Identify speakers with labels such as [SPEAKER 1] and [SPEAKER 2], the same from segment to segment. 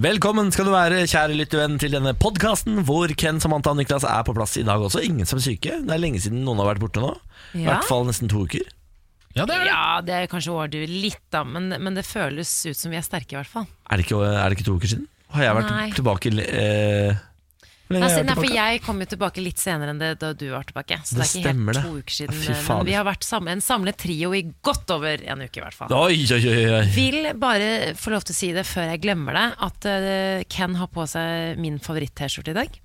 [SPEAKER 1] Velkommen skal du være, kjære lyttevenn, til denne podkasten hvor Ken, Samantha og Niklas er på plass i dag også. Ingen som er syke. Det er lenge siden noen har vært borte nå. I
[SPEAKER 2] Ja.
[SPEAKER 1] hvert fall nesten to uker.
[SPEAKER 3] Ja, det er det.
[SPEAKER 2] Ja, det er kanskje å overdrive litt, da, men, men det føles ut som vi er sterke, i hvert fall.
[SPEAKER 1] Er det ikke, er det ikke to uker siden? Har jeg vært
[SPEAKER 2] Nei.
[SPEAKER 1] tilbake eh, Hvor lenge har jeg vært
[SPEAKER 2] Altså, nei, for
[SPEAKER 1] tilbake?
[SPEAKER 2] jeg kom jo tilbake litt senere enn det da du var tilbake. Så
[SPEAKER 1] Det
[SPEAKER 2] det, er ikke
[SPEAKER 1] stemmer
[SPEAKER 2] helt
[SPEAKER 1] det.
[SPEAKER 2] to uker siden.
[SPEAKER 1] Fy fader.
[SPEAKER 2] Men vi har vært sammen, en samlet trio i godt over en uke, i hvert fall.
[SPEAKER 1] Oi, oi, oi, oi.
[SPEAKER 2] Vil bare få lov til å si det før jeg glemmer det, at eh, Ken har på seg min favoritt-T-skjorte i dag.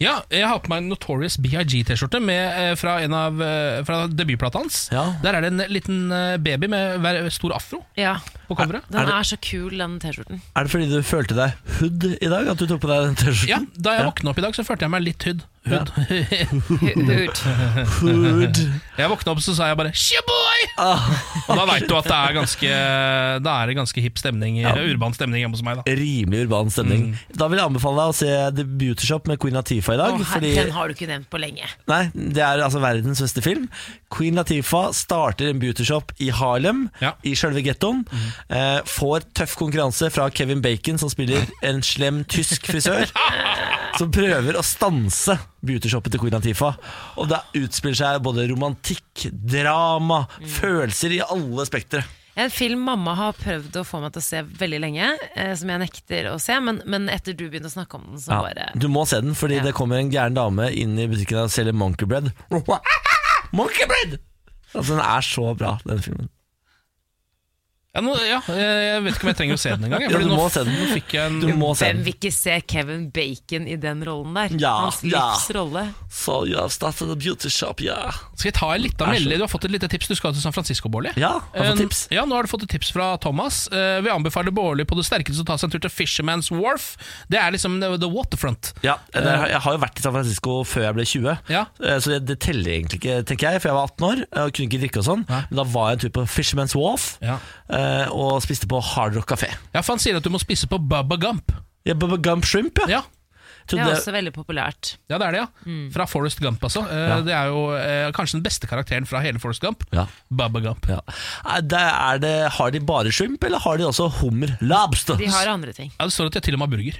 [SPEAKER 3] Ja, jeg har på meg en Notorious BIG-T-skjorte med, eh, fra, en av, eh, fra debutplata hans.
[SPEAKER 1] Ja.
[SPEAKER 3] Der er det en liten eh, baby med hver- stor afro
[SPEAKER 2] Ja,
[SPEAKER 3] på coveret.
[SPEAKER 2] Den
[SPEAKER 1] Er
[SPEAKER 2] er,
[SPEAKER 1] det-
[SPEAKER 2] så kul, den T-skjorten.
[SPEAKER 1] Er det fordi du følte deg hood i dag? At du tok på deg den T-skjorten?
[SPEAKER 3] Ja, Da jeg våkna opp i dag, så følte jeg meg litt hood.
[SPEAKER 1] Ja.
[SPEAKER 3] hood.
[SPEAKER 2] Ut.
[SPEAKER 1] Hood.
[SPEAKER 3] Jeg våkna opp, så sa jeg bare 'Shia boy!'
[SPEAKER 1] Ah,
[SPEAKER 3] Og da veit du at det er ganske Da er det ganske hipp stemning, eh, urban stemning hjemme hos meg. da
[SPEAKER 1] rimelig urban stemning. Da vil jeg anbefale deg å se The Beauty Shop med Queen Latifah i dag.
[SPEAKER 2] Å, her-
[SPEAKER 1] fordi
[SPEAKER 2] Den har du ikke nevnt på lenge.
[SPEAKER 1] Nei, det er altså verdens beste film. Queen Latifah starter en beautyshop i Harlem,
[SPEAKER 3] Ja.
[SPEAKER 1] i sjølve gettoen. Eh, får tøff konkurranse fra Kevin Bacon, som spiller en slem tysk frisør. som prøver å stanse beautyshoppet til Queen Latifah. Og det utspiller seg både romantikk, drama, følelser i alle spektre.
[SPEAKER 2] En film mamma har prøvd å få meg til å se veldig lenge, eh, som jeg nekter å se, men, men etter du begynte å snakke om den, så bare
[SPEAKER 1] Du må se den, fordi
[SPEAKER 2] Ja.
[SPEAKER 1] det kommer en gæren dame inn i butikken og selger monkey bread. monkey bread! Altså, den er så bra, den filmen.
[SPEAKER 3] ja, nå, ja, Jeg vet ikke om jeg trenger å se den engang. jeg,
[SPEAKER 1] Ja,
[SPEAKER 3] fordi
[SPEAKER 1] du
[SPEAKER 3] nå
[SPEAKER 1] må se den.
[SPEAKER 3] f- Fikk jeg en,
[SPEAKER 1] Du må se den.
[SPEAKER 2] Hvem eh, vil ikke se Kevin Bacon i den rollen der?
[SPEAKER 1] Ja,
[SPEAKER 2] Hans
[SPEAKER 1] ja.
[SPEAKER 2] livs rolle.
[SPEAKER 1] So you have started a beauty shop, yeah.
[SPEAKER 3] Skal jeg ta en liten
[SPEAKER 1] Vær så
[SPEAKER 3] melding? Du har fått et lite tips. Du skal til San Francisco, Bårli.
[SPEAKER 1] Ja, jeg har fått tips.
[SPEAKER 3] Eh, Ja, nå har du fått et tips fra Thomas. Eh, vi anbefaler Bårli på det sterkeste å ta seg en tur til Fisherman's Wharf. Det er liksom the, the waterfront.
[SPEAKER 1] Ja, eller jeg har- jeg har jo vært i San Francisco før jeg ble 20,
[SPEAKER 3] Ja.
[SPEAKER 1] Eh, så det, det teller egentlig ikke, tenker jeg. For jeg var 18 år og kunne ikke drikke og sånn.
[SPEAKER 3] Nei.
[SPEAKER 1] Men da var jeg en tur på Fisherman's Wharf
[SPEAKER 3] Ja.
[SPEAKER 1] eh, og spiste på Hard Rock Café.
[SPEAKER 3] Ja, for Han sier at du må spise på Bubba Gump.
[SPEAKER 1] Ja, Bubba Gump Shrimp, ja.
[SPEAKER 3] Ja,
[SPEAKER 1] Trodde
[SPEAKER 2] Det er
[SPEAKER 1] jeg-
[SPEAKER 2] også veldig populært.
[SPEAKER 3] ja det er det, ja.
[SPEAKER 2] Mm.
[SPEAKER 3] Fra Forest Gump, altså. Eh, Det er jo eh, kanskje den beste karakteren fra hele Forest Gump.
[SPEAKER 1] ja.
[SPEAKER 3] Bubba Gump.
[SPEAKER 1] ja. Nei, det er det, har de bare shrimp, eller har de også hummer lobster?
[SPEAKER 2] De har andre ting.
[SPEAKER 3] Ja, Det står at jeg til og med har burger.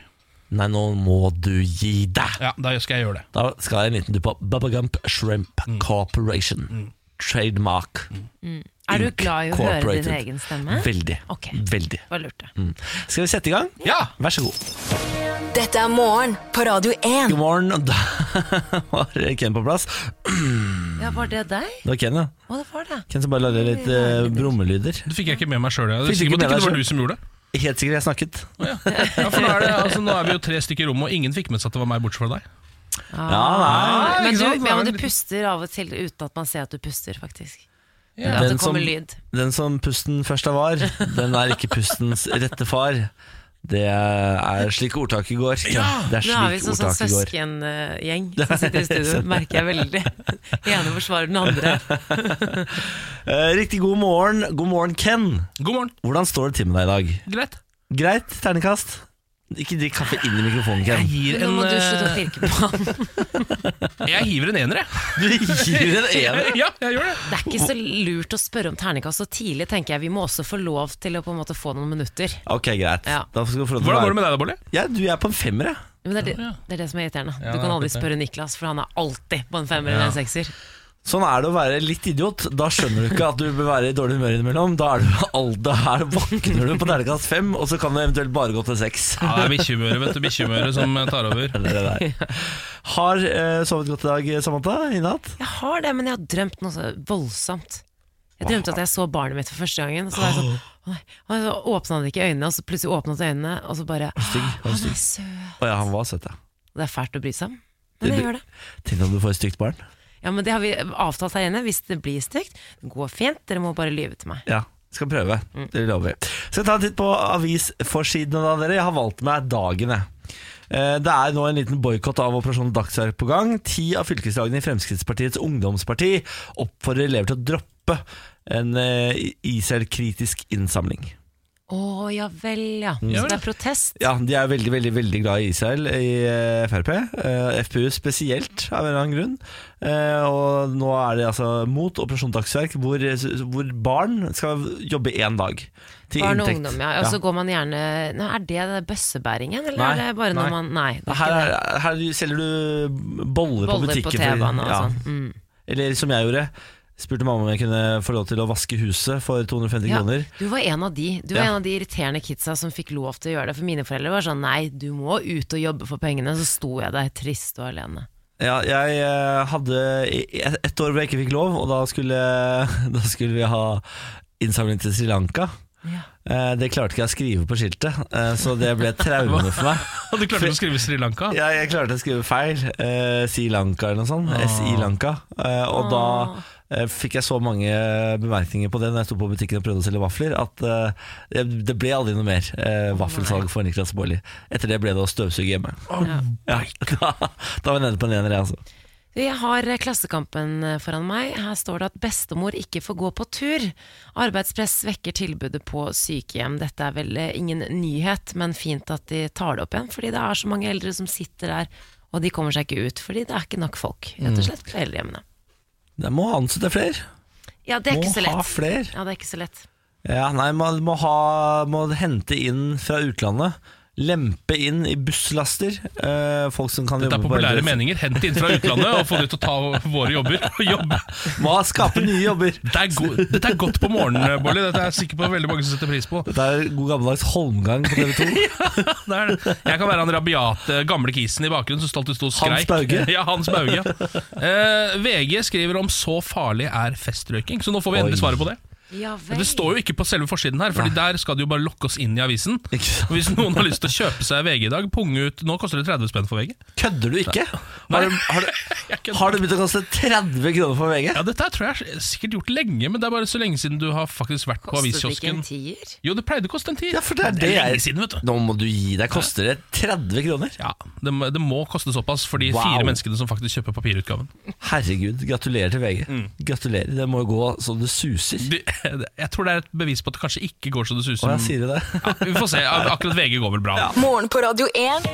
[SPEAKER 1] Nei, nå må du gi deg!
[SPEAKER 3] Ja, Da skal jeg gjøre det.
[SPEAKER 1] Da skal jeg en liten tur på Bubba Gump Shrimp Corporation. Trademark.
[SPEAKER 2] Er du
[SPEAKER 1] Inc.
[SPEAKER 2] glad i å høre
[SPEAKER 1] Corporated.
[SPEAKER 2] din egen stemme?
[SPEAKER 1] Veldig.
[SPEAKER 2] Mm. Ok.
[SPEAKER 1] Veldig.
[SPEAKER 2] Det var lurt, det.
[SPEAKER 1] Mm. Skal vi sette i gang?
[SPEAKER 3] Ja!
[SPEAKER 1] Vær så god.
[SPEAKER 4] Dette er morgen på Radio 1.
[SPEAKER 1] God morgen. og Da var Ken på plass.
[SPEAKER 2] Ja, var det deg?
[SPEAKER 1] Det var Ken, ja.
[SPEAKER 2] Å, det var det.
[SPEAKER 1] Ken som bare lagde litt eh, brummelyder.
[SPEAKER 3] Det fikk jeg ikke med meg sjøl. Jeg er
[SPEAKER 1] Fikk du
[SPEAKER 3] sikker på
[SPEAKER 1] ikke med
[SPEAKER 3] at det ikke
[SPEAKER 1] deg
[SPEAKER 3] var du som gjorde det.
[SPEAKER 1] Helt sikkert jeg snakket.
[SPEAKER 3] Ja, for nå er, det, altså, nå er vi jo tre stykker i rommet, og ingen fikk med seg at det var meg, bortsett fra deg.
[SPEAKER 1] Ja, nei.
[SPEAKER 3] ikke
[SPEAKER 2] Ah. Men du,
[SPEAKER 3] sant?
[SPEAKER 2] ja,
[SPEAKER 3] Det
[SPEAKER 2] men
[SPEAKER 3] er
[SPEAKER 2] du
[SPEAKER 3] en-
[SPEAKER 2] puster av og til uten at man ser at du puster, faktisk.
[SPEAKER 3] Ja.
[SPEAKER 2] At
[SPEAKER 1] Den
[SPEAKER 2] det
[SPEAKER 1] som-
[SPEAKER 2] kommer lyd.
[SPEAKER 1] Den som pusten først av var, den er ikke pustens rette far. Det er slik ordtaket går. Ken. Det er
[SPEAKER 2] Nå er vi
[SPEAKER 1] slik
[SPEAKER 2] sånn sånn
[SPEAKER 1] ordtaket går.
[SPEAKER 2] søskengjeng som sitter i studio, merker jeg veldig. Den ene forsvarer den andre.
[SPEAKER 1] Eh, Riktig god morgen. God morgen, Ken.
[SPEAKER 3] God morgen.
[SPEAKER 1] Hvordan står det til med deg i dag?
[SPEAKER 3] Greit.
[SPEAKER 1] Greit, terningkast. Ikke drikk kaffe inn i mikrofonen,
[SPEAKER 3] Jeg
[SPEAKER 1] Ken.
[SPEAKER 3] gir
[SPEAKER 2] Nå
[SPEAKER 3] en,
[SPEAKER 2] må du slutte å
[SPEAKER 3] eh,
[SPEAKER 2] pirke på han.
[SPEAKER 3] jeg hiver en ener, jeg.
[SPEAKER 1] Du gir en ener.
[SPEAKER 3] Ja, jeg gjør det.
[SPEAKER 2] Det er ikke så lurt å spørre om terningkast så tidlig, tenker jeg. Vi må også få lov til å på en måte få noen minutter.
[SPEAKER 1] Ok, greit.
[SPEAKER 2] Ja.
[SPEAKER 1] Da skal du få lov til å
[SPEAKER 3] Hvordan går
[SPEAKER 1] være-
[SPEAKER 3] det med deg da, Bolle?
[SPEAKER 1] Ja, du, jeg er på en femmer, jeg.
[SPEAKER 2] Men det er det,
[SPEAKER 3] Ja.
[SPEAKER 2] det er det som er irriterende.
[SPEAKER 3] Ja,
[SPEAKER 2] Du kan aldri
[SPEAKER 3] det er
[SPEAKER 2] spørre Niklas, for han er alltid på en femmer eller en sekser.
[SPEAKER 1] Sånn er det å være litt idiot. Da skjønner du ikke at du bør være i dårlig humør innimellom. Da er du alder her, våkner du på terningkast fem, og så kan det eventuelt bare gå til seks.
[SPEAKER 3] Ja, det er bikkjemøret, vet du. Bikkjemøret som tar over.
[SPEAKER 1] Det er det det er. Har eh, sovet godt i dag, Samantha? I natt?
[SPEAKER 2] Jeg har det, men jeg har drømt noe så voldsomt. Jeg drømte at jeg så barnet mitt for første gangen. Og så var jeg sånn «Å nei», og så åpna han ikke øynene, og så plutselig åpnet han øynene, og så bare
[SPEAKER 1] Stygg. Var du
[SPEAKER 2] Han
[SPEAKER 1] stygg?
[SPEAKER 2] er søt.
[SPEAKER 1] Å ja, han var søt, ja.
[SPEAKER 2] Det er fælt å bry seg om,
[SPEAKER 1] Det
[SPEAKER 2] men jeg
[SPEAKER 1] blir-
[SPEAKER 2] gjør det.
[SPEAKER 1] Tenk om du får et stygt barn.
[SPEAKER 2] Ja, men Det har vi avtalt her inne. Hvis det blir stygt, det går fint. Dere må bare lyve til meg.
[SPEAKER 1] Ja, skal prøve. Det lover vi. Skal ta en titt på avisforsidene da, dere. Jeg har valgt meg dagen, jeg. Eh, Det er nå en liten boikott av Operasjon Dagsverk på gang. Ti av fylkeslagene i Fremskrittspartiets ungdomsparti oppfordrer elever til å droppe en eh, Israel-kritisk innsamling.
[SPEAKER 2] Å ja vel, ja.
[SPEAKER 3] Ja
[SPEAKER 2] Så
[SPEAKER 3] vel.
[SPEAKER 2] det er protest?
[SPEAKER 1] Mm. Ja, de er veldig, veldig, veldig glad i Israel i eh, Frp. eh, FPU spesielt, av en eller annen grunn. Eh, Og nå er de altså mot Operasjon Dagsverk, hvor, hvor barn skal jobbe én dag til
[SPEAKER 2] Barn og
[SPEAKER 1] inntekt.
[SPEAKER 2] ungdom, ja. Og så går man gjerne Nei, Er det det bøssebæringen, eller
[SPEAKER 1] Nei,
[SPEAKER 2] er det bare
[SPEAKER 3] nei.
[SPEAKER 2] når man Nei. det er
[SPEAKER 1] Her,
[SPEAKER 2] ikke det.
[SPEAKER 1] er- her selger du boller, på
[SPEAKER 2] Boller
[SPEAKER 1] butikken.
[SPEAKER 2] på
[SPEAKER 1] for-
[SPEAKER 2] T-banen og
[SPEAKER 1] ja.
[SPEAKER 2] sånn. Mm.
[SPEAKER 1] Eller som jeg gjorde Spurte mamma om jeg kunne få lov til å vaske huset For 250
[SPEAKER 2] Ja,
[SPEAKER 1] kroner
[SPEAKER 2] du var en av de Du var
[SPEAKER 1] Ja.
[SPEAKER 2] en av de irriterende kidsa som fikk lov til å gjøre det. For mine foreldre var sånn nei, du må ut og jobbe for pengene. Så sto jeg der trist og alene.
[SPEAKER 1] ja, Jeg eh, hadde i- i- ett år hvor jeg ikke fikk lov Og da skulle, da skulle vi ha innsamling til Sri Lanka
[SPEAKER 2] Ja.
[SPEAKER 1] Eh, Det klarte ikke jeg å skrive på skiltet eh, Så det ble et traume for meg
[SPEAKER 3] Og du klarte ikke å skrive Sri Lanka?
[SPEAKER 1] ja, Jeg klarte å skrive feil eh, Sri Lanka eller noe sånt S.I. Lanka Eh, Og da
[SPEAKER 2] Ah.
[SPEAKER 1] eh, fikk jeg så mange bemerkninger på det Når jeg sto på butikken og prøvde å selge vafler At eh, det- det ble aldri noe mer eh, Vaffelsalg for Niklas Bårli Etter det ble det å støvsuge hjemme ja, da, da var jeg nede på en ener jeg, altså.
[SPEAKER 2] Jeg har eh, Klassekampen eh, foran meg. Her står det at bestemor ikke får gå på tur. Arbeidspress svekker tilbudet på sykehjem. Dette er vel eh, ingen nyhet, men fint at de tar det opp igjen. Fordi det er så mange eldre som sitter der, og de kommer seg ikke ut. Fordi det er ikke nok folk, rett
[SPEAKER 1] Mm.
[SPEAKER 2] og slett, på eldrehjemmene.
[SPEAKER 1] Jeg må ansette flere.
[SPEAKER 2] Ja, det er
[SPEAKER 1] Må
[SPEAKER 2] ikke så
[SPEAKER 1] ha
[SPEAKER 2] lett.
[SPEAKER 1] flere.
[SPEAKER 2] Ja, det er ikke så lett.
[SPEAKER 1] Ja, nei, man må, ha, må hente inn fra utlandet. Lempe inn i busslaster. eh, folk som kan
[SPEAKER 3] Det er
[SPEAKER 1] jobbe på
[SPEAKER 3] populære
[SPEAKER 1] eldre-
[SPEAKER 3] meninger. Hent det inn fra utlandet og få dem til å ta våre jobber. Og jobbe.
[SPEAKER 1] Må ha- skape nye jobber.
[SPEAKER 3] Det er go Dette er godt på morgenen, Bolli. Dette er jeg sikker på veldig mange som setter pris på.
[SPEAKER 1] Det er god gammeldags Holmgang på TV 2.
[SPEAKER 3] Det er det. Jeg kan være han rabiate gamle kisen i bakgrunnen som stolt sto og
[SPEAKER 1] Hans
[SPEAKER 3] skreik.
[SPEAKER 1] Bauge?
[SPEAKER 3] Ja, Hans Bauge. Eh, VG skriver om 'så farlig er festrøyking', så nå får vi endelig
[SPEAKER 1] Oi.
[SPEAKER 3] svaret på det.
[SPEAKER 2] Ja
[SPEAKER 3] Men
[SPEAKER 2] vel.
[SPEAKER 3] Det står jo ikke på selve forsiden her, Fordi der skal det jo bare lokke oss inn i avisen.
[SPEAKER 1] Ikke sant?
[SPEAKER 3] Hvis noen har lyst til å kjøpe seg VG i dag, punge ut Nå koster det 30 spenn for VG.
[SPEAKER 1] Kødder du ikke? Har
[SPEAKER 3] Nei.
[SPEAKER 1] du, har du,
[SPEAKER 3] Jeg kødder.
[SPEAKER 1] har du begynt å kaste 30 kroner for VG?
[SPEAKER 3] Ja, Dette her tror jeg er sikkert gjort lenge, men det er bare så lenge siden du har faktisk vært på
[SPEAKER 2] Kostet det ikke
[SPEAKER 3] aviskiosken.
[SPEAKER 2] en tier?
[SPEAKER 3] Jo, det pleide å koste en tier.
[SPEAKER 1] Ja, for det er det
[SPEAKER 3] lenge
[SPEAKER 1] jeg-
[SPEAKER 3] siden, vet du.
[SPEAKER 1] Nå må du gi deg. Koster det 30 kroner?
[SPEAKER 3] Ja, det, må- det må koste såpass for de
[SPEAKER 1] Wow.
[SPEAKER 3] fire menneskene som faktisk kjøper papirutgaven.
[SPEAKER 1] Herregud, gratulerer til VG.
[SPEAKER 3] Mm.
[SPEAKER 1] Gratulerer. Det må jo gå så det suser.
[SPEAKER 3] De, jeg tror det er et bevis på at det kanskje ikke går så det
[SPEAKER 1] Å,
[SPEAKER 3] suser.
[SPEAKER 1] jeg sier det der.
[SPEAKER 3] Ja, vi får se. Ak- Akkurat VG går vel bra.
[SPEAKER 4] Morgen på Radio 1.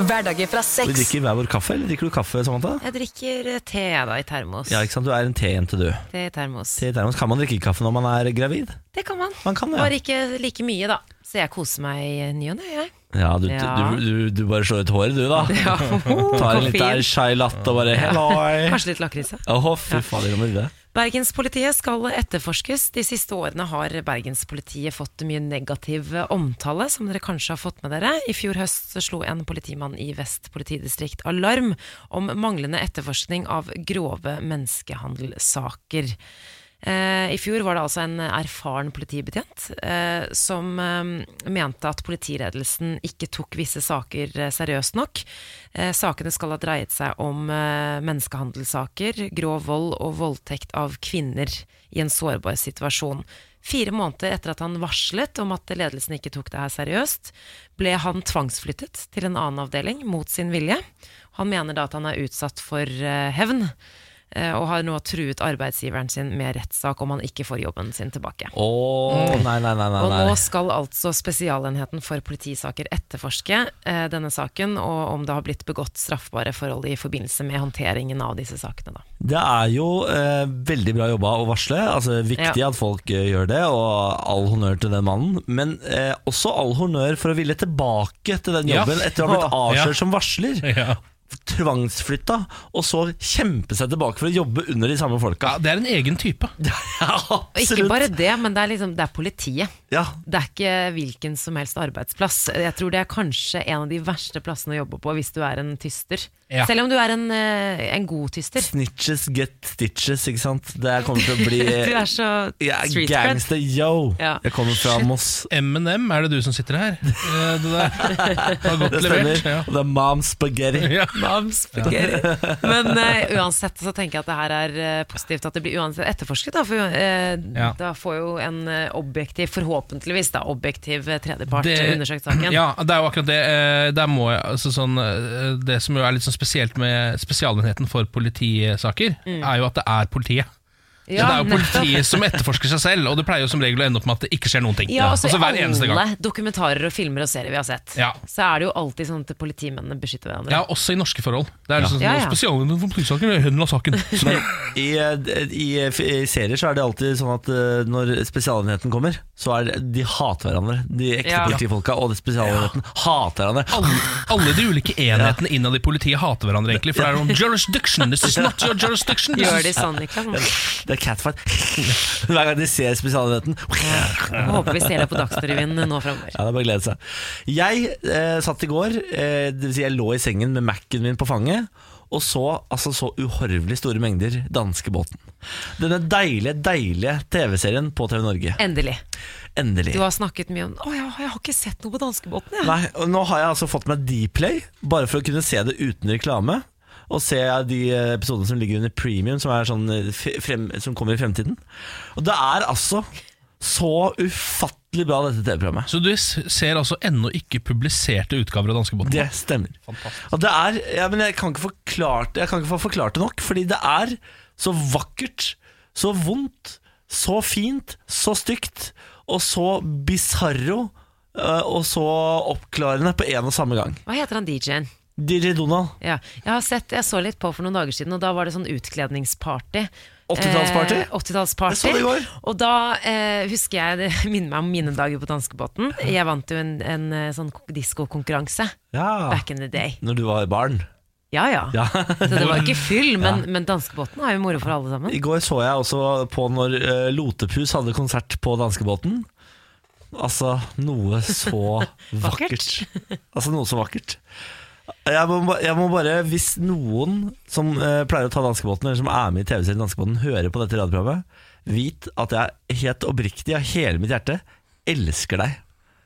[SPEAKER 4] Hverdager fra
[SPEAKER 1] Vi
[SPEAKER 4] seks.
[SPEAKER 1] drikker hver vår kaffe, eller drikker du kaffe, Samantha?
[SPEAKER 2] Jeg drikker eh, te jeg, da, i termos.
[SPEAKER 1] Ja, ikke sant? Du er en tejente, du.
[SPEAKER 2] Te i termos.
[SPEAKER 1] Te i termos. Kan man drikke kaffe når man er gravid?
[SPEAKER 2] Det kan man.
[SPEAKER 1] Man kan det, ja.
[SPEAKER 2] Bare ikke like mye, da. Så jeg koser meg i ny og ne, jeg.
[SPEAKER 1] Ja, du,
[SPEAKER 2] Ja.
[SPEAKER 1] Du, du, du bare slår ut håret, du, da. Tar en litt der
[SPEAKER 2] koffein.
[SPEAKER 1] chai latte og bare helloi.
[SPEAKER 2] Kanskje litt lakris. ja. Mm.
[SPEAKER 1] Å, fy fader, om det.
[SPEAKER 2] Bergenspolitiet skal etterforskes. De siste årene har bergenspolitiet fått mye negativ omtale, som dere kanskje har fått med dere. I fjor høst så slo en politimann i Vest politidistrikt alarm om manglende etterforskning av grove menneskehandelsaker. Eh, I fjor var det altså en erfaren politibetjent eh, som eh, mente at politiledelsen ikke tok visse saker eh, seriøst nok. Eh, sakene skal ha dreiet seg om eh, menneskehandelssaker, grov vold og voldtekt av kvinner i en sårbar situasjon. Fire måneder etter at han varslet om at ledelsen ikke tok det her seriøst, ble han tvangsflyttet til en annen avdeling mot sin vilje. Han mener da at han er utsatt for eh, hevn eh, og har nå truet arbeidsgiveren sin med rettssak om han ikke får jobben sin tilbake.
[SPEAKER 1] Å, nei, nei, nei. nei,
[SPEAKER 2] Og nå
[SPEAKER 1] nei.
[SPEAKER 2] skal altså Spesialenheten for politisaker etterforske eh, denne saken, og om det har blitt begått straffbare forhold i forbindelse med håndteringen av disse sakene. Da.
[SPEAKER 1] Det er jo eh, veldig bra jobba å varsle. Altså Viktig
[SPEAKER 2] Ja.
[SPEAKER 1] at folk eh, gjør det, og all honnør til den mannen. Men eh, også all honnør for å ville tilbake til den
[SPEAKER 3] Ja.
[SPEAKER 1] jobben etter å ha blitt
[SPEAKER 3] Åh, ja.
[SPEAKER 1] avslørt som varsler.
[SPEAKER 3] Ja.
[SPEAKER 1] Tvangsflytta, og så kjempe seg tilbake for å jobbe under de samme folka.
[SPEAKER 3] Ja, det er en egen type.
[SPEAKER 1] Ja,
[SPEAKER 2] Og ikke bare det, men det er, liksom, det er politiet.
[SPEAKER 1] Ja,
[SPEAKER 2] Det er ikke hvilken som helst arbeidsplass. Jeg tror det er kanskje en av de verste plassene å jobbe på hvis du er en tyster.
[SPEAKER 3] Ja.
[SPEAKER 2] Selv om du er en, eh, en god tyster.
[SPEAKER 1] Snitches get stitches, ikke sant? Det her kommer til å bli
[SPEAKER 2] Du er så
[SPEAKER 1] Jeg er
[SPEAKER 2] street cred.
[SPEAKER 1] gangster, yo!
[SPEAKER 2] Ja.
[SPEAKER 1] Jeg kommer fra Moss.
[SPEAKER 3] M&M, er det du som sitter her? Eh, Det der. Det var godt
[SPEAKER 1] Det stemmer.
[SPEAKER 3] levert. Ja.
[SPEAKER 1] Og det er mom spaghetti.
[SPEAKER 3] Ja.
[SPEAKER 2] Lamsk. beklager. Men eh, uansett så tenker jeg at det her er eh, positivt at det blir uansett etterforsket. Da, for eh,
[SPEAKER 3] Ja.
[SPEAKER 2] da får jo en eh, objektiv, forhåpentligvis da, objektiv eh, tredjepart
[SPEAKER 3] Det-
[SPEAKER 2] undersøkt saken.
[SPEAKER 3] Ja, det er jo akkurat det. eh, Der må jeg, altså sånn, eh, det som jo er litt sånn spesielt med Spesialenheten for politisaker, er jo at det er politiet.
[SPEAKER 2] Mm. Ja,
[SPEAKER 3] så Det er jo
[SPEAKER 2] nettopp.
[SPEAKER 3] politiet som etterforsker seg selv, og det pleier jo som regel å ende opp med at det ikke skjer noen ting.
[SPEAKER 2] Ja, altså,
[SPEAKER 3] altså hver
[SPEAKER 2] I
[SPEAKER 3] eneste gang.
[SPEAKER 2] alle dokumentarer og filmer og serier vi har sett,
[SPEAKER 3] Ja.
[SPEAKER 2] så er det jo alltid sånn at politimennene beskytter hverandre.
[SPEAKER 3] Ja, også i norske forhold. Det er liksom
[SPEAKER 2] Ja, ja.
[SPEAKER 3] sånn, Spesialenheten for politisaker er hønen av saken. Så det-
[SPEAKER 1] I, eh, i, eh, f- I serier så er det alltid sånn at eh, når Spesialenheten kommer, så er det, de hater hverandre. De ekte
[SPEAKER 2] Ja.
[SPEAKER 1] politifolka og Spesialenheten hater hverandre.
[SPEAKER 3] alle, alle de ulike enhetene innad i politiet hater hverandre, egentlig. For det er jo om jurisdiction, this is not your jurisdiction. this
[SPEAKER 2] Gjør
[SPEAKER 3] is-
[SPEAKER 2] de sånn, Niklas?
[SPEAKER 1] Det er catfight. Hver gang de ser Spesialenheten
[SPEAKER 2] Jeg håper vi ser det på Dagsrevyen nå framover.
[SPEAKER 1] Ja, det er bare å glede seg. Jeg eh, satt i går, eh, dvs. Si jeg lå i sengen med Mac-en min på fanget, og så altså, så uhorvelig store mengder danskebåten. Denne deilige, deilige TV-serien på TV Norge.
[SPEAKER 2] Endelig.
[SPEAKER 1] Endelig.
[SPEAKER 2] Du har snakket mye om Å ja, jeg har ikke sett noe på danskebåten, jeg.
[SPEAKER 1] Nei, og nå har jeg altså fått meg Dplay, bare for å kunne se det uten reklame. Og se de eh, episodene som ligger under premium, som, er sånn, eh, f- frem, som kommer i fremtiden. Og det er altså så ufattelig bra, dette TV-programmet.
[SPEAKER 3] Så du s- ser altså ennå ikke publiserte utgaver av danskebåten?
[SPEAKER 1] Det stemmer. Og det er, ja, men jeg kan ikke forklart, jeg kan ikke få forklart det nok, fordi det er så vakkert, så vondt, så fint, så stygt, og så bizarro, eh, og så oppklarende på en og samme gang.
[SPEAKER 2] Hva heter han DJ-en?
[SPEAKER 1] DJ Donald,
[SPEAKER 2] Ja. Jeg, har sett, jeg så litt på for noen dager siden, og da var det sånn utkledningsparty.
[SPEAKER 1] 80-tallsparty?
[SPEAKER 2] Eh,
[SPEAKER 1] Jeg
[SPEAKER 2] 80-tallsparty.
[SPEAKER 1] så det i går.
[SPEAKER 2] Og da eh, husker jeg det minner meg om mine dager på danskebåten. Jeg vant jo en, en eh, sånn diskokonkurranse
[SPEAKER 1] ja.
[SPEAKER 2] back in the day.
[SPEAKER 1] når du var barn.
[SPEAKER 2] Ja ja.
[SPEAKER 1] Ja.
[SPEAKER 2] Så det var ikke fyll, men, men danskebåten har jo moro for alle sammen.
[SPEAKER 1] I går så jeg også på når eh, Lotepus hadde konsert på danskebåten. Altså, noe så vakkert.
[SPEAKER 2] Vakkert.
[SPEAKER 1] Altså, noe så vakkert. Jeg må, ba- jeg må bare, hvis noen som eh, pleier å ta danskebåten, eller som er med i TV-serien Danskebåten, hører på dette radioprogrammet, vit at jeg helt oppriktig av hele mitt hjerte elsker deg.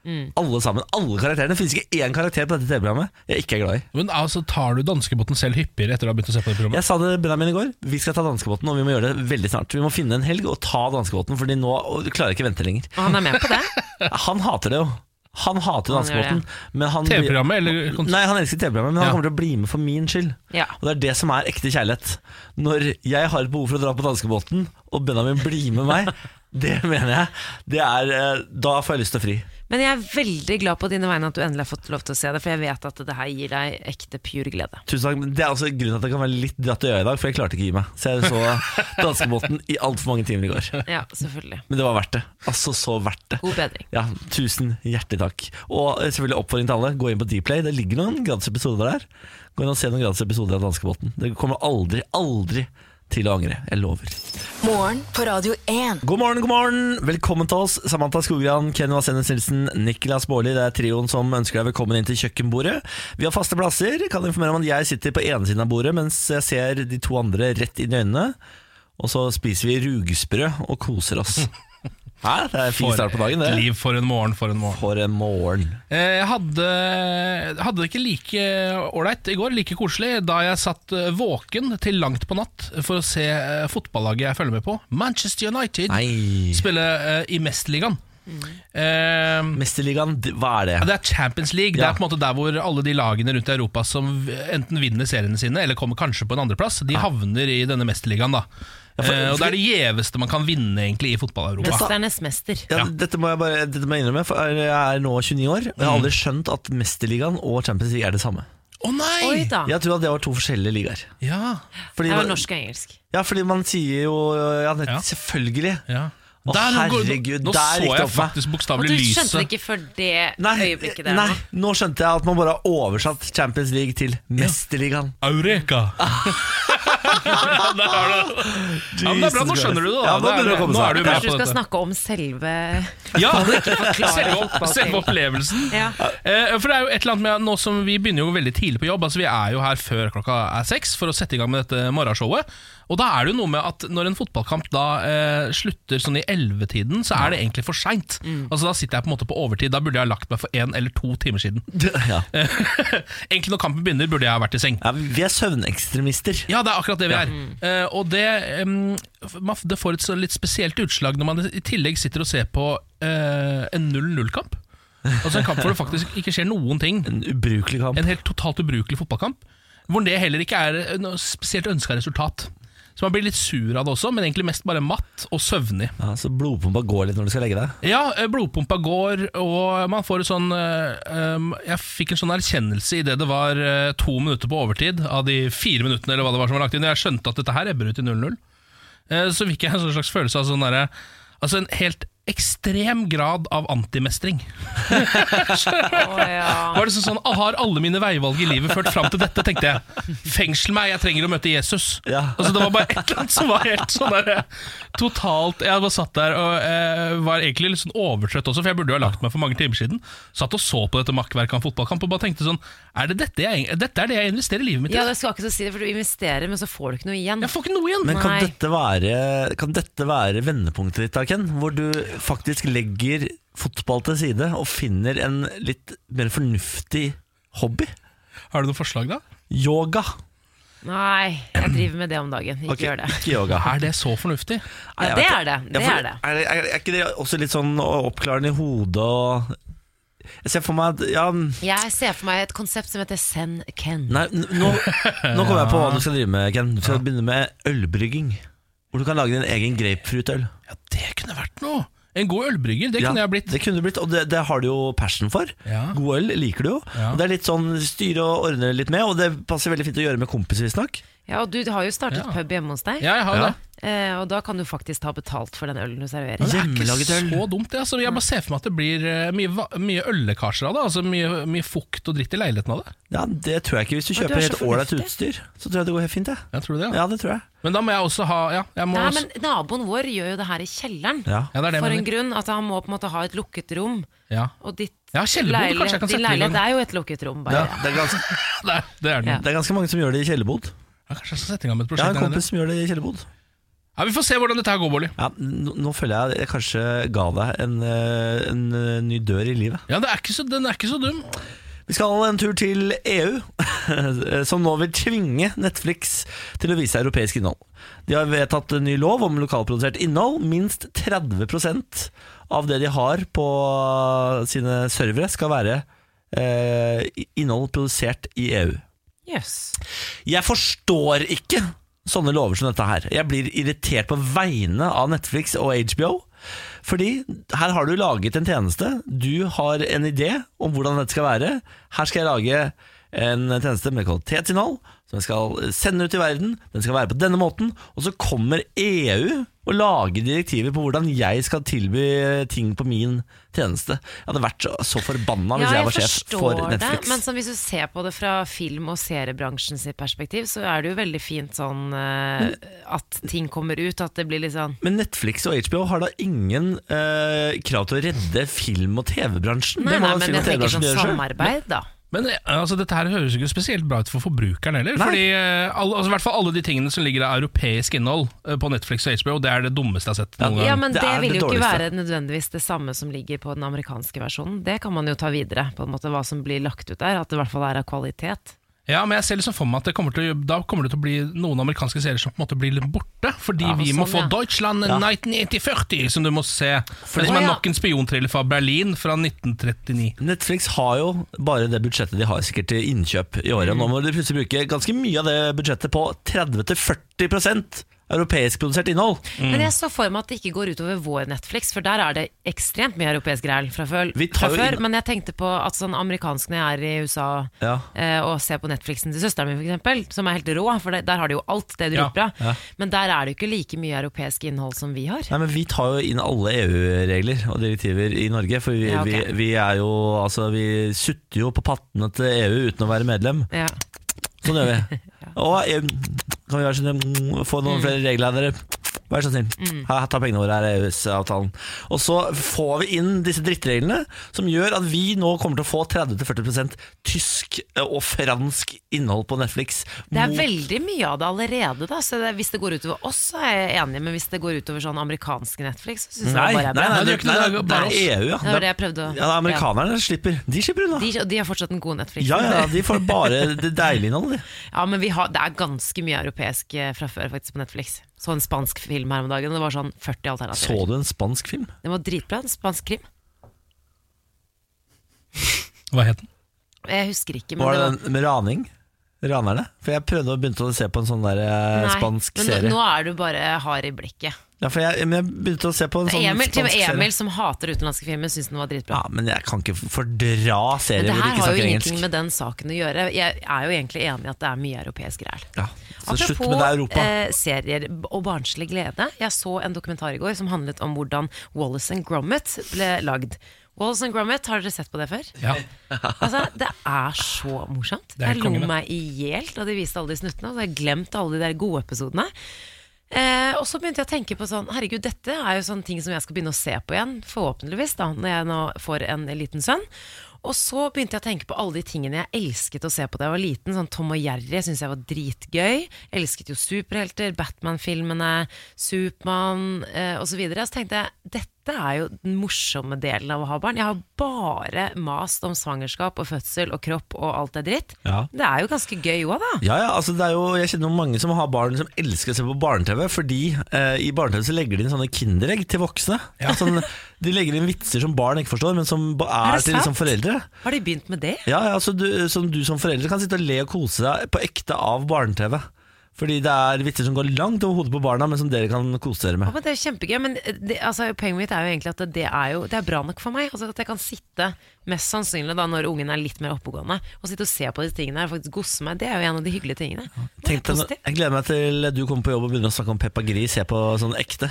[SPEAKER 2] Mm.
[SPEAKER 1] Alle sammen, alle karakterene. Det finnes ikke én karakter på dette TV-programmet jeg ikke er glad i.
[SPEAKER 3] Men altså, tar du danskebåten selv hyppigere etter å ha begynt å se på det programmet?
[SPEAKER 1] Jeg sa det Benjamin i går, vi skal ta danskebåten, og vi må gjøre det veldig snart. Vi må finne en helg og ta danskebåten, Fordi nå og, klarer jeg ikke vente lenger.
[SPEAKER 2] Og han er med på det.
[SPEAKER 1] Han hater det jo. Han hater
[SPEAKER 2] Han gjør
[SPEAKER 1] danskebåten. men han blir-
[SPEAKER 3] TV-programmet eller konsert?
[SPEAKER 1] Nei, han elsker TV-programmet, men han
[SPEAKER 3] Ja.
[SPEAKER 1] kommer til å bli med for min skyld.
[SPEAKER 2] Ja.
[SPEAKER 1] Og det er det som er ekte kjærlighet. Når jeg har et behov for å dra på danskebåten, og Benjamin blir med meg, det mener jeg. Det er, eh, da får jeg lyst til å fri.
[SPEAKER 2] Men jeg er veldig glad på dine vegne at du endelig har fått lov til å se det, for jeg vet at det her gir deg ekte pure glede.
[SPEAKER 1] Tusen takk, men Det er altså grunnen til at jeg kan være litt dratt i øya i dag, for jeg klarte ikke å gi meg. Så jeg så danskebåten i altfor mange timer i går.
[SPEAKER 2] Ja, selvfølgelig.
[SPEAKER 1] Men det var verdt det. Altså så verdt det.
[SPEAKER 2] God bedring.
[SPEAKER 1] Ja, Tusen hjertelig takk. Og eh, selvfølgelig oppfordring til alle, gå inn på Dplay. Det ligger noen gratis episoder der. Gå inn og se noen gratis episoder av Danskebåten. Dere kommer aldri, aldri til å angre. Jeg lover.
[SPEAKER 4] Morgen på Radio 1.
[SPEAKER 1] God morgen, god morgen! Velkommen til oss, Samantha Skogran, Kenny Vasenes Nilsen, Niklas Baarli. Det er trioen som ønsker deg velkommen inn til kjøkkenbordet. Vi har faste plasser. Kan informere om at jeg sitter på ene siden av bordet, mens jeg ser de to andre rett inn i øynene. Og så spiser vi rugsprø og koser oss. Hæ? Det er en fin
[SPEAKER 3] For
[SPEAKER 1] start på dagen,
[SPEAKER 3] et
[SPEAKER 1] det.
[SPEAKER 3] Liv for en morgen, for en morgen.
[SPEAKER 1] For en morgen.
[SPEAKER 3] Eh, Jeg hadde, hadde det ikke like ålreit i går, like koselig, da jeg satt eh, våken til langt på natt for å se eh, fotballaget jeg følger med på, Manchester United,
[SPEAKER 1] Nei.
[SPEAKER 3] spille eh, i Mesterligaen. Eh,
[SPEAKER 1] Mesterligaen, d- hva er det?
[SPEAKER 3] Ja, det er Champions League. Det
[SPEAKER 1] Ja.
[SPEAKER 3] er på en måte der hvor alle de lagene rundt i Europa som v- enten vinner seriene sine, eller kommer kanskje på en andreplass, de havner i denne mesterligaen. da
[SPEAKER 1] for-
[SPEAKER 3] Eh, og Det er det gjeveste man kan vinne egentlig i fotball-Europa.
[SPEAKER 2] Mesternes mester.
[SPEAKER 1] Ja,
[SPEAKER 3] Ja.
[SPEAKER 1] dette, må jeg bare, dette må jeg innrømme, for jeg er nå 29 år, og jeg har aldri
[SPEAKER 3] Mm.
[SPEAKER 1] skjønt at Mesterligaen og Champions League er det samme.
[SPEAKER 3] Å nei!
[SPEAKER 2] Oi da.
[SPEAKER 1] Jeg tror at det var to forskjellige ligaer.
[SPEAKER 3] Ja,
[SPEAKER 1] Fordi
[SPEAKER 2] Det er
[SPEAKER 1] man-
[SPEAKER 2] jo norsk og engelsk.
[SPEAKER 1] Ja, fordi man sier jo øh, ja, det,
[SPEAKER 3] Ja.
[SPEAKER 1] Selvfølgelig.
[SPEAKER 3] ja.
[SPEAKER 1] Å,
[SPEAKER 3] nå går-
[SPEAKER 1] herregud,
[SPEAKER 3] nå
[SPEAKER 1] der gikk
[SPEAKER 3] så
[SPEAKER 1] det
[SPEAKER 3] jeg
[SPEAKER 1] opp for meg.
[SPEAKER 3] faktisk
[SPEAKER 2] Og
[SPEAKER 3] bokstavelig
[SPEAKER 2] du
[SPEAKER 3] lyset.
[SPEAKER 2] skjønte det ikke før det øyeblikket der
[SPEAKER 1] nei,
[SPEAKER 2] nå?
[SPEAKER 1] nå skjønte jeg at man bare har oversatt Champions League til Mesterligaen.
[SPEAKER 3] Eureka! Der har du det. Ja, men det er bra, nå
[SPEAKER 1] Jesus
[SPEAKER 3] skjønner du det. da
[SPEAKER 1] Ja, nå
[SPEAKER 3] Det er-
[SPEAKER 1] begynner det å komme
[SPEAKER 3] nå
[SPEAKER 1] seg.
[SPEAKER 3] er du med
[SPEAKER 2] Kanskje
[SPEAKER 3] på
[SPEAKER 2] du skal
[SPEAKER 3] dette.
[SPEAKER 2] snakke om selve
[SPEAKER 3] Ja,
[SPEAKER 2] forklare
[SPEAKER 3] selve,
[SPEAKER 2] fotball
[SPEAKER 3] selve
[SPEAKER 2] til.
[SPEAKER 3] opplevelsen.
[SPEAKER 2] Ja.
[SPEAKER 3] Eh, For det er jo et eller annet med Nå som vi begynner jo veldig tidlig på jobb Altså Vi er jo her før klokka er seks for å sette i gang med dette morgenshowet. Og da er det jo noe med at når en fotballkamp da eh, slutter sånn i 11-tiden, så er det egentlig for seint. Altså, da sitter jeg på en måte på overtid. Da burde jeg ha lagt meg for én eller to timer siden.
[SPEAKER 1] Ja.
[SPEAKER 3] egentlig når kampen begynner, burde jeg ha vært i seng.
[SPEAKER 1] Ja, vi er søvnekstremister.
[SPEAKER 3] Ja, det er akkurat det vi er. Eh, og det, em, man- det får et så litt spesielt utslag når man i tillegg sitter og ser på eh, en 0-0-kamp. Altså En kamp hvor det faktisk ikke skjer noen ting.
[SPEAKER 1] En ubrukelig kamp.
[SPEAKER 3] En helt totalt ubrukelig fotballkamp. Hvor det heller ikke er eh, noe spesielt ønska resultat. Så man blir litt sur av det også, men egentlig mest bare matt og søvnig.
[SPEAKER 1] Ja, så blodpumpa går litt når du skal legge deg.
[SPEAKER 3] Ja, eh, blodpumpa går, og man får et sånn eh, um, Jeg fikk en sånn erkjennelse idet det var eh, to minutter på overtid av de fire minuttene eller hva det var som var lagt inn. og Jeg skjønte at dette her ebber ut i 0-0. Eh, Så fikk jeg en sånn slags følelse av sånn derre Altså en helt ekstrem grad av antimestring.
[SPEAKER 2] Å, ja.
[SPEAKER 3] Var det sånn, sånn Har alle mine veivalg i livet ført fram til dette, tenkte jeg. Fengsel meg, jeg trenger å møte Jesus.
[SPEAKER 1] Ja.
[SPEAKER 3] Altså Det var bare et eller annet som var helt sånn der eh, totalt Jeg bare satt der og eh, var egentlig litt sånn overtrøtt også, for jeg burde jo ha lagt meg for mange timer siden. Satt og så på dette makkverket av en fotballkamp og bare tenkte sånn Er det dette, jeg, dette er det jeg investerer livet mitt i?
[SPEAKER 2] ja, det skal ikke så si det, for du investerer, men så får du ikke noe igjen.
[SPEAKER 3] Jeg får ikke noe igjen!
[SPEAKER 1] Men kan
[SPEAKER 2] Nei.
[SPEAKER 1] dette, være, kan dette være vendepunktet ditt, da, Ken? Hvor du faktisk legger fotball til side og finner en litt mer fornuftig hobby?
[SPEAKER 3] Har du noe forslag, da?
[SPEAKER 1] Yoga.
[SPEAKER 2] Nei, jeg driver med det om dagen. Ikke
[SPEAKER 1] Ok,
[SPEAKER 2] gjør det.
[SPEAKER 1] Ikke yoga.
[SPEAKER 3] Er det så fornuftig?
[SPEAKER 1] Nei, jeg
[SPEAKER 2] det
[SPEAKER 1] vet
[SPEAKER 2] er det, det
[SPEAKER 1] Ja, for
[SPEAKER 2] er det.
[SPEAKER 1] Er, er, er ikke det også litt sånn oppklarende i hodet og Jeg ser for meg at Ja, nei,
[SPEAKER 2] Jeg ser for meg et konsept som heter Send Ken.
[SPEAKER 1] n- nå, nå kommer jeg på hva du skal drive med, Ken. Du skal begynne med ølbrygging. Hvor du kan lage din egen grapefruitøl.
[SPEAKER 3] Ja, det kunne vært noe! En god ølbrygger, det
[SPEAKER 1] Ja,
[SPEAKER 3] kunne jeg blitt.
[SPEAKER 1] Det kunne du blitt, og det, det har du jo passion for.
[SPEAKER 3] Ja.
[SPEAKER 1] God øl liker du jo.
[SPEAKER 3] Ja.
[SPEAKER 1] Og Det er litt sånn styre og ordne litt med, og det passer veldig fint å gjøre med kompiser, visstnok.
[SPEAKER 2] Ja, og du har jo startet
[SPEAKER 3] Ja.
[SPEAKER 2] pub hjemme hos deg,
[SPEAKER 3] Ja, jeg har jo
[SPEAKER 1] Ja.
[SPEAKER 3] det.
[SPEAKER 2] eh, og da kan du faktisk ta betalt for den ølen du serverer.
[SPEAKER 1] Ja. Hjemmelaget
[SPEAKER 3] Det er
[SPEAKER 1] øl.
[SPEAKER 3] ikke så dumt, det. Altså, jeg bare ser for meg at det blir eh, mye, va- mye øllekkasjer av det. Altså mye, mye fukt og dritt i leiligheten av det.
[SPEAKER 1] Ja, det tror jeg ikke. Hvis du
[SPEAKER 2] Men du
[SPEAKER 1] kjøper
[SPEAKER 2] er så
[SPEAKER 1] helt ålreit
[SPEAKER 2] fornuftig.
[SPEAKER 1] utstyr, så tror jeg det går helt fint. Jeg.
[SPEAKER 3] Jeg tror det, ja.
[SPEAKER 1] Ja, det tror jeg.
[SPEAKER 3] Men da må jeg også ha Ja, jeg må
[SPEAKER 2] Nei, men naboen vår gjør jo det her i kjelleren.
[SPEAKER 1] Ja.
[SPEAKER 3] ja det er det jeg
[SPEAKER 2] For en
[SPEAKER 3] mener.
[SPEAKER 2] grunn at han må på en måte ha et lukket rom.
[SPEAKER 3] Ja.
[SPEAKER 2] Og ditt
[SPEAKER 3] Ja, kjellerbod, kanskje jeg kan
[SPEAKER 2] din
[SPEAKER 3] sette det i gang.
[SPEAKER 2] leilighet er jo et lukket rom,
[SPEAKER 1] Ja,
[SPEAKER 2] bare.
[SPEAKER 1] det, er ganske,
[SPEAKER 3] Det, er- det er den.
[SPEAKER 2] Ja.
[SPEAKER 1] det er ganske mange som gjør det i kjellerbod.
[SPEAKER 3] Ja, kanskje jeg skal sette i gang med et
[SPEAKER 1] Jeg har
[SPEAKER 3] prosjekt.
[SPEAKER 1] en
[SPEAKER 3] der nede.
[SPEAKER 1] kompis som gjør det i kjellerbod.
[SPEAKER 3] Ja, vi får se hvordan dette her går, Bolly.
[SPEAKER 1] Ja, nå, nå føler jeg at jeg kanskje ga deg en, eh, en eh, ny dør i livet.
[SPEAKER 3] Ja, det er ikke så, den er ikke så dum.
[SPEAKER 1] Vi skal en tur til EU, som nå vil tvinge Netflix til å vise europeisk innhold. De har vedtatt en ny lov om lokalprodusert innhold. Minst 30 av det de har på sine servere, skal være eh, innhold produsert i E EU.
[SPEAKER 2] Jøss.
[SPEAKER 1] Jeg forstår ikke sånne lover som dette her. Jeg blir irritert på vegne av Netflix og HBO. Fordi her har du laget en tjeneste. Du har en idé om hvordan dette skal være. Her skal jeg lage en tjeneste med kvalitetsinnhold som jeg skal sende ut i verden. Den skal være på denne måten. Og så kommer EU og lager direktiver på hvordan jeg skal tilby ting på min tjeneste. Jeg hadde vært så- så forbanna hvis
[SPEAKER 2] Ja,
[SPEAKER 1] jeg
[SPEAKER 2] jeg
[SPEAKER 1] var sjef for
[SPEAKER 2] forstår det,
[SPEAKER 1] Netflix.
[SPEAKER 2] men sånn, hvis du ser på det fra film- og seriebransjen sitt perspektiv, så er det jo veldig fint sånn
[SPEAKER 1] Mm.
[SPEAKER 2] eh, at ting kommer ut, at det blir litt sånn
[SPEAKER 1] Men Netflix og HBO har da ingen eh, krav til å redde film- og TV-bransjen?
[SPEAKER 2] Nei,
[SPEAKER 1] Det må
[SPEAKER 2] nei,
[SPEAKER 1] da
[SPEAKER 2] men
[SPEAKER 1] film- og
[SPEAKER 2] jeg tenker
[SPEAKER 1] TV-bransjen
[SPEAKER 2] sånn
[SPEAKER 1] gjøre selv.
[SPEAKER 2] samarbeid, da.
[SPEAKER 3] Men eh, altså, dette her høres jo ikke spesielt bra ut for forbrukeren heller.
[SPEAKER 1] Nei.
[SPEAKER 3] Fordi eh, alle, altså, i hvert fall alle de tingene som ligger av europeisk innhold eh, på Netflix og HBO, det er det dummeste jeg har sett noen
[SPEAKER 1] Ja,
[SPEAKER 3] gang.
[SPEAKER 2] Ja, men
[SPEAKER 1] det
[SPEAKER 2] det,
[SPEAKER 1] er
[SPEAKER 2] vil
[SPEAKER 1] det
[SPEAKER 2] jo ikke
[SPEAKER 1] dårligste.
[SPEAKER 2] være nødvendigvis det samme som ligger på den amerikanske versjonen. Det kan man jo ta videre, på en måte hva som blir lagt ut der. At det i hvert fall er av kvalitet.
[SPEAKER 3] Ja, men jeg ser liksom for meg at det kommer til, å- da kommer det til å bli noen amerikanske serier som på en måte blir litt borte, fordi
[SPEAKER 2] Ja,
[SPEAKER 3] vi
[SPEAKER 2] sånn,
[SPEAKER 3] må få
[SPEAKER 2] ja.
[SPEAKER 3] Deutschland 1940, som du må se.
[SPEAKER 2] det-
[SPEAKER 3] som
[SPEAKER 2] Å,
[SPEAKER 3] er
[SPEAKER 2] ja.
[SPEAKER 3] nok en spionthriller fra Berlin fra 1939.
[SPEAKER 1] Netflix har jo bare det budsjettet de har sikkert til innkjøp i
[SPEAKER 2] Mm.
[SPEAKER 1] året. Nå må de plutselig bruke ganske mye av det budsjettet på 30-40 europeiskprodusert innhold.
[SPEAKER 2] Men jeg så for meg at det ikke går utover vår Netflix, for der er det ekstremt mye europeisk græl fra før.
[SPEAKER 1] Vi tar
[SPEAKER 2] Fra
[SPEAKER 1] jo
[SPEAKER 2] før
[SPEAKER 1] inn-
[SPEAKER 2] men jeg tenkte på at sånn amerikansk når jeg er i USA
[SPEAKER 1] Ja.
[SPEAKER 2] eh, og ser på Netflixen til søsteren min, f.eks., som er helt rå, for der, der har de jo alt det de
[SPEAKER 3] Ja,
[SPEAKER 2] roper av. Men der er det jo ikke like mye europeisk innhold som vi har.
[SPEAKER 1] Nei, men Vi tar jo inn alle EU-regler og direktiver i Norge. For vi,
[SPEAKER 2] Ja, ok.
[SPEAKER 1] vi, vi er jo Altså, vi sutter jo på pattene til EU uten å være medlem.
[SPEAKER 2] Ja.
[SPEAKER 1] Sånn gjør vi. Og eh, kan vi være sånn, mm, få noen eh, flere regler av dere? Vær så snill. Her, ta pengene våre, her er EØS-avtalen. Og så får vi inn disse drittreglene som gjør at vi nå kommer til å få 30-40 tysk eh, og fransk innhold på Netflix.
[SPEAKER 2] Det er veldig mye av det allerede, da. Så det, hvis det går utover oss, så er jeg enig. Men hvis det går utover sånn amerikansk Netflix, så syns jeg
[SPEAKER 1] Nei,
[SPEAKER 2] det
[SPEAKER 1] nei,
[SPEAKER 2] bare er
[SPEAKER 1] nei,
[SPEAKER 2] bra.
[SPEAKER 1] nei,
[SPEAKER 3] Nei,
[SPEAKER 1] det er
[SPEAKER 3] det er
[SPEAKER 1] ikke- nei, det
[SPEAKER 3] ikke-
[SPEAKER 1] er- det er EU, ja.
[SPEAKER 2] Det var det jeg prøvde å
[SPEAKER 1] Ja, amerikanerne slipper. De slipper unna.
[SPEAKER 2] De, de har fortsatt den gode Netflixen.
[SPEAKER 1] Ja, ja, de får bare det deilige innholdet, de.
[SPEAKER 2] Ja, men vi har, det er ganske mye europeisk eh, fra før faktisk på Netflix. Så en spansk film her om dagen, og det var sånn 40
[SPEAKER 1] Så
[SPEAKER 2] alternativer.
[SPEAKER 1] du en spansk film?
[SPEAKER 2] Den var dritbra, en spansk krim.
[SPEAKER 3] Hva het den?
[SPEAKER 2] Jeg husker ikke, men
[SPEAKER 1] Var
[SPEAKER 2] det
[SPEAKER 1] det
[SPEAKER 2] var
[SPEAKER 1] den med raning? Ranerne? For jeg prøvde å begynte å se på en sånn der eh,
[SPEAKER 2] Nei,
[SPEAKER 1] spansk
[SPEAKER 2] men nå-
[SPEAKER 1] serie.
[SPEAKER 2] Nå er du bare hard i blikket.
[SPEAKER 1] Ja, for jeg, men jeg begynte å se på en sånn
[SPEAKER 2] Emil, til
[SPEAKER 1] spansk
[SPEAKER 2] og med
[SPEAKER 1] serie.
[SPEAKER 2] Emil som hater utenlandske filmer, syns den var dritbra.
[SPEAKER 1] Ja, men jeg kan ikke fordra
[SPEAKER 2] Men
[SPEAKER 1] serier
[SPEAKER 2] det
[SPEAKER 1] hvor de ikke
[SPEAKER 2] her har jo
[SPEAKER 1] snakker
[SPEAKER 2] ingenting
[SPEAKER 1] engelsk.
[SPEAKER 2] med den saken å gjøre. Jeg er jo egentlig enig i at det er mye europeisk ræl.
[SPEAKER 1] Ja, så slutt med det Europa.
[SPEAKER 2] eh, serier og barnslig glede. Jeg så en dokumentar i går som handlet om hvordan Wallace and Gromit ble lagd. Wallace and Gromit, har dere sett på det før?
[SPEAKER 3] Ja.
[SPEAKER 2] Altså, Det er så morsomt.
[SPEAKER 3] er helt
[SPEAKER 2] Jeg lo
[SPEAKER 3] konge, det.
[SPEAKER 2] meg i hjel da de viste alle de snuttene. Og så har jeg glemt alle de der gode episodene. Eh, og så begynte jeg å tenke på sånn Herregud, dette er jo sånne ting som jeg skal begynne å se på igjen. Forhåpentligvis, da, når jeg nå får en liten sønn. Og så begynte jeg å tenke på alle de tingene jeg elsket å se på da jeg var liten. Sånn Tom og Jerry syntes jeg var dritgøy. Elsket jo superhelter, Batman-filmene, Supermann eh, osv. Så, videre. så tenkte jeg dette er jo den morsomme delen av å ha barn. Jeg har bare mast om svangerskap og fødsel og kropp og alt det dritt.
[SPEAKER 1] Ja.
[SPEAKER 2] Det er jo ganske gøy òg, da.
[SPEAKER 1] Ja, ja, altså det er jo, Jeg kjenner jo mange som har barn som elsker å se på barne-TV, fordi eh, i barne-TV så legger de inn sånne kinderegg til voksne. Sånn, de legger inn vitser som barn ikke forstår, men som ba-
[SPEAKER 2] Er
[SPEAKER 1] er,
[SPEAKER 2] det
[SPEAKER 1] til liksom,
[SPEAKER 2] sant?
[SPEAKER 1] foreldre.
[SPEAKER 2] Har de begynt med det?
[SPEAKER 1] Ja, ja, så du, som du som forelder kan sitte og le og kose deg på ekte av barne-TV. Fordi det er vitser som går langt over hodet på barna, men som dere kan kose dere
[SPEAKER 2] Ja,
[SPEAKER 1] med.
[SPEAKER 2] men det er jo kjempegøy, men det, altså, poenget mitt er jo egentlig at det er, jo, det er bra nok for meg. Altså, at jeg kan sitte, mest sannsynlig da når ungen er litt mer oppegående, og sitte og se på disse tingene her og faktisk gosse meg. Det er jo en av de hyggelige tingene. Det er
[SPEAKER 1] Tenk deg, nå-
[SPEAKER 2] positivt.
[SPEAKER 1] jeg gleder meg til du kommer på jobb og begynner å snakke om Peppa Gris. Jeg på sånn ekte.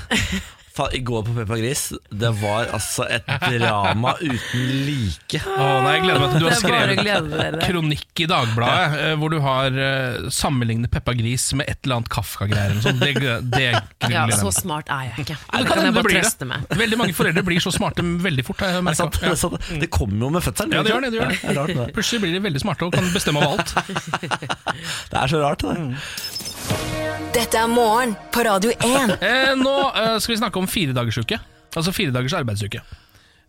[SPEAKER 1] Fa, I går på Peppa Gris, det var altså et drama uten like.
[SPEAKER 3] Å nei, jeg gleder meg til du har
[SPEAKER 2] Det er bare å
[SPEAKER 3] skrevet
[SPEAKER 2] glede dere.
[SPEAKER 3] kronikk i Dagbladet eh, hvor du har eh, sammenlignet Peppa Gris med et eller annet Kafka-greier. eller noe sånt. Det, det gleder
[SPEAKER 2] Ja,
[SPEAKER 3] jeg meg
[SPEAKER 2] så
[SPEAKER 3] til.
[SPEAKER 2] smart er jeg ikke.
[SPEAKER 3] Nei,
[SPEAKER 2] Det kan
[SPEAKER 3] hende
[SPEAKER 2] jeg bare
[SPEAKER 3] blir
[SPEAKER 2] trøste med.
[SPEAKER 3] Veldig mange foreldre blir så smarte veldig fort. Har jeg
[SPEAKER 1] Det, er sant,
[SPEAKER 3] merket.
[SPEAKER 1] det, er sant.
[SPEAKER 2] Mm.
[SPEAKER 1] det kommer jo med fødselen.
[SPEAKER 3] Ja, det
[SPEAKER 1] ikke
[SPEAKER 3] gjør det, det gjør det.
[SPEAKER 1] sant? er rart, det.
[SPEAKER 3] Plutselig blir de veldig smarte og kan bestemme over alt.
[SPEAKER 1] det er så rart, det.
[SPEAKER 2] Mm.
[SPEAKER 4] Dette er morgen på Radio 1.
[SPEAKER 3] Eh, nå eh, skal vi snakke om fire dagers uke. Altså fire dagers arbeidsuke.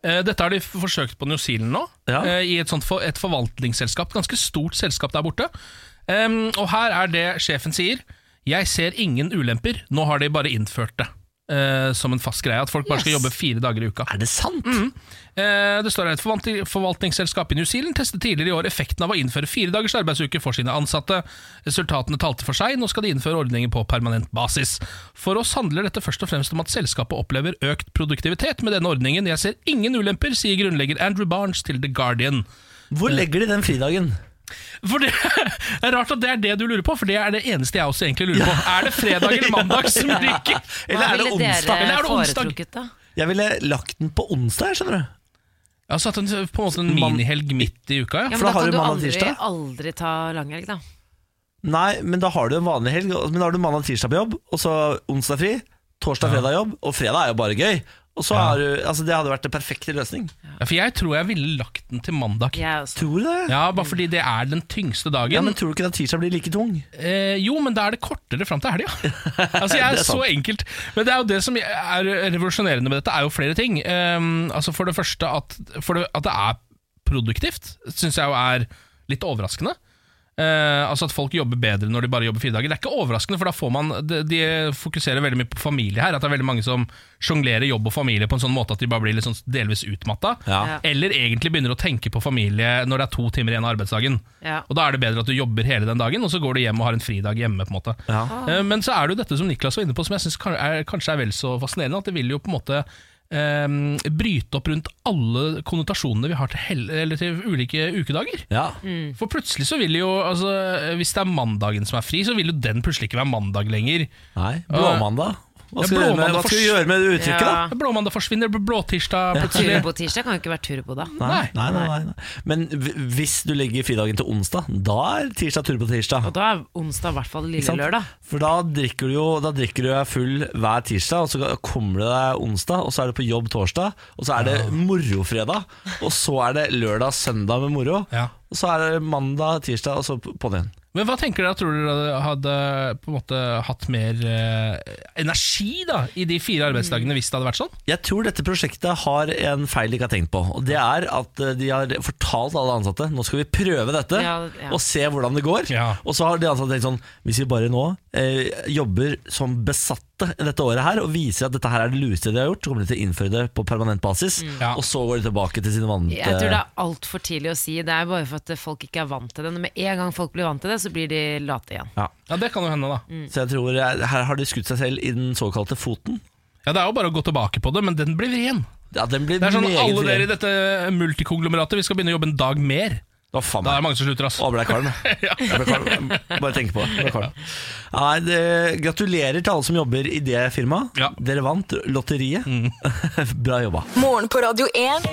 [SPEAKER 3] Eh, dette har de f- forsøkt på New Zealand nå,
[SPEAKER 1] Ja.
[SPEAKER 3] eh, i et, sånt for, et forvaltningsselskap. Ganske stort selskap der borte. Em, og her er det sjefen sier. Jeg ser ingen ulemper. Nå har de bare innført det. eh, som en fast greie, at folk bare skal
[SPEAKER 2] Yes.
[SPEAKER 3] jobbe fire dager i uka.
[SPEAKER 1] Er det sant?
[SPEAKER 2] Mm.
[SPEAKER 3] Eh, Det står her et forvalt- forvaltningsselskap i New Zealand testet tidligere i år effekten av å innføre fire dagers arbeidsuke for sine ansatte. Resultatene talte for seg, nå skal de innføre ordningen på permanent basis. For oss handler dette først og fremst om at selskapet opplever økt produktivitet med denne ordningen. Jeg ser ingen ulemper, sier grunnlegger Andrew Barnes til The Guardian.
[SPEAKER 1] Hvor legger de den fridagen?
[SPEAKER 3] For det er rart at det er det du lurer på, for det er det eneste jeg også egentlig lurer på. Er det fredag eller mandag som ryker?
[SPEAKER 1] Eller er det
[SPEAKER 2] ville
[SPEAKER 1] onsdag?
[SPEAKER 3] Eller
[SPEAKER 2] dere
[SPEAKER 3] er det onsdag?
[SPEAKER 2] foretrukket, da?
[SPEAKER 1] Jeg ville lagt den på onsdag, skjønner du.
[SPEAKER 3] Altså at en, på en måte en
[SPEAKER 1] Man-
[SPEAKER 3] minihelg midt i uka,
[SPEAKER 2] Ja,
[SPEAKER 3] ja.
[SPEAKER 1] For da
[SPEAKER 2] men da
[SPEAKER 1] har
[SPEAKER 2] kan
[SPEAKER 1] du
[SPEAKER 2] du
[SPEAKER 1] mandag og
[SPEAKER 2] aldri,
[SPEAKER 1] tirsdag.
[SPEAKER 2] aldri ta langhelg, da.
[SPEAKER 1] Nei, men da har du en vanlig helg. Men da har du mandag og tirsdag på jobb, og så onsdag fri. Torsdag og fredag jobb, og fredag er jo bare gøy. Og så har du, altså Det hadde vært den perfekte løsning.
[SPEAKER 3] Ja, For jeg tror jeg ville lagt den til mandag.
[SPEAKER 2] Jeg er også.
[SPEAKER 1] Tror du det? Ja.
[SPEAKER 3] Ja, bare fordi det er den tyngste dagen.
[SPEAKER 1] men Tror du ikke at tirsdag blir like tung?
[SPEAKER 3] eh, jo, men da er det kortere fram til helga. altså, jeg
[SPEAKER 1] Det
[SPEAKER 3] er,
[SPEAKER 1] er
[SPEAKER 3] så
[SPEAKER 1] sant.
[SPEAKER 3] enkelt. Men det er jo det som er revolusjonerende med dette, er jo flere ting. Ehm, altså For det første at, for det, at det er produktivt, syns jeg jo er litt overraskende. Eh, altså At folk jobber bedre når de bare jobber fire dager. Det er ikke overraskende, for da får man de, de fokuserer veldig mye på familie her. At det er veldig mange som sjonglerer jobb og familie på en sånn måte at de bare blir litt sånn delvis utmatta.
[SPEAKER 1] Ja.
[SPEAKER 3] Eller egentlig begynner å tenke på familie når det er to timer igjen av arbeidsdagen.
[SPEAKER 2] Ja.
[SPEAKER 3] Og Da er det bedre at du jobber hele den dagen, og så går du hjem og har en fridag hjemme. på en måte
[SPEAKER 1] Ja.
[SPEAKER 3] Eh, Men så er det jo dette som Niklas var inne på, som jeg syns kanskje er vel så fascinerende. At det vil jo på en måte eh, bryte opp rundt alle konnotasjonene vi har til, hel eller til ulike ukedager.
[SPEAKER 1] Ja.
[SPEAKER 2] Mm.
[SPEAKER 3] For plutselig så vil jo altså, Hvis det er mandagen som er fri, så vil jo den plutselig ikke være mandag lenger.
[SPEAKER 1] Nei. Blåmandag. Hva skal, vi gjøre med, hva skal vi gjøre med det uttrykket, da?
[SPEAKER 2] Ja.
[SPEAKER 3] Blåmandag forsvinner, blåtirsdag plutselig.
[SPEAKER 2] Turbo-tirsdag kan jo ikke være turbo, da.
[SPEAKER 1] Nei, nei, nei, nei, nei. Men hv- hvis du legger fridagen til onsdag, da er tirsdag tur på tirsdag.
[SPEAKER 2] Og da er onsdag i hvert fall
[SPEAKER 1] Ikke
[SPEAKER 2] lille
[SPEAKER 1] sant?
[SPEAKER 2] lørdag.
[SPEAKER 1] For da drikker du jo Da drikker du deg full hver tirsdag, og så kommer du deg onsdag, og så er du på jobb torsdag, og så er det morofredag, og så er det lørdag søndag med moro,
[SPEAKER 3] Ja.
[SPEAKER 1] og så er det mandag, tirsdag, og så p- på'n igjen.
[SPEAKER 3] Men hva tenker dere, tror dere hadde på en måte hatt mer eh, energi da, i de fire arbeidsdagene hvis det hadde vært sånn?
[SPEAKER 1] Jeg tror dette prosjektet har en feil de ikke har tenkt på. Og Det er at eh, de har fortalt alle ansatte Nå skal vi prøve dette
[SPEAKER 2] Ja, ja.
[SPEAKER 1] og se hvordan det går.
[SPEAKER 3] Ja.
[SPEAKER 1] Og så har de ansatte tenkt sånn Hvis vi bare nå eh, jobber som besatte dette året her og viser at dette her er det lureste de har gjort, så kommer de til å innføre det på permanent basis.
[SPEAKER 3] Ja.
[SPEAKER 1] Og så går de tilbake til sine vante
[SPEAKER 2] Mm. Jeg tror det er altfor tidlig å si. Det er bare for at folk ikke er vant til det. Når med en gang folk blir vant til det, så blir de late igjen.
[SPEAKER 1] Ja.
[SPEAKER 3] Ja, det kan jo hende, da.
[SPEAKER 2] Mm.
[SPEAKER 1] Så jeg tror eh, her har de skutt seg selv i den såkalte foten.
[SPEAKER 3] Ja, Det er jo bare å gå tilbake på det, men den blir vrien.
[SPEAKER 1] Ja, den blir
[SPEAKER 3] Det er sånn
[SPEAKER 1] meget
[SPEAKER 3] alle dere
[SPEAKER 1] vrien.
[SPEAKER 3] i dette multikonglomeratet, vi skal begynne å jobbe en dag mer.
[SPEAKER 1] Å, faen
[SPEAKER 3] Da
[SPEAKER 1] meg.
[SPEAKER 3] er det mange som slutter, ass.
[SPEAKER 1] Å, ble jeg kvalm, jeg. Jeg ble kvalm. Bare tenke på det. jeg Ble kvalm. Nei, det. Gratulerer til alle som jobber i det firmaet.
[SPEAKER 3] Ja.
[SPEAKER 1] Dere vant lotteriet. Bra jobba.
[SPEAKER 4] Morgen på Radio 1.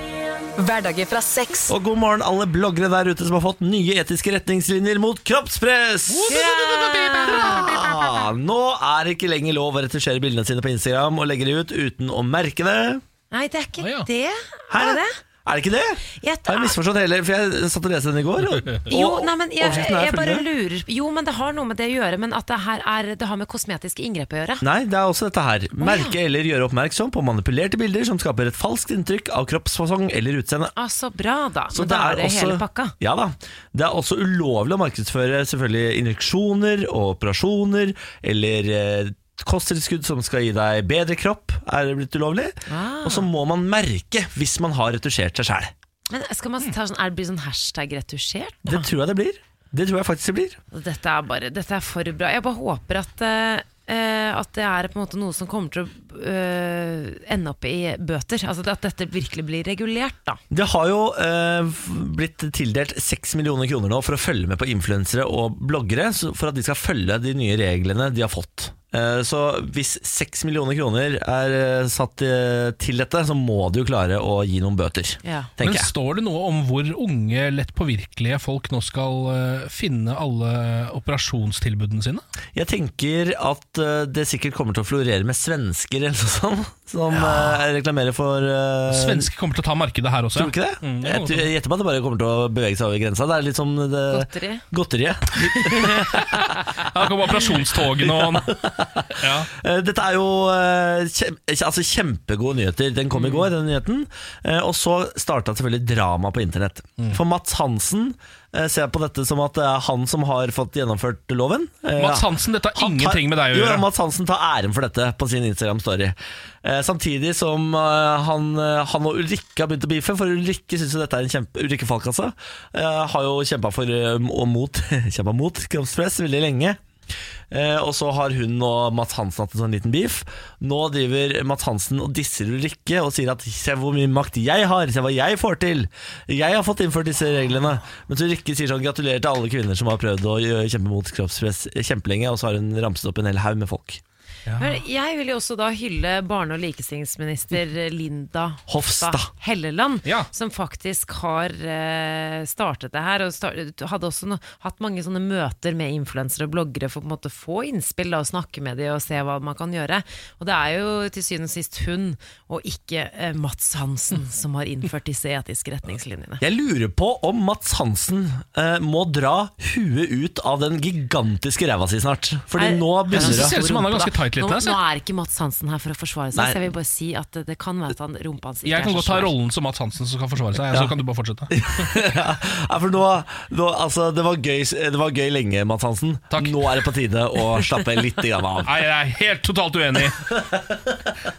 [SPEAKER 4] Hverdager fra seks.
[SPEAKER 1] Og god morgen alle bloggere der ute som har fått nye etiske retningslinjer mot kroppspress! Ja! Nå er det ikke lenger lov å retusjere bildene sine på Instagram og legge de ut uten å merke det.
[SPEAKER 2] Nei, det er ikke
[SPEAKER 3] Å, ja.
[SPEAKER 2] det.
[SPEAKER 1] Hæ?
[SPEAKER 2] Er det det?
[SPEAKER 1] Er det ikke det?
[SPEAKER 2] Jeg-
[SPEAKER 1] Har jeg misforstått hele, for jeg satt og leste den i går. Og,
[SPEAKER 2] Jo,
[SPEAKER 1] og
[SPEAKER 2] nei, men jeg,
[SPEAKER 1] overskriften er
[SPEAKER 2] jeg bare
[SPEAKER 1] følgende.
[SPEAKER 2] lurer Jo, men det har noe med det å gjøre, men at det her er Det har med kosmetiske inngrep å gjøre.
[SPEAKER 1] Nei, det er også dette her. Merke eller gjøre oppmerksom på manipulerte bilder som skaper et falskt inntrykk av kroppsfasong eller utseende.
[SPEAKER 2] Altså, bra, da. Men da er det hele pakka.
[SPEAKER 1] Ja da. Det er også ulovlig å markedsføre selvfølgelig injeksjoner og operasjoner eller eh, Kosttilskudd som skal gi deg bedre kropp, er blitt ulovlig.
[SPEAKER 2] Ah.
[SPEAKER 1] Og så må man merke hvis man har retusjert seg sjæl.
[SPEAKER 2] Men skal man ta sånn, er det blir sånn hashtag retusjert?
[SPEAKER 1] Det tror jeg det blir. Det tror jeg faktisk det blir.
[SPEAKER 2] Dette er bare Dette er for bra. Jeg bare håper at eh, eh, at det er på en måte noe som kommer til å eh, ende opp i bøter. Altså At dette virkelig blir regulert, da.
[SPEAKER 1] Det har jo eh, f- blitt tildelt 6 millioner kroner nå for å følge med på influensere og bloggere, så- for at de skal følge de nye reglene de har fått. Eh, Så hvis 6 millioner kroner er eh, satt eh, til dette, så må de jo klare å gi noen bøter,
[SPEAKER 2] Ja.
[SPEAKER 1] tenker
[SPEAKER 3] Men
[SPEAKER 1] jeg.
[SPEAKER 3] står det noe om hvor unge, lett påvirkelige folk nå skal eh, finne alle operasjonstilbudene sine?
[SPEAKER 1] Jeg tenker at eh, det sikkert kommer til å florere med svensker eller noe sånt, som eh, reklamerer for eh,
[SPEAKER 3] Svensker kommer til å ta markedet her også.
[SPEAKER 1] Tror du ikke det?
[SPEAKER 3] Mm, det
[SPEAKER 1] jeg
[SPEAKER 3] må
[SPEAKER 1] tror- jeg gjetter på at det bare kommer til å bevege seg over grensa. Det er litt som det
[SPEAKER 2] Godteri.
[SPEAKER 1] Godteriet.
[SPEAKER 3] Ja, da kommer operasjonstogene og ja.
[SPEAKER 1] Eh, Dette er jo eh, kjem, altså kjempegode nyheter. Den
[SPEAKER 3] Mm.
[SPEAKER 1] kom i går, den nyheten. Eh, Og så starta selvfølgelig drama på internett.
[SPEAKER 3] Mm.
[SPEAKER 1] For Mats Hansen eh, ser på dette som at det er han som har fått gjennomført loven. Eh,
[SPEAKER 3] Mats Hansen, dette har
[SPEAKER 1] han tar-
[SPEAKER 3] ingenting med deg å
[SPEAKER 1] Jo,
[SPEAKER 3] gjøre.
[SPEAKER 1] Mats Hansen tar æren for dette på sin Instagram-story. Eh, samtidig som eh, han, eh, han og Ulrikke har begynt å beefe, for Ulrikke syns jo dette er en kjempe Ulrikke Falk, altså. Eh, har jo kjempa for eh, og mot, kjempet mot kroppspress veldig lenge. Eh, og så har hun og Mats Hansen hatt en sånn liten beef. Nå driver Mats Hansen og disser Ulrikke og sier at 'se hvor mye makt jeg har', 'se hva jeg får til'. 'Jeg har fått innført disse reglene'. Mens Ulrikke sier sånn 'gratulerer til alle kvinner som har prøvd å gjø- kjempe mot kroppspress kjempelenge', og så har hun ramset opp en hel haug med folk.
[SPEAKER 2] Men jeg vil jo også da hylle barne- og likestillingsminister Linda
[SPEAKER 1] Hofstad.
[SPEAKER 2] Helleland,
[SPEAKER 3] Ja.
[SPEAKER 2] som faktisk har eh, startet det her. Og start, hadde også no, hatt mange sånne møter med influensere og bloggere for å på en måte få innspill da, og snakke med dem og se hva man kan gjøre. Og det er jo til syvende og sist hun, og ikke eh, Mats Hansen, som har innført disse etiske retningslinjene.
[SPEAKER 1] Jeg lurer på om Mats Hansen eh, må dra huet ut av den gigantiske ræva si snart. Fordi
[SPEAKER 2] Er-
[SPEAKER 1] nå
[SPEAKER 2] er han
[SPEAKER 1] begynner
[SPEAKER 3] synes
[SPEAKER 2] så
[SPEAKER 3] det
[SPEAKER 1] det
[SPEAKER 3] ser ut som han har
[SPEAKER 2] rumpa,
[SPEAKER 3] ganske
[SPEAKER 2] da?
[SPEAKER 3] tight litt
[SPEAKER 2] Nå,
[SPEAKER 3] der, så.
[SPEAKER 2] nå er ikke Mats Hansen her for å forsvare seg,
[SPEAKER 1] Nei.
[SPEAKER 2] så jeg vil bare si at det, det kan være at han, rumpa hans ikke
[SPEAKER 3] Jeg kan
[SPEAKER 2] er
[SPEAKER 3] godt
[SPEAKER 2] så
[SPEAKER 3] ta
[SPEAKER 2] svær.
[SPEAKER 3] rollen som Mats Hansen som skal forsvare seg. Så kan du bare fortsette.
[SPEAKER 1] Ja, for nå, nå, altså, det, var gøy, det var gøy lenge, Mats Hansen.
[SPEAKER 3] Takk.
[SPEAKER 1] Nå er det på tide å slappe litt grann av.
[SPEAKER 3] Nei, jeg er helt totalt uenig.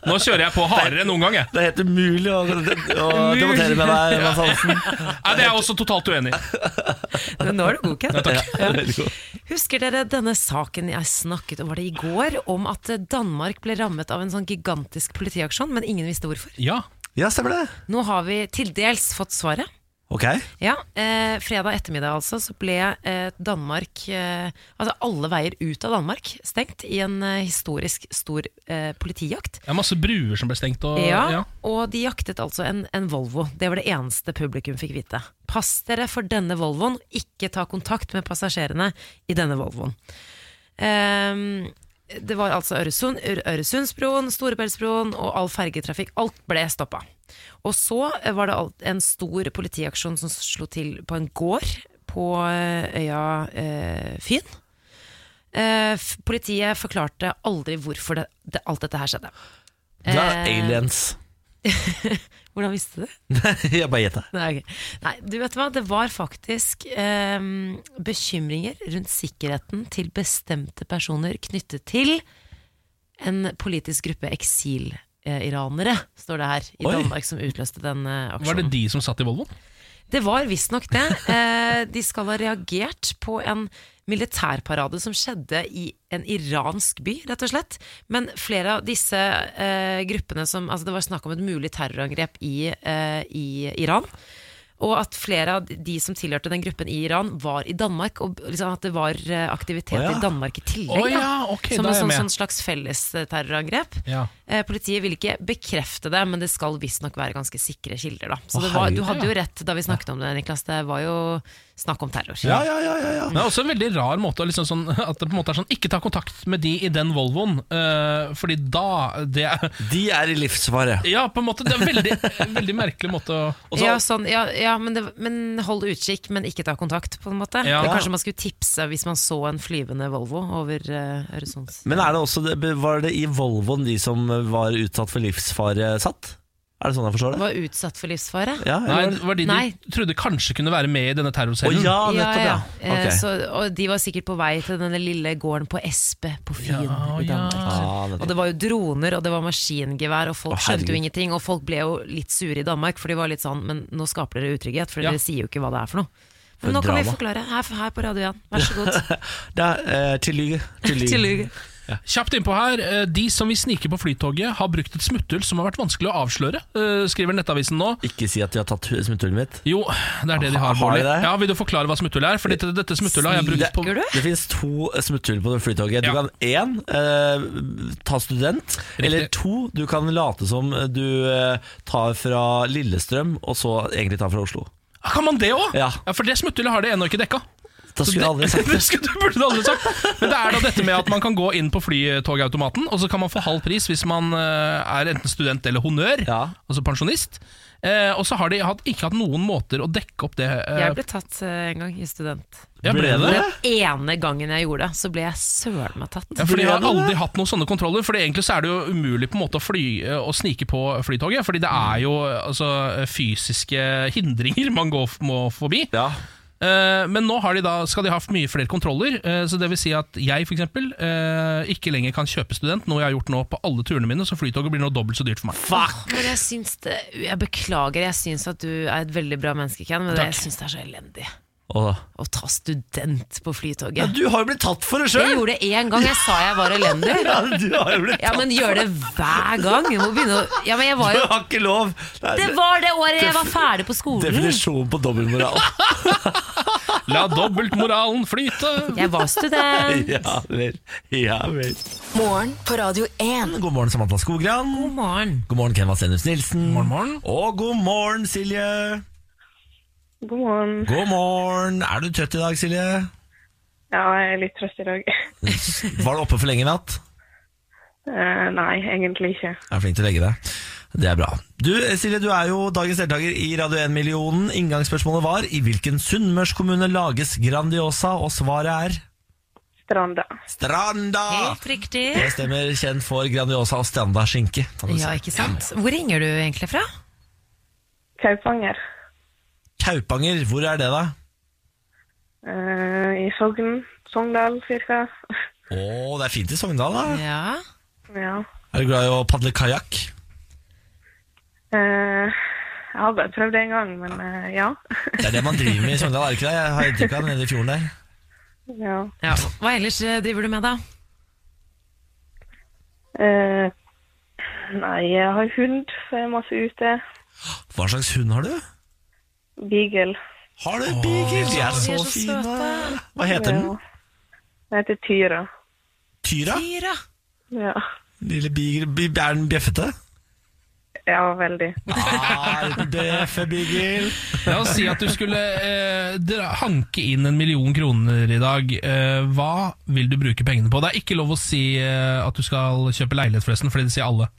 [SPEAKER 3] Nå kjører jeg på hardere enn noen gang, jeg.
[SPEAKER 1] Det er helt umulig å, å debattere med deg, Mats Hansen.
[SPEAKER 3] Nei, det er jeg også totalt uenig. i.
[SPEAKER 2] Men nå er du god, Ken.
[SPEAKER 1] Ja, veldig god.
[SPEAKER 2] Husker dere denne saken jeg snakket om, var det i går, om at Danmark ble rammet av en sånn gigantisk politiaksjon, men ingen visste hvorfor?
[SPEAKER 3] Ja,
[SPEAKER 1] ja, stemmer det.
[SPEAKER 2] Nå har vi til dels fått svaret.
[SPEAKER 1] Ok,
[SPEAKER 2] Ja, eh, Fredag ettermiddag altså, så ble eh, Danmark eh, Altså alle veier ut av Danmark stengt i en eh, historisk stor eh, politijakt.
[SPEAKER 3] Det er masse bruer som ble stengt. Og,
[SPEAKER 2] Ja,
[SPEAKER 3] ja.
[SPEAKER 2] og de jaktet altså en, en Volvo. Det var det eneste publikum fikk vite. Pass dere for denne Volvoen, ikke ta kontakt med passasjerene i denne Volvoen. Ehm, det var altså Øresund, Ø- Øresundsbroen, Storebeltsbroen og all fergetrafikk. Alt ble stoppa. Og så var det alt, en stor politiaksjon som slo til på en gård på eh, øya eh, Fyn. Eh, f- politiet forklarte aldri hvorfor det, det, alt dette her skjedde.
[SPEAKER 1] Det er
[SPEAKER 2] Eh,
[SPEAKER 1] aliens.
[SPEAKER 2] Hvordan visste du det?
[SPEAKER 1] Jeg bare gjetter.
[SPEAKER 2] Nei, ok. Nei, du vet hva, det var faktisk eh, bekymringer rundt sikkerheten til bestemte personer knyttet til en politisk gruppe eksil-iranere, står det her, i
[SPEAKER 1] Oi.
[SPEAKER 2] Danmark, som utløste den eh,
[SPEAKER 3] Var det
[SPEAKER 2] aksjonen.
[SPEAKER 3] de som satt i Volvoen?
[SPEAKER 2] Det var visstnok det. Eh, de skal ha reagert på en militærparade som skjedde i en iransk by, rett og slett. Men flere av disse eh, gruppene som Altså, det var snakk om et mulig terrorangrep i, eh, i Iran. Og at flere av de som tilhørte den gruppen i Iran, var i Danmark. Og liksom at det var eh, aktivitet
[SPEAKER 1] Å ja.
[SPEAKER 2] i Danmark i tillegg.
[SPEAKER 3] Å
[SPEAKER 2] da.
[SPEAKER 3] ja, ok,
[SPEAKER 2] som
[SPEAKER 3] da er
[SPEAKER 2] et
[SPEAKER 3] jeg
[SPEAKER 2] sånn,
[SPEAKER 3] med.
[SPEAKER 2] sånn slags fellesterrorangrep.
[SPEAKER 3] Ja.
[SPEAKER 2] Eh, Politiet vil ikke bekrefte det, men det skal visstnok være ganske sikre kilder. Da. Så
[SPEAKER 1] Å,
[SPEAKER 2] det var, du
[SPEAKER 1] herregud,
[SPEAKER 2] hadde jo rett da vi snakket om det, Niklas. Det var jo snakk om terror.
[SPEAKER 1] Ja, ja, ja, ja, ja.
[SPEAKER 3] Det er også en veldig rar måte å liksom sånn, At det på en måte er sånn Ikke ta kontakt med de i den Volvoen, eh, fordi da det er,
[SPEAKER 1] De er i livsfare.
[SPEAKER 3] Ja, på en måte. Det er en veldig, veldig merkelig måte å og så-
[SPEAKER 2] ja, sånn, ja, ja men, det, men hold utkikk, men ikke ta kontakt, på en måte.
[SPEAKER 3] Ja.
[SPEAKER 2] Det er Kanskje man skulle tipse hvis man så en flyvende Volvo over eh, Øresunds...
[SPEAKER 1] Men er det også, det- var det i Volvoen de som var utsatt for livsfare satt? Er det sånn jeg forstår det?
[SPEAKER 2] Var utsatt for livsfare.
[SPEAKER 1] Ja,
[SPEAKER 3] Nei,
[SPEAKER 1] eller-
[SPEAKER 3] det var de
[SPEAKER 2] Nei.
[SPEAKER 3] du trodde kanskje kunne være med i denne
[SPEAKER 1] Å
[SPEAKER 3] terrorcellen.
[SPEAKER 1] ja, nettopp, ja.
[SPEAKER 2] Eh,
[SPEAKER 1] Ok.
[SPEAKER 2] Så, og de var sikkert på vei til denne lille gården på Espe på Fyn
[SPEAKER 3] Ja,
[SPEAKER 2] i Danmark.
[SPEAKER 3] ja.
[SPEAKER 1] Ah, nettopp.
[SPEAKER 2] Og det var jo droner, og det var maskingevær, og
[SPEAKER 1] Å,
[SPEAKER 2] folk
[SPEAKER 1] herregud.
[SPEAKER 2] skjønte jo ingenting. Og folk ble jo litt sure i Danmark, for de var litt sånn Men nå skaper dere utrygghet, for
[SPEAKER 3] Ja.
[SPEAKER 2] dere sier jo ikke hva det er for noe.
[SPEAKER 1] For
[SPEAKER 2] Men nå kan vi
[SPEAKER 1] drama.
[SPEAKER 2] forklare her, her på Radio 1. Vær så god.
[SPEAKER 1] Da, eh, til lyge. Til lyge.
[SPEAKER 2] Tillykke.
[SPEAKER 3] Kjapt innpå her. eh, De som vil snike på Flytoget, har brukt et smutthull som har vært vanskelig å avsløre, eh, skriver Nettavisen nå.
[SPEAKER 1] Ikke si at de har tatt hu- smutthullet mitt.
[SPEAKER 3] Jo, det er det de
[SPEAKER 1] Har
[SPEAKER 3] har.
[SPEAKER 1] de
[SPEAKER 3] Bårdli.
[SPEAKER 1] det?
[SPEAKER 3] Ja, Vil du forklare hva smutthullet er? For dette, dette smutthullet har jeg brukt på
[SPEAKER 2] Gjør du?
[SPEAKER 1] Det finnes to eh, smutthull på det flytoget. Du
[SPEAKER 3] Ja.
[SPEAKER 1] kan én eh, ta student, eller to du kan late som du eh, tar fra Lillestrøm, og så egentlig tar fra Oslo.
[SPEAKER 3] Ah, Kan man det òg?
[SPEAKER 1] Ja.
[SPEAKER 3] for det smutthullet har det ennå ikke dekka.
[SPEAKER 1] Da skulle jeg aldri sagt
[SPEAKER 3] det skulle du burde du aldri sagt. Men det er da dette med at man kan gå inn på flytogautomaten, og så kan man få halv pris hvis man eh, er enten student eller honnør,
[SPEAKER 1] Ja.
[SPEAKER 3] altså pensjonist. Eh, og så har de hatt, ikke hatt noen måter å dekke opp det. eh,
[SPEAKER 2] Jeg ble tatt eh, en gang i student.
[SPEAKER 3] ja, ble
[SPEAKER 1] Ble
[SPEAKER 3] det?
[SPEAKER 1] det?
[SPEAKER 2] Den ene gangen jeg gjorde det, så ble jeg søren meg tatt.
[SPEAKER 3] Ja, for De har
[SPEAKER 1] Ble det det?
[SPEAKER 3] aldri hatt noen sånne kontroller. Fordi Egentlig så er det jo umulig på en måte å, fly, eh, å snike på Flytoget. Fordi det er jo altså, fysiske hindringer man går, må forbi.
[SPEAKER 1] Ja.
[SPEAKER 3] Eh, men nå har de da, skal de ha mye flere kontroller. eh, så det vil si at jeg f.eks. Uh, ikke lenger kan kjøpe student, noe jeg har gjort nå på alle turene mine. Så Flytoget blir nå dobbelt så dyrt for meg.
[SPEAKER 1] Fuck!
[SPEAKER 2] Men jeg syns det Jeg beklager, jeg syns at du er et veldig bra menneske, Ken, men det, jeg syns det er så elendig
[SPEAKER 1] Og da.
[SPEAKER 2] å ta student på
[SPEAKER 1] Ja,
[SPEAKER 2] Flytoget.
[SPEAKER 1] du har jo blitt tatt for det
[SPEAKER 2] Det
[SPEAKER 1] sjøl!
[SPEAKER 2] gjorde jeg én gang. Jeg sa jeg var elendig.
[SPEAKER 1] Ja, du har jo blitt
[SPEAKER 2] Ja, men gjør det hver gang. Jeg må begynne å Ja, men jeg var
[SPEAKER 1] Du
[SPEAKER 2] jo
[SPEAKER 1] har ikke lov! Det er
[SPEAKER 2] Det var det året jeg var ferdig på skolen.
[SPEAKER 1] Definisjonen på dobbeltmoral.
[SPEAKER 3] La dobbeltmoralen flyte!
[SPEAKER 2] Jeg var student.
[SPEAKER 1] ja vel. Ja vel.
[SPEAKER 4] Morgen på Radio 1.
[SPEAKER 1] God morgen, Samantha Skogran.
[SPEAKER 2] God morgen.
[SPEAKER 1] God morgen, Ken Vasenus Nilsen.
[SPEAKER 3] Morgen, morgen.
[SPEAKER 1] Og god morgen, Silje.
[SPEAKER 5] God morgen.
[SPEAKER 1] God morgen. Er du trøtt i dag, Silje?
[SPEAKER 5] Ja, jeg er litt trøtt i dag.
[SPEAKER 1] Var du oppe for lenge i natt?
[SPEAKER 5] Eh, nei, egentlig ikke.
[SPEAKER 1] Jeg er flink til å legge deg. Det er bra. Du, Silje, du er jo dagens deltaker i Radio 1-millionen. Inngangsspørsmålet var i hvilken sunnmørskommune lages Grandiosa, og svaret er
[SPEAKER 5] Stranda.
[SPEAKER 1] Stranda!
[SPEAKER 2] Helt riktig.
[SPEAKER 1] Det stemmer. Kjent for Grandiosa og Stranda skinke. kan du si.
[SPEAKER 2] Ja, ikke sant. Hvor ringer du egentlig fra?
[SPEAKER 5] Kaupanger.
[SPEAKER 1] Kaupanger, hvor er det, da?
[SPEAKER 5] Eh, I Sogn. Sogndal, cirka.
[SPEAKER 1] Å, det er fint i Sogndal, da.
[SPEAKER 2] Ja.
[SPEAKER 5] Ja.
[SPEAKER 1] Er du glad i å padle kajakk?
[SPEAKER 5] Eh, jeg har bare prøvd det en gang, men eh, ja.
[SPEAKER 1] Det er det man driver med i Sogndal, er det ikke det? Jeg har inntrykk av det nede i fjorden der.
[SPEAKER 5] ja.
[SPEAKER 2] ja. Hva ellers eh, driver du med, da?
[SPEAKER 5] Eh, nei, jeg har hund, så jeg er masse ute.
[SPEAKER 1] Hva slags hund har du?
[SPEAKER 5] Beagle.
[SPEAKER 1] Har du en beagle? De er
[SPEAKER 2] de
[SPEAKER 1] så
[SPEAKER 2] er så
[SPEAKER 1] fine.
[SPEAKER 2] søte.
[SPEAKER 1] Hva heter den?
[SPEAKER 5] Ja. Den heter Tyra.
[SPEAKER 1] Tyra?
[SPEAKER 2] Tyra!
[SPEAKER 5] Ja.
[SPEAKER 1] Lille beagle. Bi- Er den bjeffete?
[SPEAKER 5] ja, veldig.
[SPEAKER 1] Ah, liten bjeffe beagle.
[SPEAKER 3] La oss si at du skulle eh, dra, hanke inn en million kroner i dag. Eh, hva vil du bruke pengene på? Det er ikke lov å si eh, at du skal kjøpe leilighet, forresten, fordi det sier alle.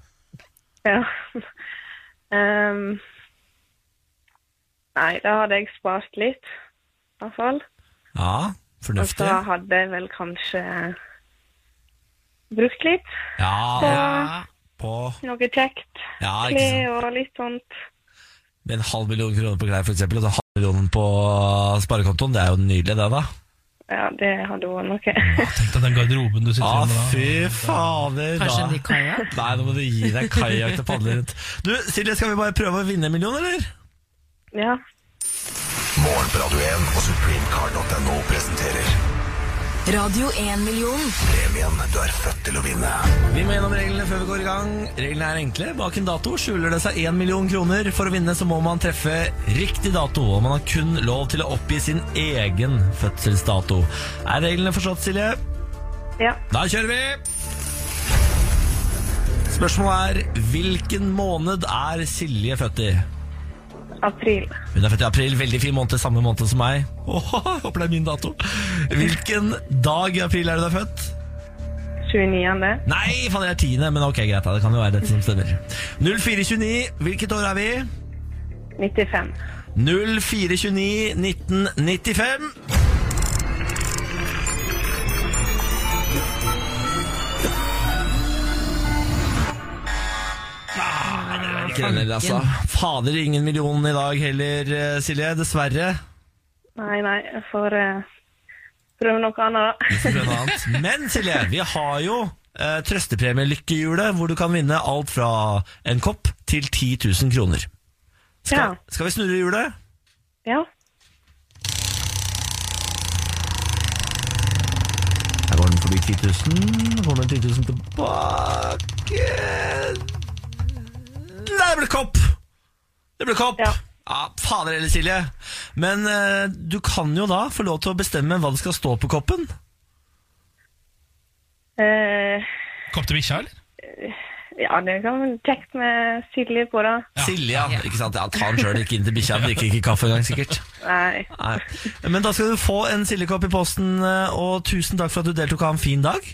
[SPEAKER 5] Ja. Ehm, nei, da hadde jeg spart litt, i hvert fall.
[SPEAKER 1] Ja,
[SPEAKER 5] Og
[SPEAKER 1] fornuftig.
[SPEAKER 5] så hadde jeg vel kanskje brukt litt.
[SPEAKER 1] Ja, på
[SPEAKER 5] Noe kjekt.
[SPEAKER 1] Ja, ikke sant.
[SPEAKER 5] Klær og litt sånt.
[SPEAKER 1] Med en halv million kroner på klær, for eksempel, og så halv million på sparekontoen. Det er jo nydelig, det, da.
[SPEAKER 5] Ja, det hadde vært noe.
[SPEAKER 3] Tenk deg den garderoben du sitter
[SPEAKER 1] Ja,
[SPEAKER 3] inne med. da.
[SPEAKER 1] Ah, fy fader, da.
[SPEAKER 2] Kanskje en ny kajakk?
[SPEAKER 1] Nei, nå må du gi deg kajakk til å padle rundt. Du, Silje, skal vi bare prøve å vinne en million, eller?
[SPEAKER 5] Ja.
[SPEAKER 6] Morgen på Radio 1 og supremecard.no presenterer
[SPEAKER 4] Radio 1-million.
[SPEAKER 6] premien du er født til å vinne.
[SPEAKER 1] Vi må gjennom reglene før vi går i gang. Reglene er enkle. Bak en dato skjuler det seg én million kroner. For å vinne så må man treffe riktig dato, og man har kun lov til å oppgi sin egen fødselsdato. Er reglene forstått, Silje?
[SPEAKER 5] ja.
[SPEAKER 1] Da kjører vi! Spørsmålet er hvilken måned er Silje født i?
[SPEAKER 5] April.
[SPEAKER 1] Hun er født i april, veldig fin måned, samme måned som meg. Åh, håper det er min dato. Hvilken dag i april er du da født?
[SPEAKER 5] 29.
[SPEAKER 1] Nei, faen, det er tiende, men ok, greit. da, Det kan jo være dette som stemmer. 0429, hvilket år er vi?
[SPEAKER 5] 95.
[SPEAKER 1] 0429 1995. Ah, det var ikke den heller, altså. Fader, ingen million i dag heller, eh, Silje. Dessverre.
[SPEAKER 5] Nei, nei, jeg får eh, prøve noe annet, da.
[SPEAKER 1] prøve noe annet. Men Silje, vi har jo eh, trøstepremie Lykkehjulet, hvor du kan vinne alt fra en kopp til 10 000 kroner. Skal,
[SPEAKER 5] Ja.
[SPEAKER 1] skal vi snurre hjulet?
[SPEAKER 5] Ja.
[SPEAKER 1] Her går den forbi 10 000. Får den 10 000 tilbake Nei, det ble kopp! Det ble kopp!
[SPEAKER 5] Ja.
[SPEAKER 1] Ja, Fader heller, Silje. Men eh, du kan jo da få lov til å bestemme hva det skal stå på koppen.
[SPEAKER 5] Eh,
[SPEAKER 3] Kopp til bikkja, eller?
[SPEAKER 5] ja, det kan være kjekt med Silje på, da.
[SPEAKER 1] Silje, ja. Ikke sant? Ja, ta den sjøl, ikke inn til bikkja. Drikker ikke kaffe engang, sikkert.
[SPEAKER 5] Nei.
[SPEAKER 1] Nei. Men da skal du få en sildekopp i posten, eh, og tusen takk for at du deltok. Ha en fin dag.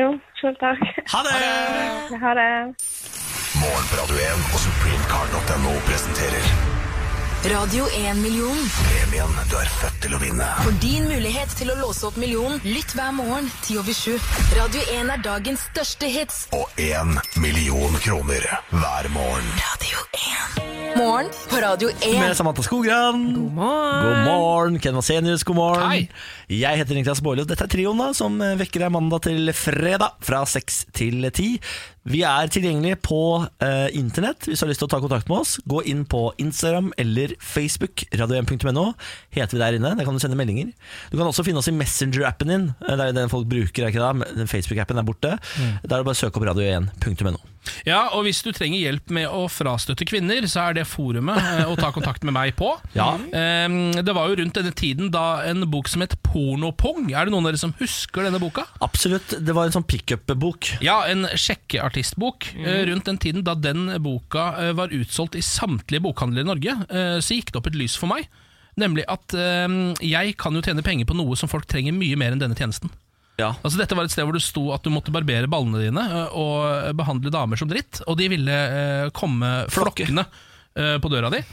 [SPEAKER 5] Jo, sjøl takk.
[SPEAKER 1] Ha det!
[SPEAKER 5] Ha det.
[SPEAKER 6] Morgen på Radio 1 og supremecard.no presenterer
[SPEAKER 4] Radio 1-million.
[SPEAKER 6] premien du er født til å vinne.
[SPEAKER 4] For din mulighet til å låse opp millionen, lytt hver morgen 10 over 7. Radio 1 er dagens største hits.
[SPEAKER 6] Og én million kroner hver morgen.
[SPEAKER 4] Radio 1. Morgen på Radio 1.
[SPEAKER 1] Med Samantha Skogran.
[SPEAKER 2] God morgen.
[SPEAKER 1] God morgen, Ken Vasenius, god morgen.
[SPEAKER 3] Hei.
[SPEAKER 1] Jeg heter Niklas Baarli, og dette er trioen da, som eh, vekker deg mandag til fredag fra 6 til 10. Vi er tilgjengelige på eh, internett hvis du har lyst til å ta kontakt med oss. Gå inn på Instagram eller Facebook, radio1.no, heter vi der inne. Der kan du sende meldinger. Du kan også finne oss i Messenger-appen din. Eh, Det er jo den folk bruker, er ikke det? Men den Facebook-appen er borte.
[SPEAKER 2] Mm.
[SPEAKER 1] Der er det bare å søke opp radio1.no.
[SPEAKER 3] Ja, og hvis du trenger hjelp med å frastøtte kvinner, så er det forumet eh, å ta kontakt med meg på.
[SPEAKER 1] Ja.
[SPEAKER 3] Ehm, Det var jo rundt denne tiden da en bok som het Pornopong. Er det noen av dere som husker denne boka?
[SPEAKER 1] Absolutt, det var en sånn pickup-bok.
[SPEAKER 3] Ja, en sjekkeartistbok. Eh, Rundt den tiden da den boka eh, var utsolgt i samtlige bokhandler i Norge, eh, så gikk det opp et lys for meg. Nemlig at eh, jeg kan jo tjene penger på noe som folk trenger mye mer enn denne tjenesten.
[SPEAKER 1] Ja.
[SPEAKER 3] Altså Dette var et sted hvor det sto at du måtte barbere ballene dine eh, og behandle damer som dritt, og de ville eh, komme
[SPEAKER 1] Flokke.
[SPEAKER 3] flokkene eh, på døra di.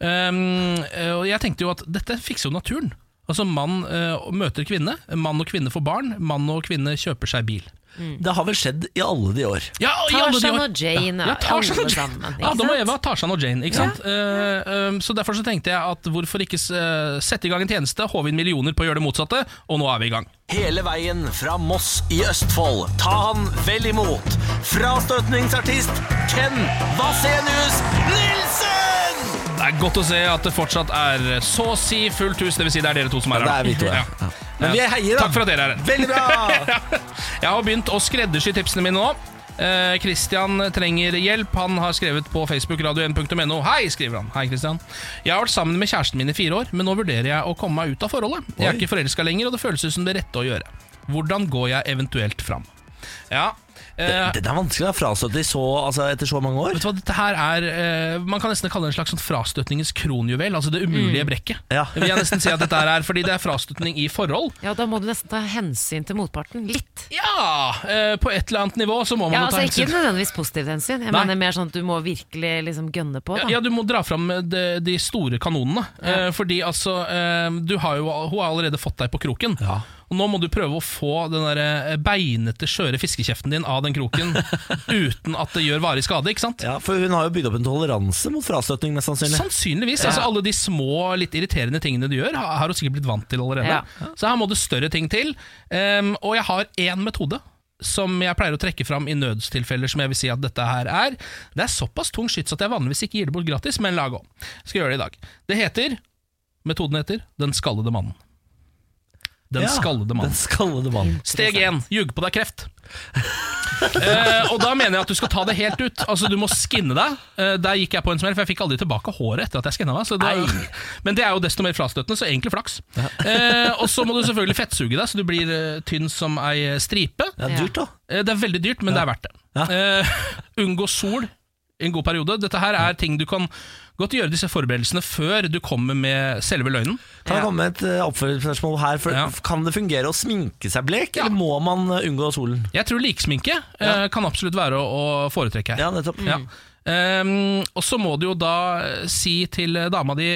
[SPEAKER 3] Um, eh, og jeg tenkte jo at dette fikser jo naturen. Altså Mann eh, møter kvinne, mann og kvinne får barn, mann og kvinne kjøper seg bil.
[SPEAKER 1] Det har vel skjedd i alle de år.
[SPEAKER 3] Ja, i alle de
[SPEAKER 2] Tarzan
[SPEAKER 3] år-
[SPEAKER 2] og Jane,
[SPEAKER 3] ja, ja, Tarzan
[SPEAKER 2] alle
[SPEAKER 3] og Jane.
[SPEAKER 2] sammen, ikke
[SPEAKER 3] Adam og
[SPEAKER 2] sant?
[SPEAKER 3] Eva, Tarzan og Jane. Ikke sant? Eh, um, så Derfor så tenkte jeg at hvorfor ikke eh, sette i gang en tjeneste, håve inn millioner på å gjøre det motsatte, og nå er vi i gang.
[SPEAKER 1] Hele veien fra Moss i Østfold. Ta han vel imot. Frastøtningsartist Ken Vasenius Nilsen!
[SPEAKER 3] Det er godt å se at det fortsatt er så å si fullt hus, dvs. Si det er dere to som er
[SPEAKER 1] det
[SPEAKER 3] her.
[SPEAKER 1] er vi to, ja.
[SPEAKER 3] Ja.
[SPEAKER 1] Men vi heier, da.
[SPEAKER 3] Takk for at dere er her.
[SPEAKER 1] Veldig bra!
[SPEAKER 3] Jeg har begynt å skreddersy tipsene mine nå. Eh, Christian trenger hjelp. Han har skrevet på Facebook radio1.no. Hei, skriver han. Hei, Christian. Jeg har vært sammen med kjæresten min i fire år, men nå vurderer jeg å komme meg ut av forholdet. Jeg er
[SPEAKER 1] Oi.
[SPEAKER 3] ikke forelska lenger, og det føles ut som det rette å gjøre. Hvordan går jeg eventuelt fram? Ja, eh,
[SPEAKER 1] Den er vanskelig å frastøtte i så, altså, etter så mange år.
[SPEAKER 3] Vet du hva, dette her er eh, Man kan nesten kalle det en slags sånn frastøtningens kronjuvel. Altså det umulige brekket.
[SPEAKER 1] Mm. Ja.
[SPEAKER 3] Det vil jeg nesten si at dette her er Fordi det er frastøtning i forhold.
[SPEAKER 2] Ja, da må du nesten ta hensyn til motparten. Litt.
[SPEAKER 3] Ja! eh, på et eller annet nivå så må man
[SPEAKER 2] Ja,
[SPEAKER 3] jo ta
[SPEAKER 2] altså Ikke
[SPEAKER 3] hensyn.
[SPEAKER 2] nødvendigvis positivt hensyn. Jeg
[SPEAKER 3] Nei.
[SPEAKER 2] mener mer sånn at du må virkelig liksom gønne på.
[SPEAKER 3] Ja,
[SPEAKER 2] Da.
[SPEAKER 3] ja, du må dra fram eh, de, de store kanonene. Eh, fordi altså eh, du har jo, Hun har allerede fått deg på kroken.
[SPEAKER 1] Ja.
[SPEAKER 3] Og nå må du prøve å få den der eh, beinete, skjøre fiskekjeften din av den kroken uten at det gjør varig skade. ikke sant?
[SPEAKER 1] Ja, For hun har jo bygd opp en toleranse mot frastøtning, mest sannsynlig.
[SPEAKER 3] Sannsynligvis. altså Alle de små, litt irriterende tingene du gjør, har har hun sikkert blitt vant til allerede.
[SPEAKER 2] Ja.
[SPEAKER 3] Så her må det større ting til. Ehm, og jeg har én metode som jeg pleier å trekke fram i nødstilfeller, som jeg vil si at dette her er. Det er såpass tung skyts at jeg vanligvis ikke gir det bort gratis, men la gå. Skal gjøre det i dag. Det heter Metoden heter Den skallede mannen. Den
[SPEAKER 1] Ja,
[SPEAKER 3] skallede mannen.
[SPEAKER 1] Den skallede mannen.
[SPEAKER 3] Steg én ljug på deg kreft. Eh, og da mener jeg at du skal ta det helt ut. Altså Du må skinne deg. Eh, der gikk jeg på en smell, for jeg fikk aldri tilbake håret etter at jeg skinna meg. Så det var, men det er jo desto mer frastøtende, så egentlig flaks. Eh, og så må du selvfølgelig fettsuge deg, så du blir eh, tynn som ei stripe.
[SPEAKER 1] Det er
[SPEAKER 2] Ja.
[SPEAKER 1] dyrt, da.
[SPEAKER 3] Eh, det er veldig dyrt, men det er verdt det.
[SPEAKER 1] Ja.
[SPEAKER 3] Eh, unngå sol i en god periode. Dette her er ting du kan godt gjøre disse forberedelsene før du kommer med selve løgnen.
[SPEAKER 1] Kan det
[SPEAKER 2] Ja.
[SPEAKER 1] komme et eh, oppfølgingsspørsmål her? For,
[SPEAKER 3] Ja.
[SPEAKER 1] Kan det fungere å sminke seg blek,
[SPEAKER 3] Ja.
[SPEAKER 1] eller må man eh, unngå solen?
[SPEAKER 3] Jeg tror liksminke eh, kan absolutt være å, å foretrekke her.
[SPEAKER 1] Ja, nettopp.
[SPEAKER 3] Ja. Mm. Ehm, og så må du jo da eh, si til dama di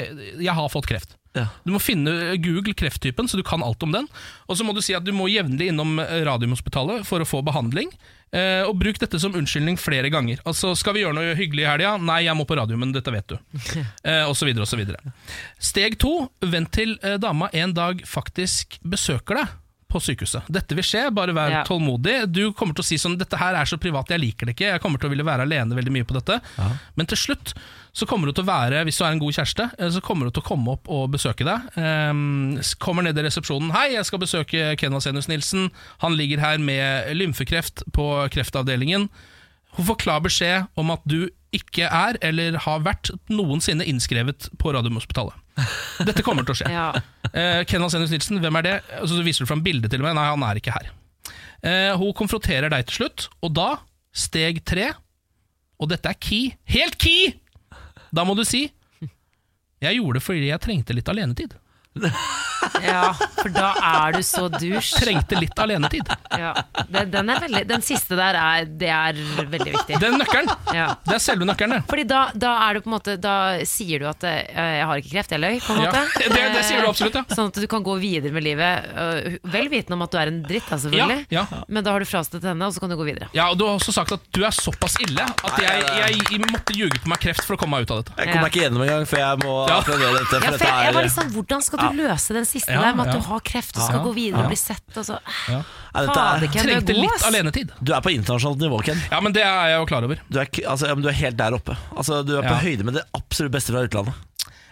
[SPEAKER 3] 'jeg har fått kreft'.
[SPEAKER 1] Ja.
[SPEAKER 3] Du må finne eh, Google krefttypen, så du kan alt om den. Og så må du si at du må jevnlig innom eh, Radiumhospitalet for å få behandling. Eh, og bruk dette som unnskyldning flere ganger. Altså, 'Skal vi gjøre noe hyggelig i helga?' 'Nei, jeg må på Radiumen, dette vet du'. Eh, og så videre og så videre. Steg to, vent til eh, dama en dag faktisk besøker deg på sykehuset. Dette vil skje, bare vær
[SPEAKER 2] Ja.
[SPEAKER 3] tålmodig. Du kommer til å si sånn, dette her er så privat, jeg liker det ikke, jeg kommer til å ville være alene veldig mye på dette. Men til slutt så kommer du til å være, hvis du er en god kjæreste, eh, så kommer du til å komme opp og besøke deg. Ehm, s- kommer ned i resepsjonen, hei, jeg skal besøke Ken Vasenius Nilsen, han ligger her med lymfekreft på kreftavdelingen. Hun får klar beskjed om at du ikke er, eller har vært, noensinne innskrevet på Radiumhospitalet. Dette kommer til å skje.
[SPEAKER 2] Ja.
[SPEAKER 3] Eh, Ken Vasenius Nilsen, hvem er det? Og så viser du fram bildet til og med. Nei, han er ikke her. Eh, hun konfronterer deg til slutt, og da, steg tre, og dette er key, helt key! Da må du si Jeg gjorde det fordi jeg trengte litt alenetid.
[SPEAKER 2] ja, for da er du så douche.
[SPEAKER 3] Trengte litt alenetid.
[SPEAKER 2] Ja. Den, den, er veldig, den siste der er, det er veldig viktig.
[SPEAKER 3] Den nøkkelen!
[SPEAKER 2] Ja.
[SPEAKER 3] Det er selve nøkkelen, det.
[SPEAKER 2] Fordi da, da er det på en måte Da sier du at eh, 'jeg har ikke kreft, jeg løy'. på en
[SPEAKER 3] Ja,
[SPEAKER 2] måte
[SPEAKER 3] det- det sier du absolutt, ja.
[SPEAKER 2] Eh, Sånn at du kan gå videre med livet eh, vel vitende om at du er en dritt, da, selvfølgelig.
[SPEAKER 3] Ja, ja.
[SPEAKER 2] Men da har du frastøtt henne, og så kan du gå videre.
[SPEAKER 3] Ja, og Du har også sagt at du er såpass ille at jeg, jeg, måtte ljuge på meg kreft for å komme meg ut av dette.
[SPEAKER 1] Jeg kommer meg ikke gjennom engang, for jeg må
[SPEAKER 3] Ja.
[SPEAKER 1] applaudere dette. For
[SPEAKER 2] Ja, for
[SPEAKER 1] dette
[SPEAKER 2] jeg, jeg
[SPEAKER 1] er,
[SPEAKER 2] var litt sånn, Hvordan skal du løse den siste
[SPEAKER 3] Ja,
[SPEAKER 2] der med at
[SPEAKER 3] ja.
[SPEAKER 2] du har kreft og skal
[SPEAKER 3] Ja,
[SPEAKER 2] gå videre
[SPEAKER 3] ja.
[SPEAKER 2] og bli sett? Og så. Ah,
[SPEAKER 1] Nei, dette er
[SPEAKER 2] Fader, Ken, du er
[SPEAKER 3] Trengte
[SPEAKER 2] god,
[SPEAKER 3] litt
[SPEAKER 2] ass.
[SPEAKER 3] alenetid.
[SPEAKER 1] du er på internasjonalt nivå, Ken.
[SPEAKER 3] Ja, men det er jeg jo klar over.
[SPEAKER 1] Du er, ikke- altså, ja, men du er helt der oppe. Altså, du er på
[SPEAKER 3] Ja.
[SPEAKER 1] høyde med det absolutt beste fra utlandet.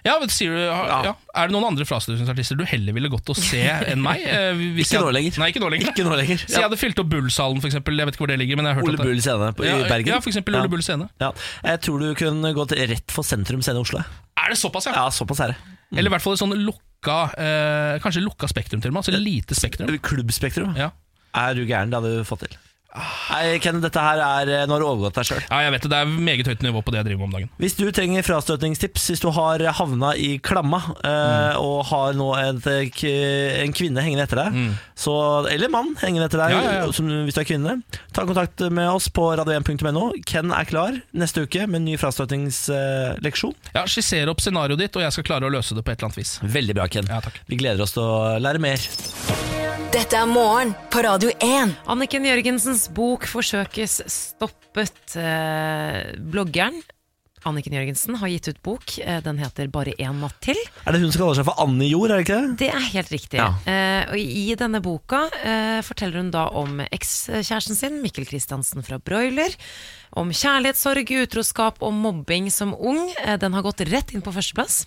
[SPEAKER 3] Ja, vet, du, sier du, ja. Ja. Er det noen andre frastøtningsartister du heller ville gått og se enn meg? Eh, hvis
[SPEAKER 1] Ikke
[SPEAKER 3] jeg-
[SPEAKER 1] nå lenger.
[SPEAKER 3] Nei, ikke nå lenger.
[SPEAKER 1] Ikke nå lenger.
[SPEAKER 3] Så jeg hadde fylt opp Bullsalen, for eksempel. Jeg vet ikke hvor det ligger, men jeg har hørt
[SPEAKER 1] Ole
[SPEAKER 3] at det-
[SPEAKER 1] Bull scene på,
[SPEAKER 3] ja,
[SPEAKER 1] i Bergen.
[SPEAKER 3] Ja, for eksempel Ole Bull scene.
[SPEAKER 1] Ja. Jeg tror du kunne gått rett for sentrum scene i Oslo. jeg.
[SPEAKER 3] Er det såpass, ja?
[SPEAKER 1] Ja, såpass er det.
[SPEAKER 3] Eller i hvert fall et sånn lukka eh, Kanskje lukka spektrum til og med. Altså lite spektrum.
[SPEAKER 1] Klubbspektrum.
[SPEAKER 3] Ja. Ah.
[SPEAKER 1] Er du gæren? Det hadde du fått til. Nei, Ken, dette her er eh, Nå har du overgått deg sjøl.
[SPEAKER 3] ja, jeg vet det. Det er meget høyt nivå på det jeg driver med om dagen.
[SPEAKER 1] Hvis du trenger frastøtningstips, hvis du har havna i klamma eh, og har nå et, eh, k- en kvinne hengende etter deg, så, eller mann hengende etter deg
[SPEAKER 3] Ja, ja, ja.
[SPEAKER 1] Som, hvis du er kvinne, ta kontakt med oss på radio1.no. Ken er klar neste uke med en ny frastøtningsleksjon.
[SPEAKER 3] Ja, Skisser opp scenarioet ditt, og jeg skal klare å løse det på et eller annet vis.
[SPEAKER 1] Veldig bra, Ken.
[SPEAKER 3] Ja, takk.
[SPEAKER 1] Vi gleder oss til å lære mer.
[SPEAKER 4] Dette er morgen på Radio 1.
[SPEAKER 2] Anniken Jørgensens bok forsøkes stoppet. Eh, bloggeren Anniken Jørgensen har gitt ut bok. Eh, den heter 'Bare én natt til'.
[SPEAKER 1] Er det hun som kaller seg for Anne Jord, er det ikke det?
[SPEAKER 2] Det er helt riktig.
[SPEAKER 1] Ja.
[SPEAKER 2] Eh, og I denne boka eh, forteller hun da om ekskjæresten sin, Mikkel Kristiansen fra Broiler. Om kjærlighetssorg, utroskap og mobbing som ung. Eh, den har gått rett inn på førsteplass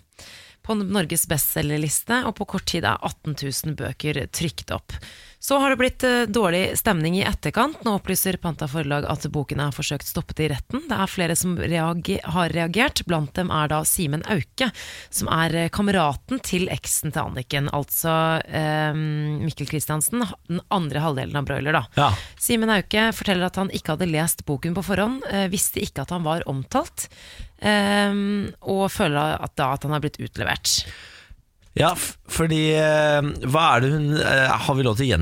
[SPEAKER 2] på Norges bestselgerliste, og på kort tid er 18 000 bøker trykt opp. Så har det blitt eh, dårlig stemning i etterkant. Nå opplyser Panta forlag at boken er forsøkt stoppet i retten. Det er flere som reage- har reagert. Blant dem er da Simen Auke, som er eh, kameraten til eksen til Anniken. Altså eh, Mikkel Kristiansen, den andre halvdelen av Broiler, da.
[SPEAKER 1] Ja.
[SPEAKER 2] Simen Auke forteller at han ikke hadde lest boken på forhånd, eh, visste ikke at han var omtalt, eh, og føler at da at han har blitt utlevert.
[SPEAKER 1] Ja, f fordi eh, Hva er det hun eh, Har vi lov til å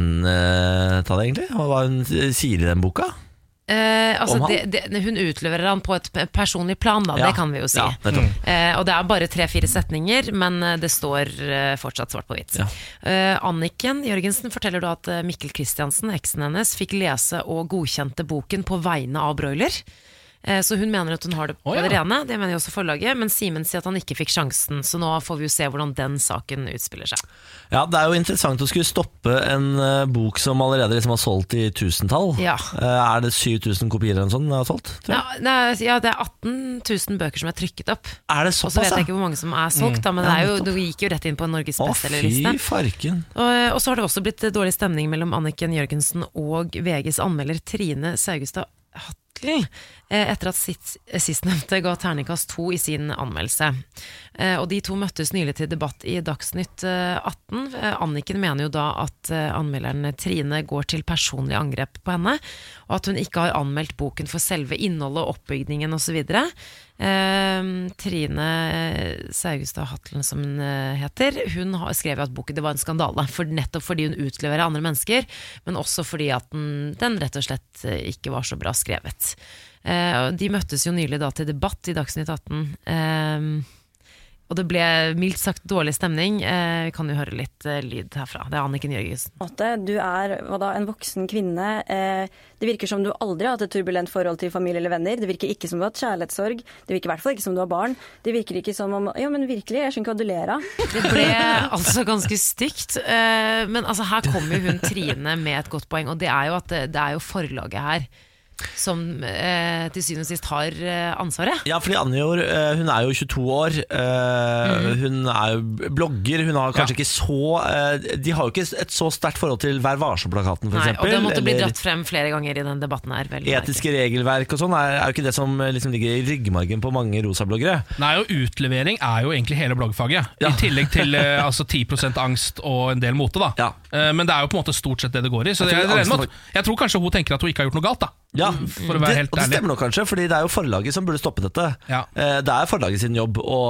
[SPEAKER 1] gjenta det, egentlig? Hva er det hun sier i den boka?
[SPEAKER 2] Eh, altså
[SPEAKER 1] Om han?
[SPEAKER 2] det, det, hun utleverer han på et pe- personlig plan, da,
[SPEAKER 1] Ja.
[SPEAKER 2] det kan vi jo si.
[SPEAKER 1] Ja, nettopp.
[SPEAKER 2] Eh, og det er bare tre-fire setninger, men eh, det står eh, fortsatt svart på hvitt.
[SPEAKER 1] Ja.
[SPEAKER 2] Eh, Anniken Jørgensen forteller da at eh, Mikkel Kristiansen, eksen hennes, fikk lese og godkjente boken på vegne av Broiler. Eh, Så hun mener at hun har det på
[SPEAKER 3] Å, ja.
[SPEAKER 2] det rene, det mener jo også forlaget. Men Simen sier at han ikke fikk sjansen, så nå får vi jo se hvordan den saken utspiller seg.
[SPEAKER 1] Ja, Det er jo interessant å skulle stoppe en eh, bok som allerede liksom har solgt i tusentall.
[SPEAKER 2] Ja.
[SPEAKER 1] Eh, er det 7000 kopier eller noe sånt den har solgt? Tror jeg?
[SPEAKER 2] Ja, det er, ja, det er 18 000 bøker som er trykket opp.
[SPEAKER 1] Er det
[SPEAKER 2] Og så
[SPEAKER 1] såpass,
[SPEAKER 2] vet jeg
[SPEAKER 1] ja?
[SPEAKER 2] ikke hvor mange som er solgt, da, men det, er jo, det gikk jo rett inn på Norges
[SPEAKER 1] Mm. Å, fy
[SPEAKER 2] bestselgerliste.
[SPEAKER 1] farken.
[SPEAKER 2] Og, eh, og så har det også blitt dårlig stemning mellom Anniken Jørgensen og VGs anmelder Trine Saugestad Hatlen eh, etter at sitt- sistnevnte ga terningkast to i sin anmeldelse. Eh, Og de to møttes nylig til debatt i Dagsnytt eh, 18. Eh, Anniken mener jo da at eh, anmelderen Trine går til personlig angrep på henne, og at hun ikke har anmeldt boken for selve innholdet, oppbygningen osv. Eh, Trine Saugestad Hatlen, som hun eh, heter, hun har skrev jo at boken det var en skandale. For nettopp fordi hun utleverer andre mennesker, men også fordi at den, den rett og slett eh, ikke var så bra skrevet. Eh, og de møttes jo nylig da til debatt i Dagsnytt 18. Eh, og det ble mildt sagt dårlig stemning. Eh, vi kan jo høre litt eh, lyd herfra. Det er Anniken Jørgensen.
[SPEAKER 7] måte. Du er hva da, en voksen kvinne. Eh, Det virker som du aldri har hatt et turbulent forhold til familie eller venner. Det virker ikke som du har hatt kjærlighetssorg. Det virker i hvert fall ikke som du har barn. Det virker ikke som om Ja, men virkelig, jeg skjønner ikke hva du ler av.
[SPEAKER 2] Det ble altså ganske stygt. Eh, men altså, her kommer jo hun Trine med et godt poeng, og det er jo at det, det er jo forlaget her som eh, til syvende og sist har eh, ansvaret.
[SPEAKER 1] Ja, fordi Anjor eh, hun er jo 22 år.
[SPEAKER 2] Mhm.
[SPEAKER 1] eh, Hun er jo blogger. Hun har kanskje
[SPEAKER 3] Ja.
[SPEAKER 1] ikke så eh, De har jo ikke et så sterkt forhold til Vær varsom-plakaten,
[SPEAKER 2] Nei,
[SPEAKER 1] f.eks.
[SPEAKER 2] og det måtte bli dratt frem flere ganger i den debatten her. Vel,
[SPEAKER 1] Etiske regelverk og sånn er, er jo ikke det som eh, liksom ligger i ryggmargen på mange rosabloggere.
[SPEAKER 3] Nei, og Utlevering er jo egentlig hele bloggfaget.
[SPEAKER 1] Ja.
[SPEAKER 3] I tillegg til eh, altså 10 angst og en del mote. da
[SPEAKER 1] Ja.
[SPEAKER 3] Eh, Men det er jo på en måte stort sett det det går i. Så
[SPEAKER 1] Jeg
[SPEAKER 3] jeg,
[SPEAKER 1] tror
[SPEAKER 3] jeg, regner
[SPEAKER 1] angsten
[SPEAKER 3] med at, jeg tror kanskje hun tenker at hun ikke har gjort noe galt. da
[SPEAKER 1] Ja,
[SPEAKER 3] Mm, For å være
[SPEAKER 1] det,
[SPEAKER 3] helt
[SPEAKER 1] og det
[SPEAKER 3] ærlig.
[SPEAKER 1] stemmer nok kanskje, fordi det er jo forlaget som burde stoppe dette.
[SPEAKER 3] Ja.
[SPEAKER 1] Eh, Det er forlaget sin jobb å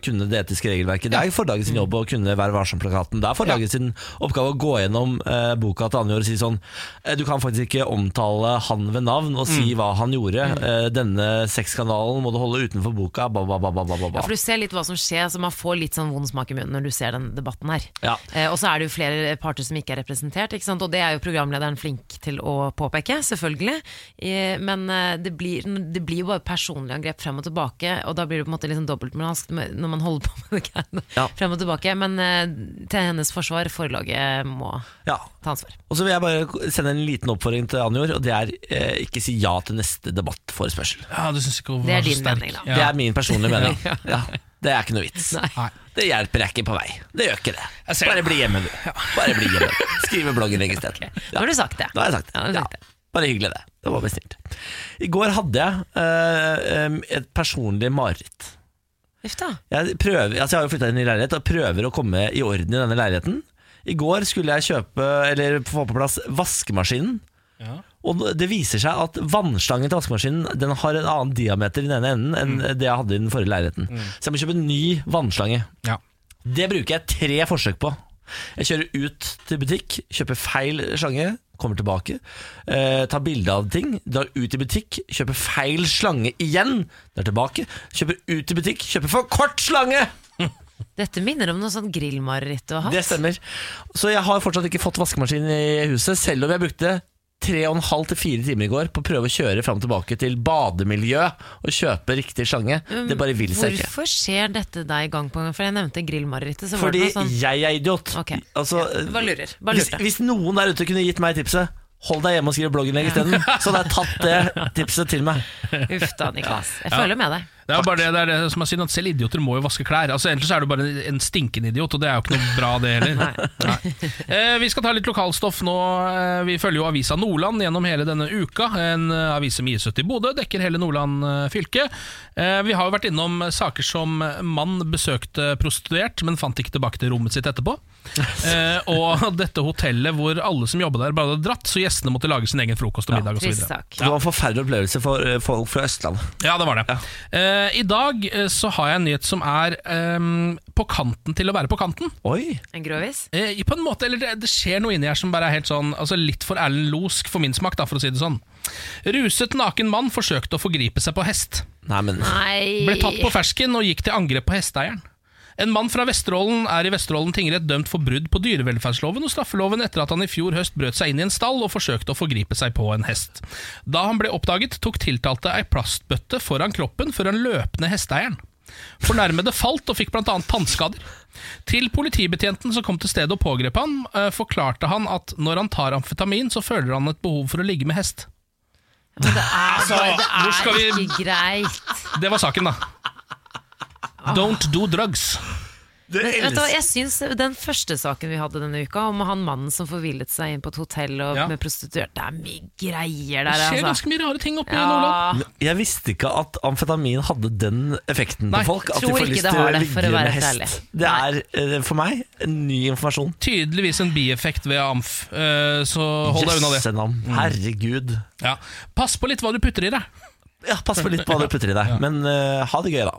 [SPEAKER 1] kunne det etiske regelverket. Det er forlaget sin jobb å kunne Vær varsom-plakaten. Det er forlaget sin oppgave å gå gjennom eh, boka til Anjor og si sånn eh, Du kan faktisk ikke omtale han ved navn og
[SPEAKER 3] Mm.
[SPEAKER 1] si hva han gjorde. Eh, Denne sexkanalen må du holde utenfor boka. Ba, ba, ba, ba, ba, ba,
[SPEAKER 2] Ja,
[SPEAKER 1] ba.
[SPEAKER 2] for du ser litt hva som skjer, så man får litt sånn vond smak i munnen når du ser den debatten her.
[SPEAKER 1] Ja.
[SPEAKER 2] Eh, og så er det jo flere parter som ikke er representert, ikke sant? og det er jo programlederen flink til å påpeke, selvfølgelig. Eh, men eh, det blir, det blir jo bare personlige angrep frem og tilbake, og da blir det på en måte liksom dobbeltmoralsk med- når man holder på med det greiene
[SPEAKER 1] Ja.
[SPEAKER 2] frem og tilbake. Men eh, til hennes forsvar, forlaget må
[SPEAKER 1] Ja.
[SPEAKER 2] ta ansvar.
[SPEAKER 1] Og så vil jeg bare sende en liten oppfordring til Anjor, og det er eh, ikke si ja til neste debattforespørsel.
[SPEAKER 3] Ja, Det synes jeg ikke hun
[SPEAKER 2] Det er
[SPEAKER 3] var så
[SPEAKER 2] din
[SPEAKER 3] sterk.
[SPEAKER 2] mening, da.
[SPEAKER 3] Ja.
[SPEAKER 1] Det er min personlige mening. ja. Det er ikke noe vits.
[SPEAKER 3] Nei.
[SPEAKER 1] Det hjelper jeg ikke på vei. Det gjør ikke det.
[SPEAKER 3] Jeg ser
[SPEAKER 1] Bare
[SPEAKER 3] det.
[SPEAKER 1] bli hjemme, du. Bare bli hjemme. Skrive blogginnlegg isteden.
[SPEAKER 2] Nå har du sagt det.
[SPEAKER 1] Da har jeg sagt det.
[SPEAKER 2] Ja, nå har du
[SPEAKER 1] Ja.
[SPEAKER 2] sagt det.
[SPEAKER 1] Bare hyggelig, det. Det var bestilt. I går hadde jeg eh, em, et personlig mareritt.
[SPEAKER 2] Uff da.
[SPEAKER 1] Jeg, prøver, altså jeg har jo flytta inn i leilighet og prøver å komme i orden i denne leiligheten. I går skulle jeg kjøpe, eller få på plass vaskemaskinen.
[SPEAKER 3] Ja.
[SPEAKER 1] Og det viser seg at vannslangen til vaskemaskinen Den har en annen diameter i den ene enden enn det jeg hadde i den forrige leiligheten. Så jeg må kjøpe en ny vannslange.
[SPEAKER 3] Ja.
[SPEAKER 1] Det bruker jeg tre forsøk på. Jeg kjører ut til butikk, kjøper feil slange, kommer tilbake, eh, tar bilde av ting, drar ut i butikk, kjøper feil slange igjen, drar tilbake, kjøper ut i butikk, kjøper for kort slange!
[SPEAKER 2] Dette minner om noe sånn grillmareritt du har hatt.
[SPEAKER 1] Det stemmer. Så jeg har fortsatt ikke fått vaskemaskin i huset, selv om jeg brukte tre og en halv til fire timer i går på å prøve å kjøre fram og tilbake til bademiljøet og kjøpe riktig slange. Det bare vil seg ikke.
[SPEAKER 2] Um, Hvorfor skjer dette deg gang på gang? For jeg nevnte grillmarerittet. Så
[SPEAKER 1] Fordi
[SPEAKER 2] var det noe sånn
[SPEAKER 1] jeg er idiot.
[SPEAKER 2] Ok.
[SPEAKER 1] Altså,
[SPEAKER 2] Bare lurer. Bare
[SPEAKER 1] hvis,
[SPEAKER 2] lurer.
[SPEAKER 1] hvis noen der ute kunne gitt meg tipset Hold deg hjemme og skriv blogginnlegg isteden, så hadde jeg tatt det tipset til meg.
[SPEAKER 2] Uff da, Niklas. Jeg føler med deg.
[SPEAKER 3] Det er jo bare det, det, er det som er synd, at selv idioter må jo vaske klær. Altså Ellers så er du bare en, en stinkende idiot, og det er jo ikke noe bra, det heller. Nei. Eh, vi skal ta litt lokalstoff nå. Eh, Vi følger jo avisa Nordland gjennom hele denne uka. En eh, avis med IS-70 i Bodø dekker hele Nordland eh, fylke. Eh, vi har jo vært innom saker som mann besøkte prostituert, men fant ikke tilbake til rommet sitt etterpå. Eh, og dette hotellet hvor alle som jobbet der, bare hadde dratt, så gjestene måtte lage sin egen frokost og middag og så
[SPEAKER 2] Trist
[SPEAKER 3] videre
[SPEAKER 2] sak.
[SPEAKER 1] Det var en forferdelig opplevelse for eh, folk fra Østlandet.
[SPEAKER 3] Ja, det var det. Eh, I dag eh, så har jeg en nyhet som er ehm, på kanten til å være på kanten.
[SPEAKER 1] Oi!
[SPEAKER 2] En grovis?
[SPEAKER 3] Eh, i- på en måte, eller det, det skjer noe inni her som bare er helt sånn altså Litt for Erlend Losk for min smak, da, for å si det sånn. Ruset naken mann forsøkte å forgripe seg på hest.
[SPEAKER 1] Nei, men
[SPEAKER 2] Nei
[SPEAKER 3] Ble tatt på fersken og gikk til angrep på hesteeieren. En mann fra Vesterålen er i Vesterålen tingrett dømt for brudd på dyrevelferdsloven og straffeloven etter at han i fjor høst brøt seg inn i en stall og forsøkte å forgripe seg på en hest. Da han ble oppdaget, tok tiltalte ei plastbøtte foran kroppen før han løp ned hesteeieren. Fornærmede falt og fikk bl.a. tannskader. Til politibetjenten som kom til stedet og pågrep han, eh, forklarte han at når han tar amfetamin, så føler han et behov for å ligge med hest. Altså,
[SPEAKER 2] Men det er, bare- det
[SPEAKER 3] hvor skal
[SPEAKER 2] er
[SPEAKER 3] vi-
[SPEAKER 2] ikke greit.
[SPEAKER 3] Det var saken, da. Don't do drugs.
[SPEAKER 2] Vet du hva, jeg synes Den første saken vi hadde denne uka, om han mannen som forvillet seg inn på et hotell og
[SPEAKER 3] Ja.
[SPEAKER 2] med prostituert Det er mye greier
[SPEAKER 3] Det
[SPEAKER 2] der,
[SPEAKER 3] skjer
[SPEAKER 2] altså.
[SPEAKER 3] ganske mye rare ting oppe i Nordland.
[SPEAKER 2] Ja,
[SPEAKER 1] Jeg visste ikke at amfetamin hadde den effekten
[SPEAKER 3] Nei,
[SPEAKER 1] på folk. At de
[SPEAKER 2] tror
[SPEAKER 1] får
[SPEAKER 2] ikke
[SPEAKER 1] lyst
[SPEAKER 2] det
[SPEAKER 1] til å
[SPEAKER 2] har det, for å
[SPEAKER 1] ligge
[SPEAKER 2] være
[SPEAKER 1] med hest.
[SPEAKER 2] helt ærlig.
[SPEAKER 1] Det er eh, for meg en ny informasjon.
[SPEAKER 3] Tydeligvis en bieffekt ved amf, eh, så hold deg unna det.
[SPEAKER 1] Jøssenavn.
[SPEAKER 2] Mm.
[SPEAKER 1] Herregud.
[SPEAKER 3] Ja. Pass på litt hva du putter i deg.
[SPEAKER 1] Ja, pass på litt på hva du putter i deg, men eh, ha det gøy, da.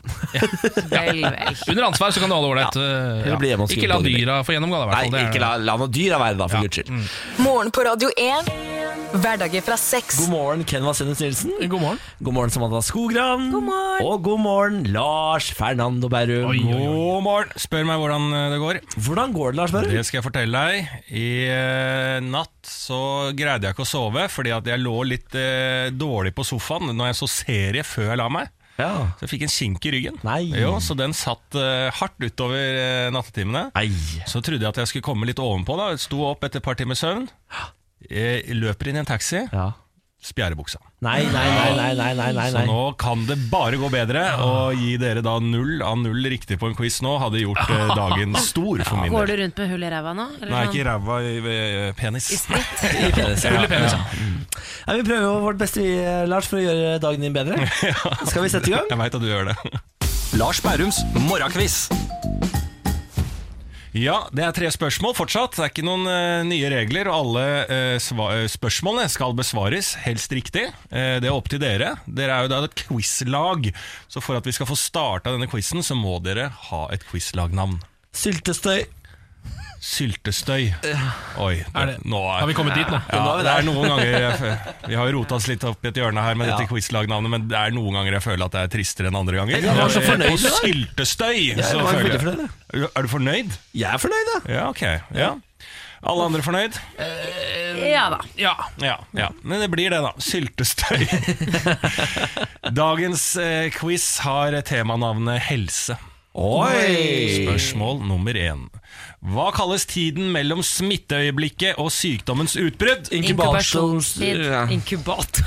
[SPEAKER 2] vel, vel.
[SPEAKER 3] Under ansvar så kan du holde ålreit. eh,
[SPEAKER 1] Eller bli hjemme
[SPEAKER 3] Ja.
[SPEAKER 1] og skrive
[SPEAKER 3] Ikke la
[SPEAKER 1] på det.
[SPEAKER 3] dyra få gjennomgå, da. i hvert
[SPEAKER 1] Nei,
[SPEAKER 3] fall. Det er-
[SPEAKER 1] ikke la, la noe dyr være, da, for
[SPEAKER 3] Ja.
[SPEAKER 1] guds
[SPEAKER 2] Mm.
[SPEAKER 1] skyld.
[SPEAKER 4] Morgen på Radio 1. Hverdager fra seks.
[SPEAKER 1] God morgen, Ken Vasenus Nilsen.
[SPEAKER 3] God morgen.
[SPEAKER 1] God morgen, Samantha Skogran. God morgen. Og god morgen, Lars Fernando Berrum.
[SPEAKER 3] Oi, oi, oi.
[SPEAKER 8] God morgen. Spør meg hvordan eh, det går.
[SPEAKER 1] Hvordan går det, Lars Berrum?
[SPEAKER 8] Det skal jeg fortelle deg. I eh, natt så greide jeg ikke å sove, fordi at jeg lå litt eh, dårlig på sofaen når jeg så serie før jeg la meg.
[SPEAKER 1] Ja.
[SPEAKER 8] Så jeg fikk en kink i ryggen.
[SPEAKER 1] Nei.
[SPEAKER 8] Jo, så den satt eh, hardt utover eh, nattetimene.
[SPEAKER 1] Nei.
[SPEAKER 8] Så trodde jeg at jeg skulle komme litt ovenpå. da Sto opp etter et par timers søvn. Eh, løper inn i en taxi.
[SPEAKER 1] Ja.
[SPEAKER 8] Spjærer buksa.
[SPEAKER 1] Nei, nei, nei, nei, nei, nei, nei,
[SPEAKER 8] Så
[SPEAKER 1] nei.
[SPEAKER 8] nå kan det bare gå bedre. Og gi dere da null av null riktig på en quiz nå hadde gjort eh, dagen stor for min
[SPEAKER 2] Går
[SPEAKER 8] del.
[SPEAKER 2] du rundt med hull i ræva nå? eller
[SPEAKER 8] Nei,
[SPEAKER 2] sånn?
[SPEAKER 8] ikke i ræva i eh, penis.
[SPEAKER 2] I spritt?
[SPEAKER 8] Ja, ja.
[SPEAKER 1] Nei, vi prøver jo vårt beste, vi, eh, Lars, for å gjøre dagen din bedre. Skal vi sette i gang?
[SPEAKER 8] Jeg veit at du gjør det.
[SPEAKER 6] Lars Bærums morgenkviss.
[SPEAKER 8] Ja, det er tre spørsmål fortsatt. Det er ikke noen eh, nye regler, og alle eh, sva- eh, spørsmålene skal besvares helst riktig. Eh, det er opp til dere. Dere er jo da et quizlag, så for at vi skal få starta denne quizen, så må dere ha et quizlagnavn.
[SPEAKER 1] Syltestøy.
[SPEAKER 8] Syltestøy. Oi,
[SPEAKER 3] Eh, Er det-
[SPEAKER 8] nå er
[SPEAKER 3] Har vi kommet dit nå?
[SPEAKER 8] ja,
[SPEAKER 1] Nå er vi
[SPEAKER 8] det er noen ganger jeg, Vi har jo rota oss litt opp i et hjørne her med dette quizlagnavnet, men det er noen ganger jeg føler at det er tristere enn andre ganger.
[SPEAKER 1] Jeg var så
[SPEAKER 8] Og, eh,
[SPEAKER 1] fornøyd
[SPEAKER 8] På
[SPEAKER 1] med det.
[SPEAKER 8] syltestøy
[SPEAKER 1] Jeg
[SPEAKER 8] så
[SPEAKER 1] var
[SPEAKER 8] føler
[SPEAKER 1] veldig
[SPEAKER 8] jeg-
[SPEAKER 1] fornøyd. jeg.
[SPEAKER 8] Er du fornøyd?
[SPEAKER 1] Jeg er fornøyd, da.
[SPEAKER 8] Ja, ok. Ja. Alle andre fornøyd?
[SPEAKER 2] Ja da.
[SPEAKER 3] Ja.
[SPEAKER 8] Ja, ja. Men det blir det, da. Syltestøy. Dagens eh, quiz har temanavnet helse.
[SPEAKER 1] Oi!
[SPEAKER 8] Spørsmål nummer én. Hva kalles tiden mellom smitteøyeblikket og sykdommens utbrudd?
[SPEAKER 1] Inkubasjonstid. sånn- Ja.
[SPEAKER 2] Inkubator.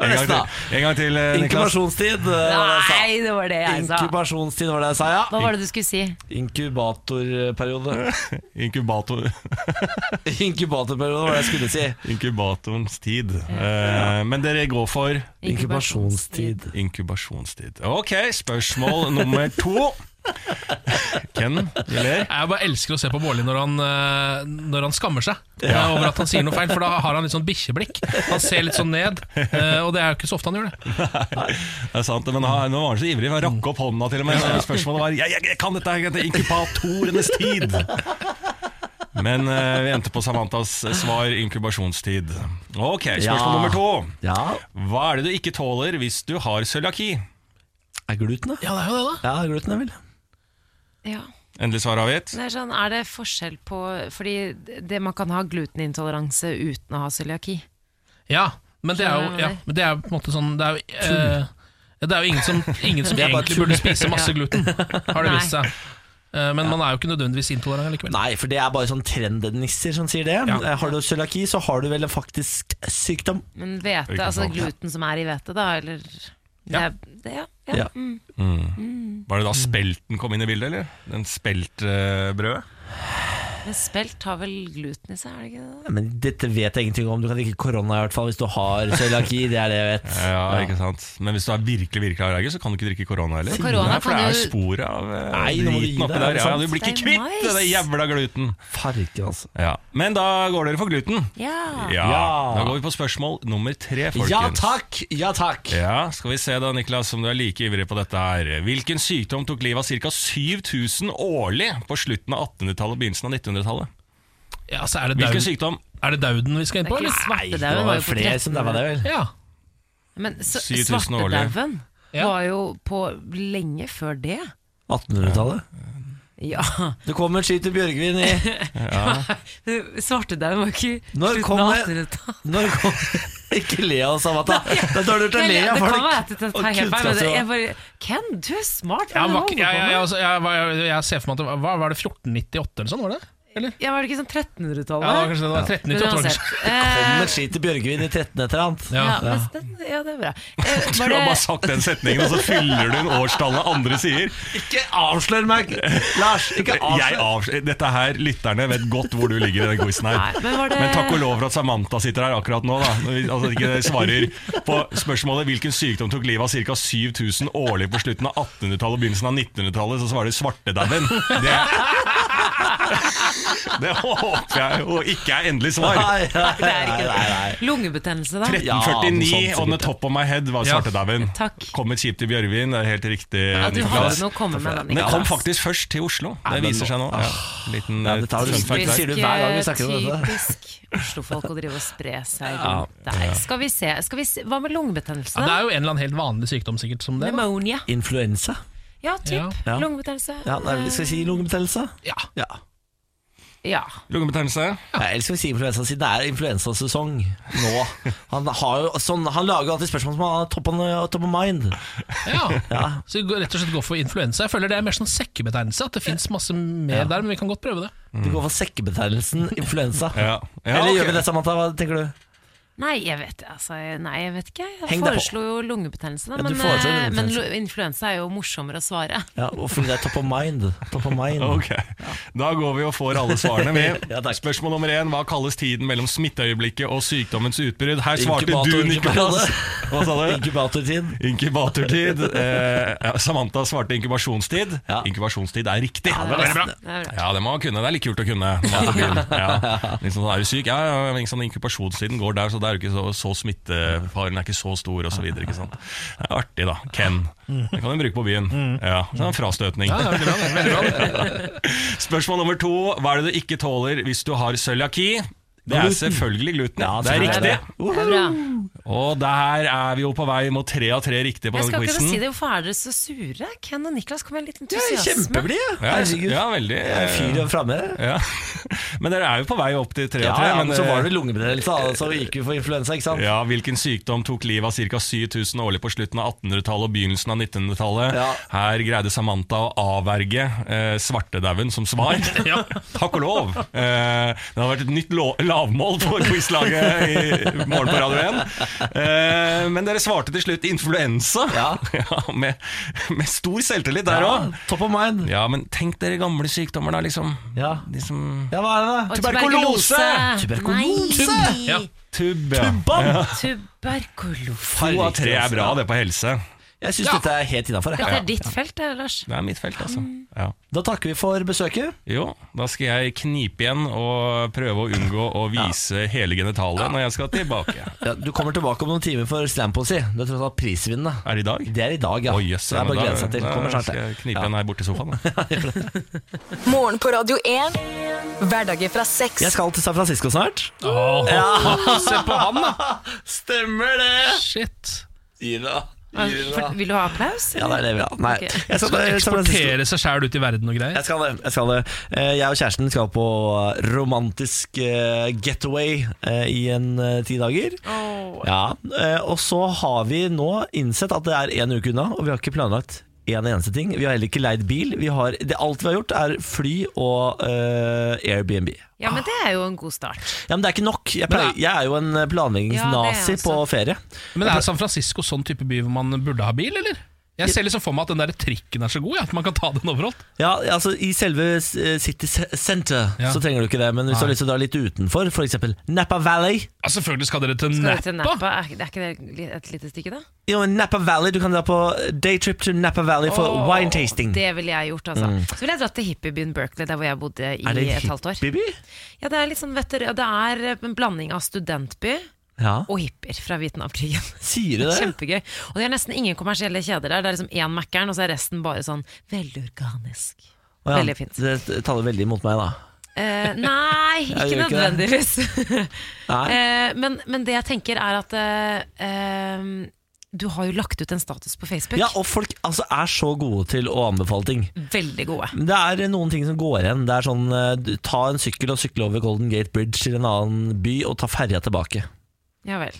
[SPEAKER 8] En gang til, en gang til eh, Niklas.
[SPEAKER 1] Inkubasjonstid, eh, var det jeg
[SPEAKER 2] Nei, det var det
[SPEAKER 1] sa.
[SPEAKER 2] jeg sa.
[SPEAKER 1] Inkubasjonstid var det jeg sa, ja.
[SPEAKER 2] Hva var det du skulle si?
[SPEAKER 1] Inkubatorperiode.
[SPEAKER 8] Inkubator,
[SPEAKER 1] Inkubatorperiode var det jeg skulle si.
[SPEAKER 8] inkubatorens tid. Eh, men dere går for
[SPEAKER 1] Inkubasjonstid.
[SPEAKER 8] inkubasjonstid. Ok, spørsmål nummer to. Ken, du ler.
[SPEAKER 3] Jeg bare elsker å se på Bårli når, han, eh, når han skammer seg eh, over at han sier noe feil, for da har han litt sånn bikkjeblikk. Han ser litt sånn ned, eh, og det er jo ikke så ofte han gjør det.
[SPEAKER 8] Det er sant, men han, nå var han så ivrig. Han rakk opp hånda til og med. når Spørsmålet var jeg, jeg, jeg kan dette her, det er inkubatorenes tid. Men eh, vi endte på Samantas eh, svar inkubasjonstid. Ok,
[SPEAKER 1] Ja.
[SPEAKER 8] spørsmål nummer to.
[SPEAKER 1] Ja,
[SPEAKER 8] Hva er det du ikke tåler hvis du har cøliaki?
[SPEAKER 1] er gluten, da?
[SPEAKER 3] Ja, det er jo det, da.
[SPEAKER 1] Ja, gluten er vel
[SPEAKER 2] Ja.
[SPEAKER 8] Endelig svar avgitt.
[SPEAKER 2] Det er, sånn, er det forskjell på Fordi det man kan ha glutenintoleranse uten å ha cøliaki.
[SPEAKER 3] Ja, men det er jo ja, men det er jo på en måte sånn Det er jo, eh, det er jo ingen som, ingen som
[SPEAKER 1] Det er bare
[SPEAKER 3] egentlig
[SPEAKER 1] tull.
[SPEAKER 3] burde spise masse gluten, har det
[SPEAKER 2] Nei.
[SPEAKER 3] vist seg. Eh, Men man er jo ikke nødvendigvis intolerant likevel.
[SPEAKER 1] Nei, for det er bare sånn trendnisser som sier det.
[SPEAKER 3] Ja.
[SPEAKER 1] Eh, Har du cøliaki, så har du vel en faktisk sykdom.
[SPEAKER 2] Men hvete,
[SPEAKER 8] Ikke
[SPEAKER 2] altså
[SPEAKER 8] sant.
[SPEAKER 2] gluten som er i hvete, da, eller det,
[SPEAKER 3] Ja.
[SPEAKER 2] er- det, ja.
[SPEAKER 1] Ja. Mm.
[SPEAKER 8] Var det da spelten kom inn i bildet, eller? Den speltbrødet?
[SPEAKER 2] Men spelt har vel gluten i seg, er det ikke det?
[SPEAKER 1] Ja, Men dette vet jeg ingenting om. Du kan drikke korona i hvert fall hvis du har cøliaki. Det er det jeg vet.
[SPEAKER 8] Ja, ikke sant? Men hvis du er virkelig virkelig allergisk, så kan du ikke drikke korona heller.
[SPEAKER 2] korona
[SPEAKER 8] Nei, for det
[SPEAKER 2] kan
[SPEAKER 8] er
[SPEAKER 2] jo-
[SPEAKER 8] sporet av eh,
[SPEAKER 1] Nei, nå må du gi
[SPEAKER 8] driten oppi
[SPEAKER 1] deg, er
[SPEAKER 8] der.
[SPEAKER 1] det
[SPEAKER 8] Ja,
[SPEAKER 1] sant?
[SPEAKER 8] du blir ikke
[SPEAKER 2] Det er
[SPEAKER 8] kvitt
[SPEAKER 2] nice.
[SPEAKER 8] det der jævla gluten.
[SPEAKER 1] Farken, altså.
[SPEAKER 8] Ja. Men da går dere for gluten.
[SPEAKER 2] Ja.
[SPEAKER 8] Ja.
[SPEAKER 1] Ja.
[SPEAKER 8] Da går vi på spørsmål nummer tre, folkens.
[SPEAKER 1] Ja takk! Ja takk!
[SPEAKER 8] Ja, Skal vi se da, Niklas, om du er like ivrig på dette her. Hvilken sykdom tok livet av ca. 7000 årlig på slutten av 1800-tallet og begynnelsen av 1900-tallet?
[SPEAKER 3] Ja, så er det,
[SPEAKER 8] Hvilken
[SPEAKER 3] dauden,
[SPEAKER 8] sykdom?
[SPEAKER 3] er det dauden vi skal inn
[SPEAKER 2] Det
[SPEAKER 3] på,
[SPEAKER 2] er ikke
[SPEAKER 3] eller?
[SPEAKER 1] Nei, det
[SPEAKER 2] svartedauden
[SPEAKER 1] var
[SPEAKER 2] var
[SPEAKER 1] jo
[SPEAKER 2] jo på
[SPEAKER 1] flere som
[SPEAKER 2] 1300.
[SPEAKER 1] der var det, vel?
[SPEAKER 3] Ja.
[SPEAKER 2] Men så-
[SPEAKER 8] 7000 årlig.
[SPEAKER 2] svartedauden
[SPEAKER 3] Ja.
[SPEAKER 2] var jo på lenge før det.
[SPEAKER 1] 1800-tallet.
[SPEAKER 2] Ja.
[SPEAKER 1] Det kom en ski til Bjørgvin i
[SPEAKER 2] Svartedauden var ikke
[SPEAKER 1] Når
[SPEAKER 2] slutten
[SPEAKER 1] kom
[SPEAKER 2] av
[SPEAKER 1] det-
[SPEAKER 2] 1800-tallet.
[SPEAKER 1] Når kom Ikke le av oss, Amata. Det er dårlig gjort å
[SPEAKER 2] Nei,
[SPEAKER 1] le
[SPEAKER 2] Det
[SPEAKER 1] av
[SPEAKER 2] kan
[SPEAKER 1] folk. altså.
[SPEAKER 2] være at det tar
[SPEAKER 1] Og
[SPEAKER 2] helt feil, men det-
[SPEAKER 1] kunnskaps-
[SPEAKER 2] jeg bare Ken, du er smart. Hva
[SPEAKER 3] Jeg,
[SPEAKER 2] er det du
[SPEAKER 3] var, ikke-
[SPEAKER 2] holder på
[SPEAKER 3] jeg, jeg,
[SPEAKER 2] med?
[SPEAKER 3] altså, jeg, var- jeg, jeg ser for meg at det var, hva var det 1498 eller sånn, var det? Eller?
[SPEAKER 2] Ja, var det ikke sånn
[SPEAKER 3] Ja, det var
[SPEAKER 2] 1300-tallet?
[SPEAKER 3] kanskje det var
[SPEAKER 2] Men
[SPEAKER 3] 1398 var det
[SPEAKER 2] uansett,
[SPEAKER 3] kanskje.
[SPEAKER 1] Kom
[SPEAKER 2] eh,
[SPEAKER 1] en ski til Bjørgvin i 13 et eller annet.
[SPEAKER 3] Ja.
[SPEAKER 2] ja, men den- ja, det er bra. Eh,
[SPEAKER 8] Du
[SPEAKER 2] var
[SPEAKER 8] har bare
[SPEAKER 2] det,
[SPEAKER 8] sagt den setningen, og så fyller du en årstallet andre sier.
[SPEAKER 1] Ikke avslør meg, Lars! Ikke
[SPEAKER 8] Jeg
[SPEAKER 1] avslør.
[SPEAKER 8] avs- Dette her, lytterne vet godt hvor du ligger i den quizen her.
[SPEAKER 2] Nei, men var det-
[SPEAKER 8] Men takk og lov for at Samantha sitter her akkurat nå, da. Når vi- Altså at ikke dere svarer på spørsmålet hvilken sykdom tok livet av ca. 7000 årlig på slutten av 1800-tallet og begynnelsen av 1900-tallet, så svarer du svartedauden. Det, det håper jeg jo ikke er endelig svar.
[SPEAKER 1] Nei, nei,
[SPEAKER 2] det er ikke
[SPEAKER 1] nei, nei, nei.
[SPEAKER 2] det. Lungebetennelse, da.
[SPEAKER 1] Ja, noe sånt
[SPEAKER 8] 1949
[SPEAKER 1] sikkert,
[SPEAKER 8] on the top of my head var
[SPEAKER 3] Ja.
[SPEAKER 8] svartedauden.
[SPEAKER 2] Takk.
[SPEAKER 8] Kom et skip til Bjørvin, det er helt riktig.
[SPEAKER 2] Ja, du hadde
[SPEAKER 8] Niklas.
[SPEAKER 2] noe å komme med den.
[SPEAKER 8] Men det kom
[SPEAKER 2] Niklas.
[SPEAKER 8] faktisk først til Oslo.
[SPEAKER 1] Nei,
[SPEAKER 8] Det
[SPEAKER 1] men
[SPEAKER 8] viser seg nå.
[SPEAKER 1] nå-
[SPEAKER 8] Ja. Liten
[SPEAKER 1] Ja,
[SPEAKER 8] eh,
[SPEAKER 1] dette har du
[SPEAKER 8] fun fact
[SPEAKER 1] Det
[SPEAKER 8] der.
[SPEAKER 1] sier du hver gang vi snakker om dette.
[SPEAKER 2] Typisk Oslo-folk å drive og spre seg rundt der. Skal vi se, skal vi se. Hva med lungebetennelse?
[SPEAKER 3] Ja, det
[SPEAKER 2] da?
[SPEAKER 3] er jo en eller annen helt vanlig sykdom sikkert som det. da.
[SPEAKER 2] Pneumonia.
[SPEAKER 1] Influensa?
[SPEAKER 2] Ja, typ.
[SPEAKER 3] Ja.
[SPEAKER 1] Ja.
[SPEAKER 2] Lungebetennelse.
[SPEAKER 1] Ja, nei, skal vi si lungebetennelse?
[SPEAKER 3] Ja.
[SPEAKER 1] Ja.
[SPEAKER 2] Eh, Ja.
[SPEAKER 8] Lungebetennelse.
[SPEAKER 1] Ja, eller skal vi si influensa, siden det er influensasesong nå. Han, har jo, sånn, han lager jo alltid spørsmål som er top, on- uh, top of mind.
[SPEAKER 3] Ja.
[SPEAKER 1] Ja.
[SPEAKER 3] Så vi går- rett og slett går for influensa. Jeg føler det er mer sånn sekkebetegnelse. At det fins masse mer der, men vi kan godt prøve det.
[SPEAKER 1] Du går for sekkebetegnelsen influensa.
[SPEAKER 8] Mm. Ja. Ja,
[SPEAKER 1] eller
[SPEAKER 8] ok.
[SPEAKER 1] gjør vi det, Samantha? Hva tenker du?
[SPEAKER 2] Nei, jeg vet, altså, nei, jeg vet ikke. Jeg
[SPEAKER 1] Heng deg på.
[SPEAKER 2] foreslo jo lungebetennelse, da,
[SPEAKER 1] Ja, du
[SPEAKER 2] men,
[SPEAKER 1] foreslo
[SPEAKER 2] eh, men
[SPEAKER 1] lungebetennelse.
[SPEAKER 2] lu- influensa er jo morsommere å svare.
[SPEAKER 1] Ja, og fordi det er top of mind. Top of mind.
[SPEAKER 8] Ok, Da går vi og får alle svarene. Vi.
[SPEAKER 1] Ja, takk.
[SPEAKER 8] Spørsmål nummer én. Hva kalles tiden mellom smitteøyeblikket og sykdommens utbrudd? Her svarte du,
[SPEAKER 1] Inkubator-
[SPEAKER 8] Niklas. Hva sa du?
[SPEAKER 1] Inkubatortid.
[SPEAKER 8] Inkubatortid. Eh, ja, Samantha svarte inkubasjonstid.
[SPEAKER 1] Ja.
[SPEAKER 8] Inkubasjonstid er riktig.
[SPEAKER 2] det er
[SPEAKER 8] bra.
[SPEAKER 2] Det er bra.
[SPEAKER 8] Ja, det må man kunne. Det er litt kult å kunne. når man er på byen. Ja. Liksom, er du syk? Ja, ja, men ikke sant, inkubasjonstiden går der, så det er jo ikke så, så smittefaren er ikke så stor, osv. Det er artig, da. Ken. Det kan du bruke på byen. Ja, så er det en frastøtning.
[SPEAKER 3] Ja, det er veldig bra, det er veldig bra.
[SPEAKER 8] Spørsmål nummer to. Hva er det du ikke tåler hvis du har cøliaki? Det er selvfølgelig gluten.
[SPEAKER 1] Ja,
[SPEAKER 8] det er
[SPEAKER 1] selvfølgelig
[SPEAKER 8] riktig.
[SPEAKER 1] er
[SPEAKER 2] Det er bra.
[SPEAKER 8] Og der er vi jo på vei mot tre av tre riktige på denne
[SPEAKER 2] Jeg skal ikke
[SPEAKER 8] quizen.
[SPEAKER 2] si det, hvorfor er dere så sure? Ken og Niklas kom med en liten
[SPEAKER 1] Du er
[SPEAKER 2] entusiasme.
[SPEAKER 1] kjempeblid! ja.
[SPEAKER 8] Ja,
[SPEAKER 1] Herregud.
[SPEAKER 8] ja, veldig. eh,
[SPEAKER 1] Jeg er Fyr og framme.
[SPEAKER 8] Ja. Men dere er jo på vei opp til tre
[SPEAKER 1] Ja,
[SPEAKER 8] av tre.
[SPEAKER 1] ja, men så
[SPEAKER 8] det-
[SPEAKER 1] var det sånn. lungebetennelse, da, så gikk vi for influensa, ikke sant?
[SPEAKER 8] Ja, Hvilken sykdom tok livet av ca. 7000 årlig på slutten av 1800-tallet og begynnelsen av 1900-tallet?
[SPEAKER 1] Ja.
[SPEAKER 8] Her greide Samantha å avverge eh, svartedauden som svar. Takk og lov! Eh, det har vært et nytt lo- lavmål på quizlaget i morgen på Radio 1. Eh, men dere svarte til slutt influensa,
[SPEAKER 1] Ja.
[SPEAKER 8] med, med stor selvtillit der
[SPEAKER 1] Ja,
[SPEAKER 8] òg.
[SPEAKER 1] top of mind.
[SPEAKER 8] Ja, men tenk dere gamle sykdommer, da, liksom.
[SPEAKER 1] Ja.
[SPEAKER 8] De som
[SPEAKER 1] ja, hva er det,
[SPEAKER 2] Og
[SPEAKER 1] da?
[SPEAKER 8] Tuberkulose!
[SPEAKER 1] Tuberkulose!
[SPEAKER 2] Nei.
[SPEAKER 3] Ja.
[SPEAKER 8] Tubb, ja.
[SPEAKER 1] Bam! altså.
[SPEAKER 2] Tuberkulose.
[SPEAKER 8] To av tre er bra, det, på helse.
[SPEAKER 1] Jeg syns dette er helt innafor.
[SPEAKER 2] Dette er ditt felt, det, Lars.
[SPEAKER 8] Det er mitt felt, altså. Ja.
[SPEAKER 1] Da takker vi for besøket.
[SPEAKER 8] Jo, da skal jeg knipe igjen og prøve å unngå å vise hele genitalet når jeg skal tilbake.
[SPEAKER 1] Ja, du kommer tilbake om noen timer for slampoesi. Du er tross alt prisvinnende.
[SPEAKER 8] Er det i dag?
[SPEAKER 1] Det er i dag, ja.
[SPEAKER 8] Å, jøss,
[SPEAKER 1] så det er bare å
[SPEAKER 8] men da-
[SPEAKER 1] glede seg til. Kommer
[SPEAKER 8] Da
[SPEAKER 1] snart,
[SPEAKER 8] skal jeg
[SPEAKER 1] det.
[SPEAKER 8] knipe igjen her borte i sofaen. Da.
[SPEAKER 4] Morgen på Radio 1. Hverdager fra seks.
[SPEAKER 1] Jeg skal til San Francisco snart.
[SPEAKER 3] Åh,
[SPEAKER 1] Se på han, da! Stemmer det!
[SPEAKER 3] shit.
[SPEAKER 1] Ida.
[SPEAKER 2] For, vil du ha applaus?
[SPEAKER 1] Ja, det er det vi har. Nei.
[SPEAKER 2] Ok.
[SPEAKER 1] Jeg skal til San Francisco.
[SPEAKER 3] Eksportere seg sjæl ut i verden og greier.
[SPEAKER 1] Jeg skal det. Jeg, skal det. Eh, jeg og kjæresten skal på romantisk eh, getaway eh, i en eh, ti dager. Ja, eh, og så har vi nå innsett at det er en uke unna, og vi har ikke planlagt en eneste ting. Vi har heller ikke leid bil. Vi har, det, alt vi har gjort, er fly og eh, Airbnb.
[SPEAKER 2] Ja, men det er jo en god start.
[SPEAKER 1] Ja, Men det er ikke nok. Jeg, pleier,
[SPEAKER 3] Men
[SPEAKER 1] jeg er jo en eh,
[SPEAKER 2] Ja, det er
[SPEAKER 1] planleggingsnazi
[SPEAKER 2] jeg også.
[SPEAKER 1] på ferie.
[SPEAKER 3] Men er San Francisco sånn type by hvor man burde ha bil, eller? Jeg ser liksom for meg at den der trikken er så god, ja, at man kan ta den overalt.
[SPEAKER 1] Ja, altså I selve eh, City ce- Center
[SPEAKER 3] Ja.
[SPEAKER 1] så trenger du ikke det, men hvis du har lyst til å dra litt utenfor, f.eks. Napa Valley
[SPEAKER 3] Ja, selvfølgelig skal dere til
[SPEAKER 2] Skal du til
[SPEAKER 3] Nappa.
[SPEAKER 2] Napa? Er, er ikke det li- et lite stykke, da?
[SPEAKER 1] Jo, men Napa Valley, Du kan dra på daytrip to Napa Valley for
[SPEAKER 2] Åh,
[SPEAKER 1] wine tasting.
[SPEAKER 2] Det ville jeg gjort, altså. Så ville jeg dratt til hippiebyen Berkeley, der hvor jeg bodde i
[SPEAKER 1] Mm. er det
[SPEAKER 2] et halvt år.
[SPEAKER 1] hippieby?
[SPEAKER 2] Ja, det er litt sånn, vet dere, det er en blanding av studentby
[SPEAKER 1] Ja.
[SPEAKER 2] og hippier fra Vietnamkrigen.
[SPEAKER 1] Sier du det?
[SPEAKER 2] Kjempegøy. Og det er nesten ingen kommersielle kjeder der. Det er liksom én Mækkern, og så er resten bare sånn veldig organisk.
[SPEAKER 1] Å ja,
[SPEAKER 2] Veldig fint.
[SPEAKER 1] Det taler veldig mot meg, da.
[SPEAKER 2] Eh, nei,
[SPEAKER 1] Jeg
[SPEAKER 2] ikke
[SPEAKER 1] gjør ikke det.
[SPEAKER 2] nødvendigvis.
[SPEAKER 1] Nei.
[SPEAKER 2] Eh, men, men det jeg tenker, er at eh, eh, du har jo lagt ut en status på Facebook.
[SPEAKER 1] Ja, og folk altså, er så gode til å anbefale ting.
[SPEAKER 2] Veldig gode.
[SPEAKER 1] Men Det er noen ting som går igjen. Det er sånn, eh, du- Ta en sykkel og sykle over Golden Gate Bridge til en annen by, og ta ferja tilbake.
[SPEAKER 2] Ja vel.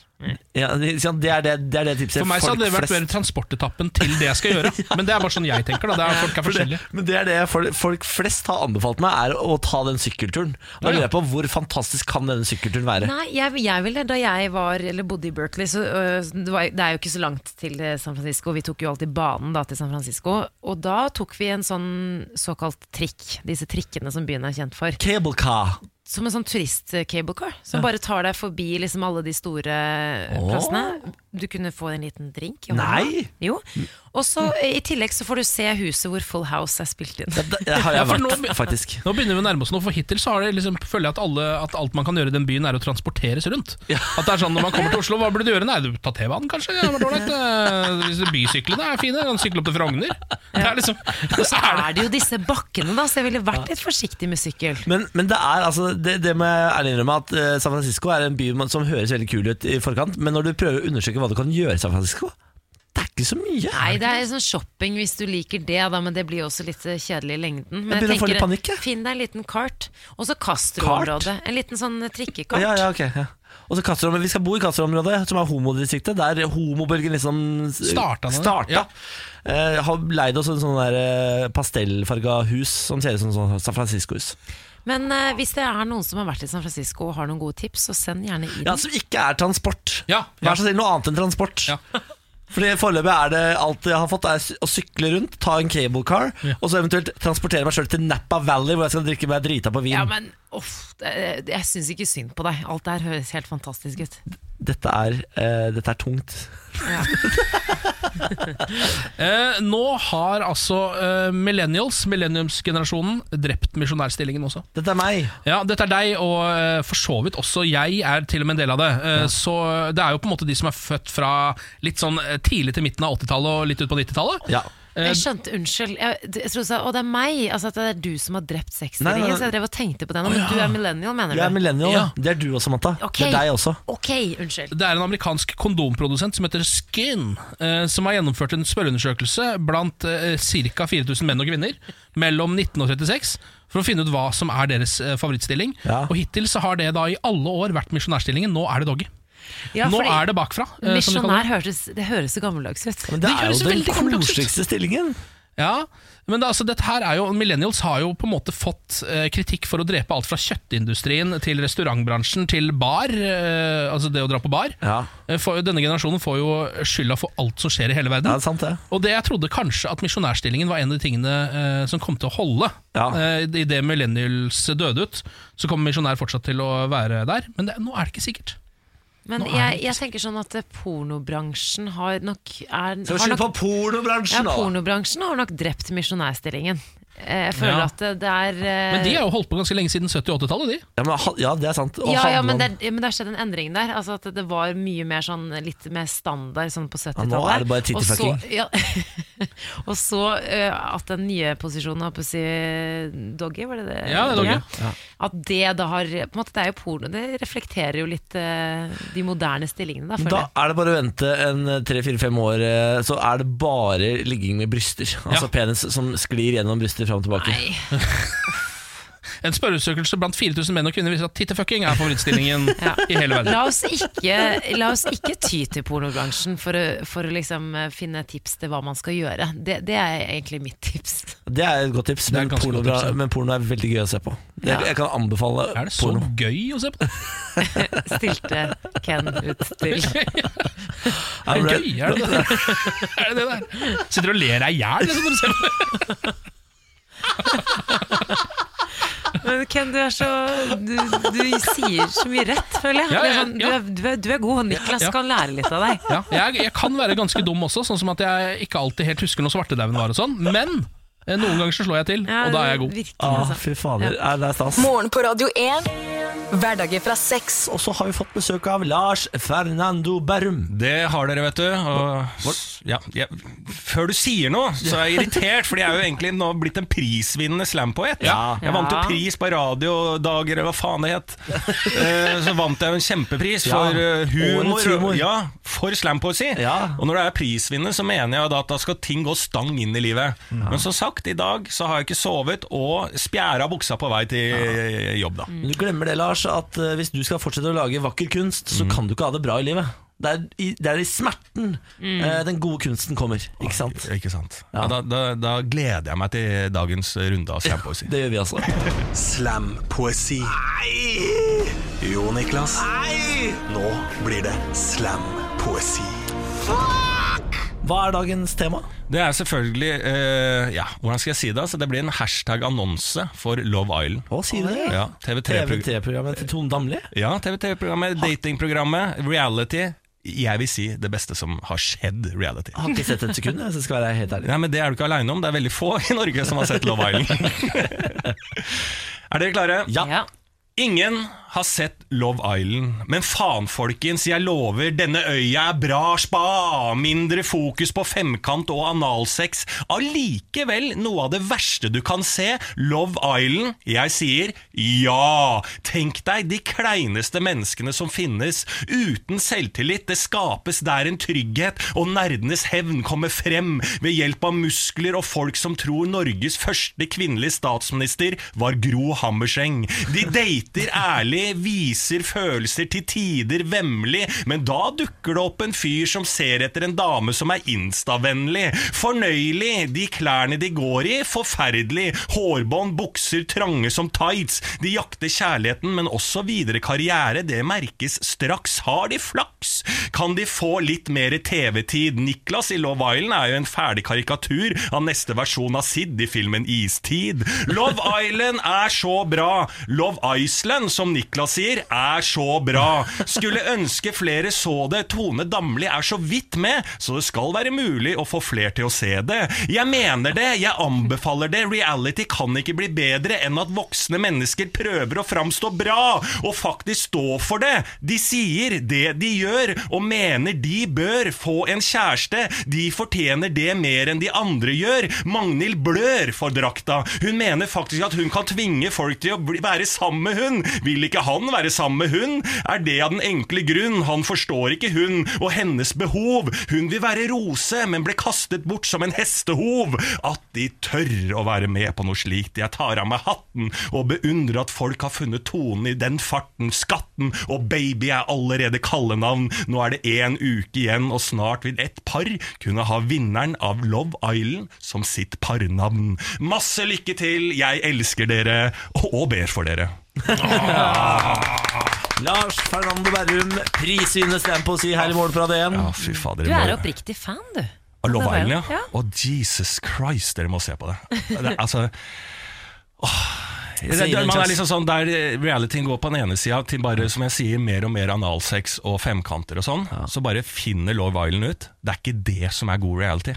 [SPEAKER 1] Ja, det, ikke sant? det, er det, det er det tipset
[SPEAKER 3] For meg så
[SPEAKER 1] folk
[SPEAKER 3] hadde det vært
[SPEAKER 1] flest-
[SPEAKER 3] mer transportetappen til det jeg skal gjøre. Men det er bare sånn jeg tenker, da. Det er, folk er
[SPEAKER 1] For
[SPEAKER 3] forskjellige.
[SPEAKER 1] det, men det er det folk, folk flest har anbefalt meg, er å ta den sykkelturen. Og jeg
[SPEAKER 3] Ja, ja.
[SPEAKER 1] lurer på Hvor fantastisk kan denne sykkelturen være?
[SPEAKER 2] Nei, jeg, jeg ville, da jeg var, eller bodde i Berkeley, så øh, det, var, det er jo ikke så langt til eh, San Francisco. Vi tok jo alltid banen da til San Francisco. Og da tok vi en sånn såkalt trikk, disse trikkene som byen er kjent for.
[SPEAKER 1] Cable car.
[SPEAKER 2] Som en sånn turist-cablecar, som bare tar deg forbi liksom alle de store eh,
[SPEAKER 1] Åh.
[SPEAKER 2] plassene. Du kunne få en liten drink. i hånda.
[SPEAKER 1] Nei.
[SPEAKER 2] Jo.
[SPEAKER 1] Mm.
[SPEAKER 2] Og så eh, i tillegg så får du se huset hvor Full House er spilt inn.
[SPEAKER 1] Ja, det, det har
[SPEAKER 3] Ja,
[SPEAKER 1] jeg
[SPEAKER 3] for nå
[SPEAKER 1] vært,
[SPEAKER 3] be-
[SPEAKER 1] faktisk.
[SPEAKER 3] Nå begynner vi å nærme oss noe, for hittil så har det liksom, føler jeg at, alle, at alt man kan gjøre i den byen, er å transporteres rundt. At det er sånn Når man kommer til Oslo, hva burde du gjøre? Nei, du ta T-banen, kanskje? Ja, men ålreit, eh, disse bysyklene er fine. Kan sykle opp til Frogner. Det er liksom
[SPEAKER 2] Så er det jo disse bakkene, da, så jeg ville vært litt forsiktig med sykkel.
[SPEAKER 1] Men, men det er altså Det, det må jeg ærlig innrømme at eh, San Francisco er en by man- som høres veldig kul ut i forkant, men når du prøver å undersøke hva du kan gjøre i San Francisco, det er ikke så mye.
[SPEAKER 2] Nei, det er sånn shopping hvis du liker det, da, men det blir jo også litt eh, kjedelig i lengden. Men
[SPEAKER 1] Jeg begynner å få litt
[SPEAKER 2] tenker,
[SPEAKER 1] panikk, jeg.
[SPEAKER 2] Finn deg en liten kart, og så Castro-området. En liten sånn eh, trikkekart.
[SPEAKER 1] Ja, ja, ok ja. Og så Castro, men Vi skal bo i Castro-området, som er homodistriktet. Der homobølgen liksom s-
[SPEAKER 3] Starta den,
[SPEAKER 1] starta.
[SPEAKER 3] ja.
[SPEAKER 1] Eh, har leid oss en sånn der eh, pastellfarga hus som ser ut som sånn San Francisco-hus.
[SPEAKER 2] Men eh, hvis det er noen som har vært i San Francisco og har noen gode tips, så send gjerne inn.
[SPEAKER 1] Ja, Som ikke er transport.
[SPEAKER 3] Ja, ja.
[SPEAKER 1] Vær så snill, noe annet enn transport.
[SPEAKER 3] Ja.
[SPEAKER 1] Fordi Foreløpig er det alt jeg har fått, er sy- å sykle rundt, ta en cable car, og så eventuelt transportere meg sjøl til Napa Valley, hvor jeg skal drikke meg drita på vin.
[SPEAKER 2] Ja, men uff, det, det- jeg syns ikke synd på deg. Alt det her høres helt fantastisk ut.
[SPEAKER 1] dette, er, eh, dette er tungt.
[SPEAKER 3] Eh, nå har altså eh, millennials, millenniumsgenerasjonen, drept misjonærstillingen også.
[SPEAKER 1] Dette er meg.
[SPEAKER 3] Ja, dette er deg, og eh, for så vidt også jeg er til og med en del av det. Eh, Så det er jo på en måte de som er født fra litt sånn eh, tidlig til midten av 80-tallet og litt ut på 90-tallet.
[SPEAKER 1] Ja.
[SPEAKER 3] Eh,
[SPEAKER 2] Jeg skjønte, unnskyld. Jeg, jeg trodde du sa å, det er meg. Altså at det er du som har drept
[SPEAKER 1] Nei, nei, nei.
[SPEAKER 2] sexstillingen. Så jeg drev og tenkte på den. Men du er millennial, mener du?
[SPEAKER 1] Jeg er millennial.
[SPEAKER 3] Ja.
[SPEAKER 1] Det er du også, Matta.
[SPEAKER 2] Ok.
[SPEAKER 1] Det er deg også.
[SPEAKER 2] Ok, unnskyld.
[SPEAKER 3] Det er en amerikansk kondomprodusent som heter Skin, eh, som har gjennomført en spørreundersøkelse blant eh, ca. 4000 menn og kvinner mellom 19 og 36 for å finne ut hva som er deres eh, favorittstilling.
[SPEAKER 1] Ja.
[SPEAKER 3] Og hittil så har det da i alle år vært misjonærstillingen. Nå er det doggy.
[SPEAKER 2] Ja,
[SPEAKER 3] Nå
[SPEAKER 2] fordi-
[SPEAKER 3] er det bakfra. eh, som de kaller det.
[SPEAKER 2] Misjonær høres, det høres så gammeldags ut.
[SPEAKER 1] Men det,
[SPEAKER 3] Det
[SPEAKER 1] er
[SPEAKER 3] høres
[SPEAKER 1] jo den
[SPEAKER 3] veldig gammeldags ut.
[SPEAKER 1] koseligste stillingen.
[SPEAKER 3] Ja, men det, altså, dette her er jo Millennials har jo på en måte fått eh, kritikk for å drepe alt fra kjøttindustrien til restaurantbransjen til bar. Eh, altså det å dra på bar.
[SPEAKER 1] Ja.
[SPEAKER 3] Eh, For, denne generasjonen får jo skylda for alt som skjer i hele verden.
[SPEAKER 1] Ja, det er sant, det.
[SPEAKER 3] Og det jeg trodde kanskje at misjonærstillingen var en av de tingene eh, som kom til å holde.
[SPEAKER 1] Ja.
[SPEAKER 3] Eh, I det millennials døde ut, så kommer misjonær fortsatt til å være der. Men det, nå er det ikke sikkert.
[SPEAKER 2] Men
[SPEAKER 3] Nå er
[SPEAKER 2] jeg,
[SPEAKER 3] det ikke
[SPEAKER 2] jeg tenker sånn at eh, pornobransjen har nok er,
[SPEAKER 1] Skal vi
[SPEAKER 2] har
[SPEAKER 1] skylde
[SPEAKER 2] nok,
[SPEAKER 1] på pornobransjen,
[SPEAKER 2] ja,
[SPEAKER 1] da?
[SPEAKER 2] Pornobransjen har nok drept misjonærstillingen. Eh, Jeg føler
[SPEAKER 3] Ja.
[SPEAKER 2] at det- det er eh,
[SPEAKER 3] Men de har jo holdt på ganske lenge siden 70- og 80-tallet, de.
[SPEAKER 1] Ja, men, ha- ja, det er sant. Og
[SPEAKER 2] ja, ja,
[SPEAKER 1] Hadeland.
[SPEAKER 2] men det, er- men det har skjedd en endring der. Altså at Det var mye mer sånn litt mer standard sånn på 70-tallet.
[SPEAKER 1] Ja, nå er det bare
[SPEAKER 2] Og så-
[SPEAKER 1] tittifucking.
[SPEAKER 2] Ja, og så eh, at den nye posisjonen, holdt på å si doggy, var det det?
[SPEAKER 3] Ja, det er doggy.
[SPEAKER 2] At det da har på en måte, Det er jo porno, det reflekterer jo litt eh, de moderne stillingene, da, føler
[SPEAKER 1] Da
[SPEAKER 2] jeg.
[SPEAKER 1] er det bare å vente en tre-fire-fem år, eh, så er det bare ligging med bryster. Altså
[SPEAKER 3] Ja.
[SPEAKER 1] penis som sklir gjennom bryster fram og tilbake.
[SPEAKER 2] Nei.
[SPEAKER 3] En spørreundersøkelse blant 4000 menn og kvinner viser at tittefucking er favorittstillingen i hele verden.
[SPEAKER 2] La oss ikke, la oss ikke ty til pornobransjen for å, for å liksom eh, finne tips til hva man skal gjøre. Det, det er egentlig mitt tips.
[SPEAKER 1] Det er et godt tips,
[SPEAKER 3] er et
[SPEAKER 1] men,
[SPEAKER 3] ganske
[SPEAKER 1] porno,
[SPEAKER 3] godt tips, ja.
[SPEAKER 1] men porno er veldig gøy å se på. Det,
[SPEAKER 2] Ja.
[SPEAKER 1] Jeg kan anbefale
[SPEAKER 3] Er det sånn? så
[SPEAKER 1] porno.
[SPEAKER 3] gøy å se på?
[SPEAKER 2] Stilte Ken ut til.
[SPEAKER 1] Ja,
[SPEAKER 3] Er
[SPEAKER 1] men
[SPEAKER 3] det
[SPEAKER 1] det-
[SPEAKER 3] gøy? Er det det der? Er det det der? Sitter og ler deg i hjel liksom, når du ser på det.
[SPEAKER 2] Men Ken, du er så Du, du sier så mye rett, føler jeg.
[SPEAKER 3] Ja,
[SPEAKER 2] Det er
[SPEAKER 3] ja,
[SPEAKER 2] sånn,
[SPEAKER 3] ja.
[SPEAKER 2] Du, er, du, er, du er god, og Niklas
[SPEAKER 3] Ja.
[SPEAKER 2] kan lære litt av deg.
[SPEAKER 3] Ja, jeg, jeg kan være ganske dum også, sånn som at jeg ikke alltid helt husker når svartedauden var og sånn, men eh, noen ganger så slår jeg til, og da er jeg god.
[SPEAKER 2] Virkelig,
[SPEAKER 1] Ah,
[SPEAKER 2] altså.
[SPEAKER 1] fy fader, Nei, det er stas.
[SPEAKER 4] Morgen på Radio 1. Hverdager fra seks.
[SPEAKER 1] Og så har vi fått besøk av Lars Fernando Berrum.
[SPEAKER 8] Det har dere, vet du. Og, ja, jeg, før du sier noe, så er jeg irritert, for jeg er jo egentlig nå blitt en prisvinnende slampoet.
[SPEAKER 1] Ja.
[SPEAKER 8] Jeg vant jo
[SPEAKER 2] Ja.
[SPEAKER 8] pris på radiodager, eller hva faen det het. Eh, Så vant jeg jo en kjempepris
[SPEAKER 1] Ja.
[SPEAKER 8] for eh, humor.
[SPEAKER 1] Årets humor.
[SPEAKER 8] Ja, for slampoesi.
[SPEAKER 1] Ja.
[SPEAKER 8] Og når det er prisvinner, så mener jeg da at da skal ting gå stang inn i livet. Men som sagt, i dag så har jeg ikke sovet og spjæra buksa på vei til eh, jobb, da.
[SPEAKER 1] Du glemmer det, Lars, at eh, hvis du skal fortsette å lage vakker kunst,
[SPEAKER 3] Mm.
[SPEAKER 1] så kan du ikke ha det bra i livet. Det er i, det er i smerten
[SPEAKER 3] Mm.
[SPEAKER 1] eh, den gode kunsten kommer, ikke sant?
[SPEAKER 8] Ikke sant? Ja. Da, da, da gleder jeg meg til dagens runde av slampoesi.
[SPEAKER 1] Det gjør vi altså.
[SPEAKER 6] Slampoesi. Nei! Jo, Niklas. Nei! Nå blir det slampoesi.
[SPEAKER 1] Hva er dagens tema?
[SPEAKER 8] Det er selvfølgelig eh, Ja, hvordan skal jeg si det? Altså, det blir en hashtag-annonse for Love Island.
[SPEAKER 1] Å, sier du det?
[SPEAKER 8] Ja, TV3-programmet
[SPEAKER 1] TV3-programmet til Tone Damli?
[SPEAKER 8] ja, TV datingprogrammet, reality. Jeg vil si det beste som har skjedd reality.
[SPEAKER 1] Jeg har ikke sett et sekund, jeg, så jeg skal være helt ærlig.
[SPEAKER 8] Nei, men Det er du ikke aleine om. Det er veldig få i Norge som har sett Love Island. er dere klare?
[SPEAKER 1] Ja.
[SPEAKER 2] Ja.
[SPEAKER 8] Ingen har sett Love Island, men faen folkens, jeg lover, denne øya er bra spa! Mindre fokus på femkant og analsex. Allikevel noe av det verste du kan se, Love Island. Jeg sier ja! Tenk deg de kleineste menneskene som finnes. Uten selvtillit, det skapes der en trygghet, og nerdenes hevn kommer frem ved hjelp av muskler og folk som tror Norges første kvinnelige statsminister var Gro Hammerseng. De dater ærlig, viser følelser til tider vemmelig, men da dukker det opp en fyr som ser etter en dame som er instavennlig. Fornøyelig, de klærne de går i, forferdelig. Hårbånd, bukser trange som tights. De jakter kjærligheten, men også videre karriere. Det merkes straks. Har de flaks? Kan de få litt mer TV-tid? Niklas i Love Island er jo en ferdig karikatur av neste versjon av Sid i filmen Istid. Love Island er så bra! Love Iceland, som Niklas sier, er så bra! Skulle ønske flere så det. Tone Damli er så vidt med, så det skal være mulig å få flere til å se det. Jeg mener det, jeg anbefaler det. Reality kan ikke bli bedre enn at voksne mennesker prøver å framstå bra, og faktisk stå for det. De sier det de gjør, og mener de bør få en kjæreste. De fortjener det mer enn de andre gjør. Magnhild blør for drakta. Hun mener faktisk at hun kan tvinge folk til å bli, være sammen med hun. Vil ikke han være sammen med hun? Er det av den enkle grunn? Han forstår ikke hun og hennes behov. Hun vil være rose, men ble kastet bort som en hestehov. At de tør å være med på noe slikt. Jeg tar av meg hatten og beundrer at folk har funnet tonen i den farten, skatten og baby er allerede kallenavn. Nå er det én uke igjen, og snart vil et par kunne ha vinneren av Love Island som sitt parnavn. Masse lykke til, jeg elsker dere og ber for dere.
[SPEAKER 1] Lars Fernando Berrum, prisvinner slampoesi her i morgen fra DN.
[SPEAKER 8] Ja, fy fader.
[SPEAKER 2] Du
[SPEAKER 8] det må-
[SPEAKER 2] er oppriktig fan, du.
[SPEAKER 8] Av Love
[SPEAKER 2] Love
[SPEAKER 8] Island,
[SPEAKER 2] Island,
[SPEAKER 8] ja. Og Jesus Christ, dere må se på det. det er, altså, åh. det, det, man er liksom sånn Der realityen går på den ene sida til bare som jeg sier, mer og mer analsex og femkanter og sånn, så bare finner Love Island ut. Det er ikke det som er god reality.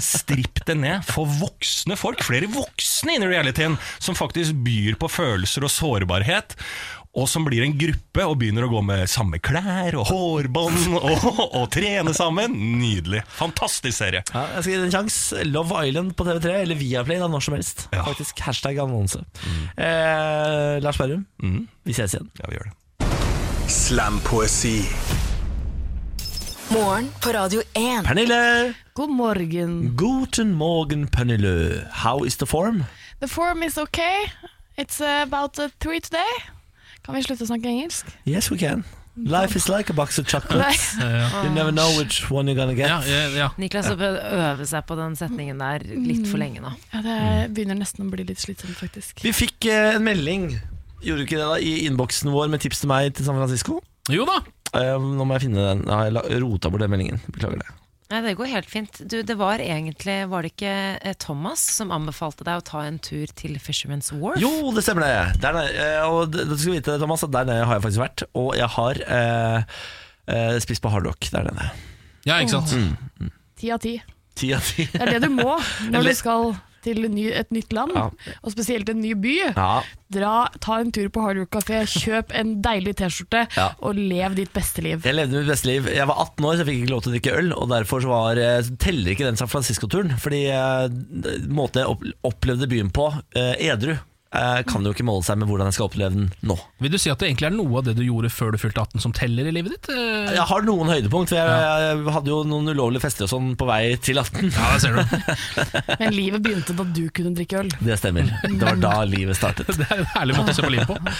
[SPEAKER 8] Stripp det ned. Få voksne folk, flere voksne inn i realityen, som faktisk byr på følelser og sårbarhet. Og som blir en gruppe og begynner å gå med samme klær og hårbånd og, og trene sammen. Nydelig. Fantastisk serie.
[SPEAKER 1] Ja, jeg skal gi det en sjanse. Love Island på TV3 eller Viaplay da, når som helst.
[SPEAKER 8] Ja.
[SPEAKER 1] Faktisk Hashtag annonse. Eh, Lars Berrum, Mm. vi ses igjen.
[SPEAKER 8] Ja, vi gjør det.
[SPEAKER 6] Slampoesi.
[SPEAKER 4] Morgen på Radio 1.
[SPEAKER 1] Pernille!
[SPEAKER 9] God morgen.
[SPEAKER 1] Guten morgen, Pernille. How is the form?
[SPEAKER 9] The form is okay. It's about uh, three today. Kan vi slutte å snakke engelsk?
[SPEAKER 1] Yes, we can. Life is like a box of chocolates. You never know which one you're gonna get.
[SPEAKER 3] Ja, ja, ja.
[SPEAKER 2] Niklas har prøvd å øve seg på den setningen der litt for lenge nå.
[SPEAKER 9] Ja, Det er- begynner nesten å bli litt slitsomt, faktisk.
[SPEAKER 1] Vi fikk eh, en melding Gjorde du ikke det da, i innboksen vår med tips til meg til San Francisco?
[SPEAKER 3] Jo da!
[SPEAKER 1] Eh, nå må jeg finne den. Nå har jeg la- rota bort den meldingen. Beklager det.
[SPEAKER 2] Nei, det går helt fint. Du, det var egentlig, var det ikke eh, Thomas som anbefalte deg å ta en tur til Fisherman's Wharf?
[SPEAKER 1] Jo, det stemmer det. Der nede, eh, og d- du skal vite, Thomas, at der nede har jeg faktisk vært. Og jeg har eh, eh, spist på hardrock der nede.
[SPEAKER 3] Ja, ikke sant?
[SPEAKER 9] Ti av ti.
[SPEAKER 1] Ti av ti.
[SPEAKER 9] Det er det du må når
[SPEAKER 1] Eller-
[SPEAKER 9] du skal til en ny, et nytt land,
[SPEAKER 1] Ja.
[SPEAKER 9] og spesielt en ny by.
[SPEAKER 1] Ja.
[SPEAKER 9] Dra, ta en tur på Hard Rock Café, kjøp en deilig T-skjorte,
[SPEAKER 1] Ja.
[SPEAKER 9] og lev ditt beste liv.
[SPEAKER 1] Jeg levde mitt beste liv. Jeg var 18 år, så jeg fikk ikke lov til å drikke øl. Og derfor så var, eh, så teller ikke den San Francisco-turen. Fordi eh, måten jeg opp, opplevde byen på, eh, edru, eh, kan jo ikke måle seg med hvordan jeg skal oppleve den nå.
[SPEAKER 3] Vil du si at det egentlig er noe av det du gjorde før du fylte 18 som teller i livet ditt? Eh,
[SPEAKER 1] Jeg har noen høydepunkt, for jeg, jeg hadde jo noen ulovlige fester og sånn på vei til 18.
[SPEAKER 3] Ja, det ser du.
[SPEAKER 9] Men livet begynte da du kunne drikke øl.
[SPEAKER 1] Det stemmer. Det var da livet startet.
[SPEAKER 3] Det er en herlig måte å se på livet på.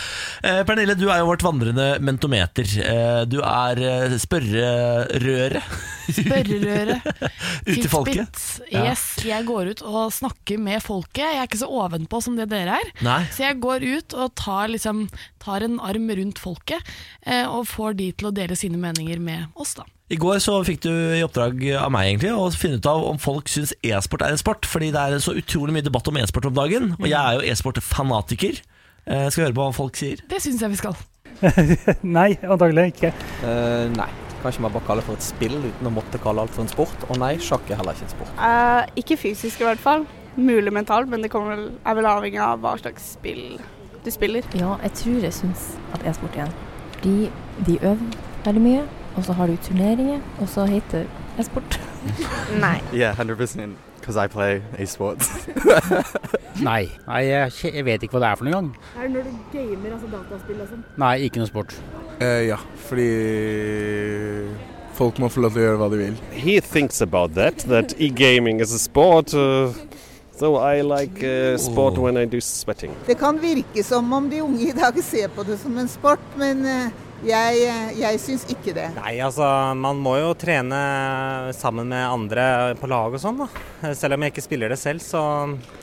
[SPEAKER 1] Eh, Pernille, du er jo vårt vandrende mentometer. Eh, du er eh, spørrerøret
[SPEAKER 9] Børrerøre.
[SPEAKER 1] ut til folket.
[SPEAKER 9] Fitbit.
[SPEAKER 1] Ja.
[SPEAKER 9] Yes, jeg går ut og snakker med folket. Jeg er ikke så ovenpå som det dere er.
[SPEAKER 1] Nei.
[SPEAKER 9] Så jeg går ut og tar, liksom, tar en arm rundt folket, eh, og får de til å dele sine meninger med oss, da.
[SPEAKER 1] I går så fikk du i oppdrag av meg egentlig å finne ut av om folk syns e-sport er en sport. Fordi det er så utrolig mye debatt om e-sport om dagen,
[SPEAKER 9] Mm.
[SPEAKER 1] og jeg er jo e-sport-fanatiker. Eh, skal høre på hva folk sier.
[SPEAKER 9] Det syns jeg vi skal.
[SPEAKER 10] Nei, antagelig ikke.
[SPEAKER 11] Eh, nei. Kanskje man bare kaller det for et spill uten å måtte kalle alt for en sport. Og nei, sjakk er heller ikke en sport.
[SPEAKER 12] Eh, ikke fysisk i hvert fall. Mulig mentalt, men det kommer vel, er vel avhengig av hva slags spill du spiller.
[SPEAKER 13] Ja, jeg tror jeg syns at e-sport igjen. Fordi de øver veldig mye, og så har du turneringer, og så heter det e-sport.
[SPEAKER 12] Nei.
[SPEAKER 14] Yeah, 100% because I play esports.
[SPEAKER 15] Nei, nei jeg, kje- jeg vet ikke hva det er for noen gang.
[SPEAKER 16] Er det når du gamer, altså dataspill og sånn?
[SPEAKER 15] Nei, ikke noe sport.
[SPEAKER 17] Eh, ja, fordi folk må få lov til å gjøre hva de vil.
[SPEAKER 18] he thinks about that that e-gaming is a sport uh, so i like uh, sport
[SPEAKER 15] Oh.
[SPEAKER 18] when i do sweating
[SPEAKER 19] Det kan virke som om de unge i dag ser på det som en sport, men eh, jeg, eh, jeg syns ikke det.
[SPEAKER 20] Nei, altså man må jo trene sammen med andre på lag og sånn, da. Selv om jeg ikke spiller det selv, så,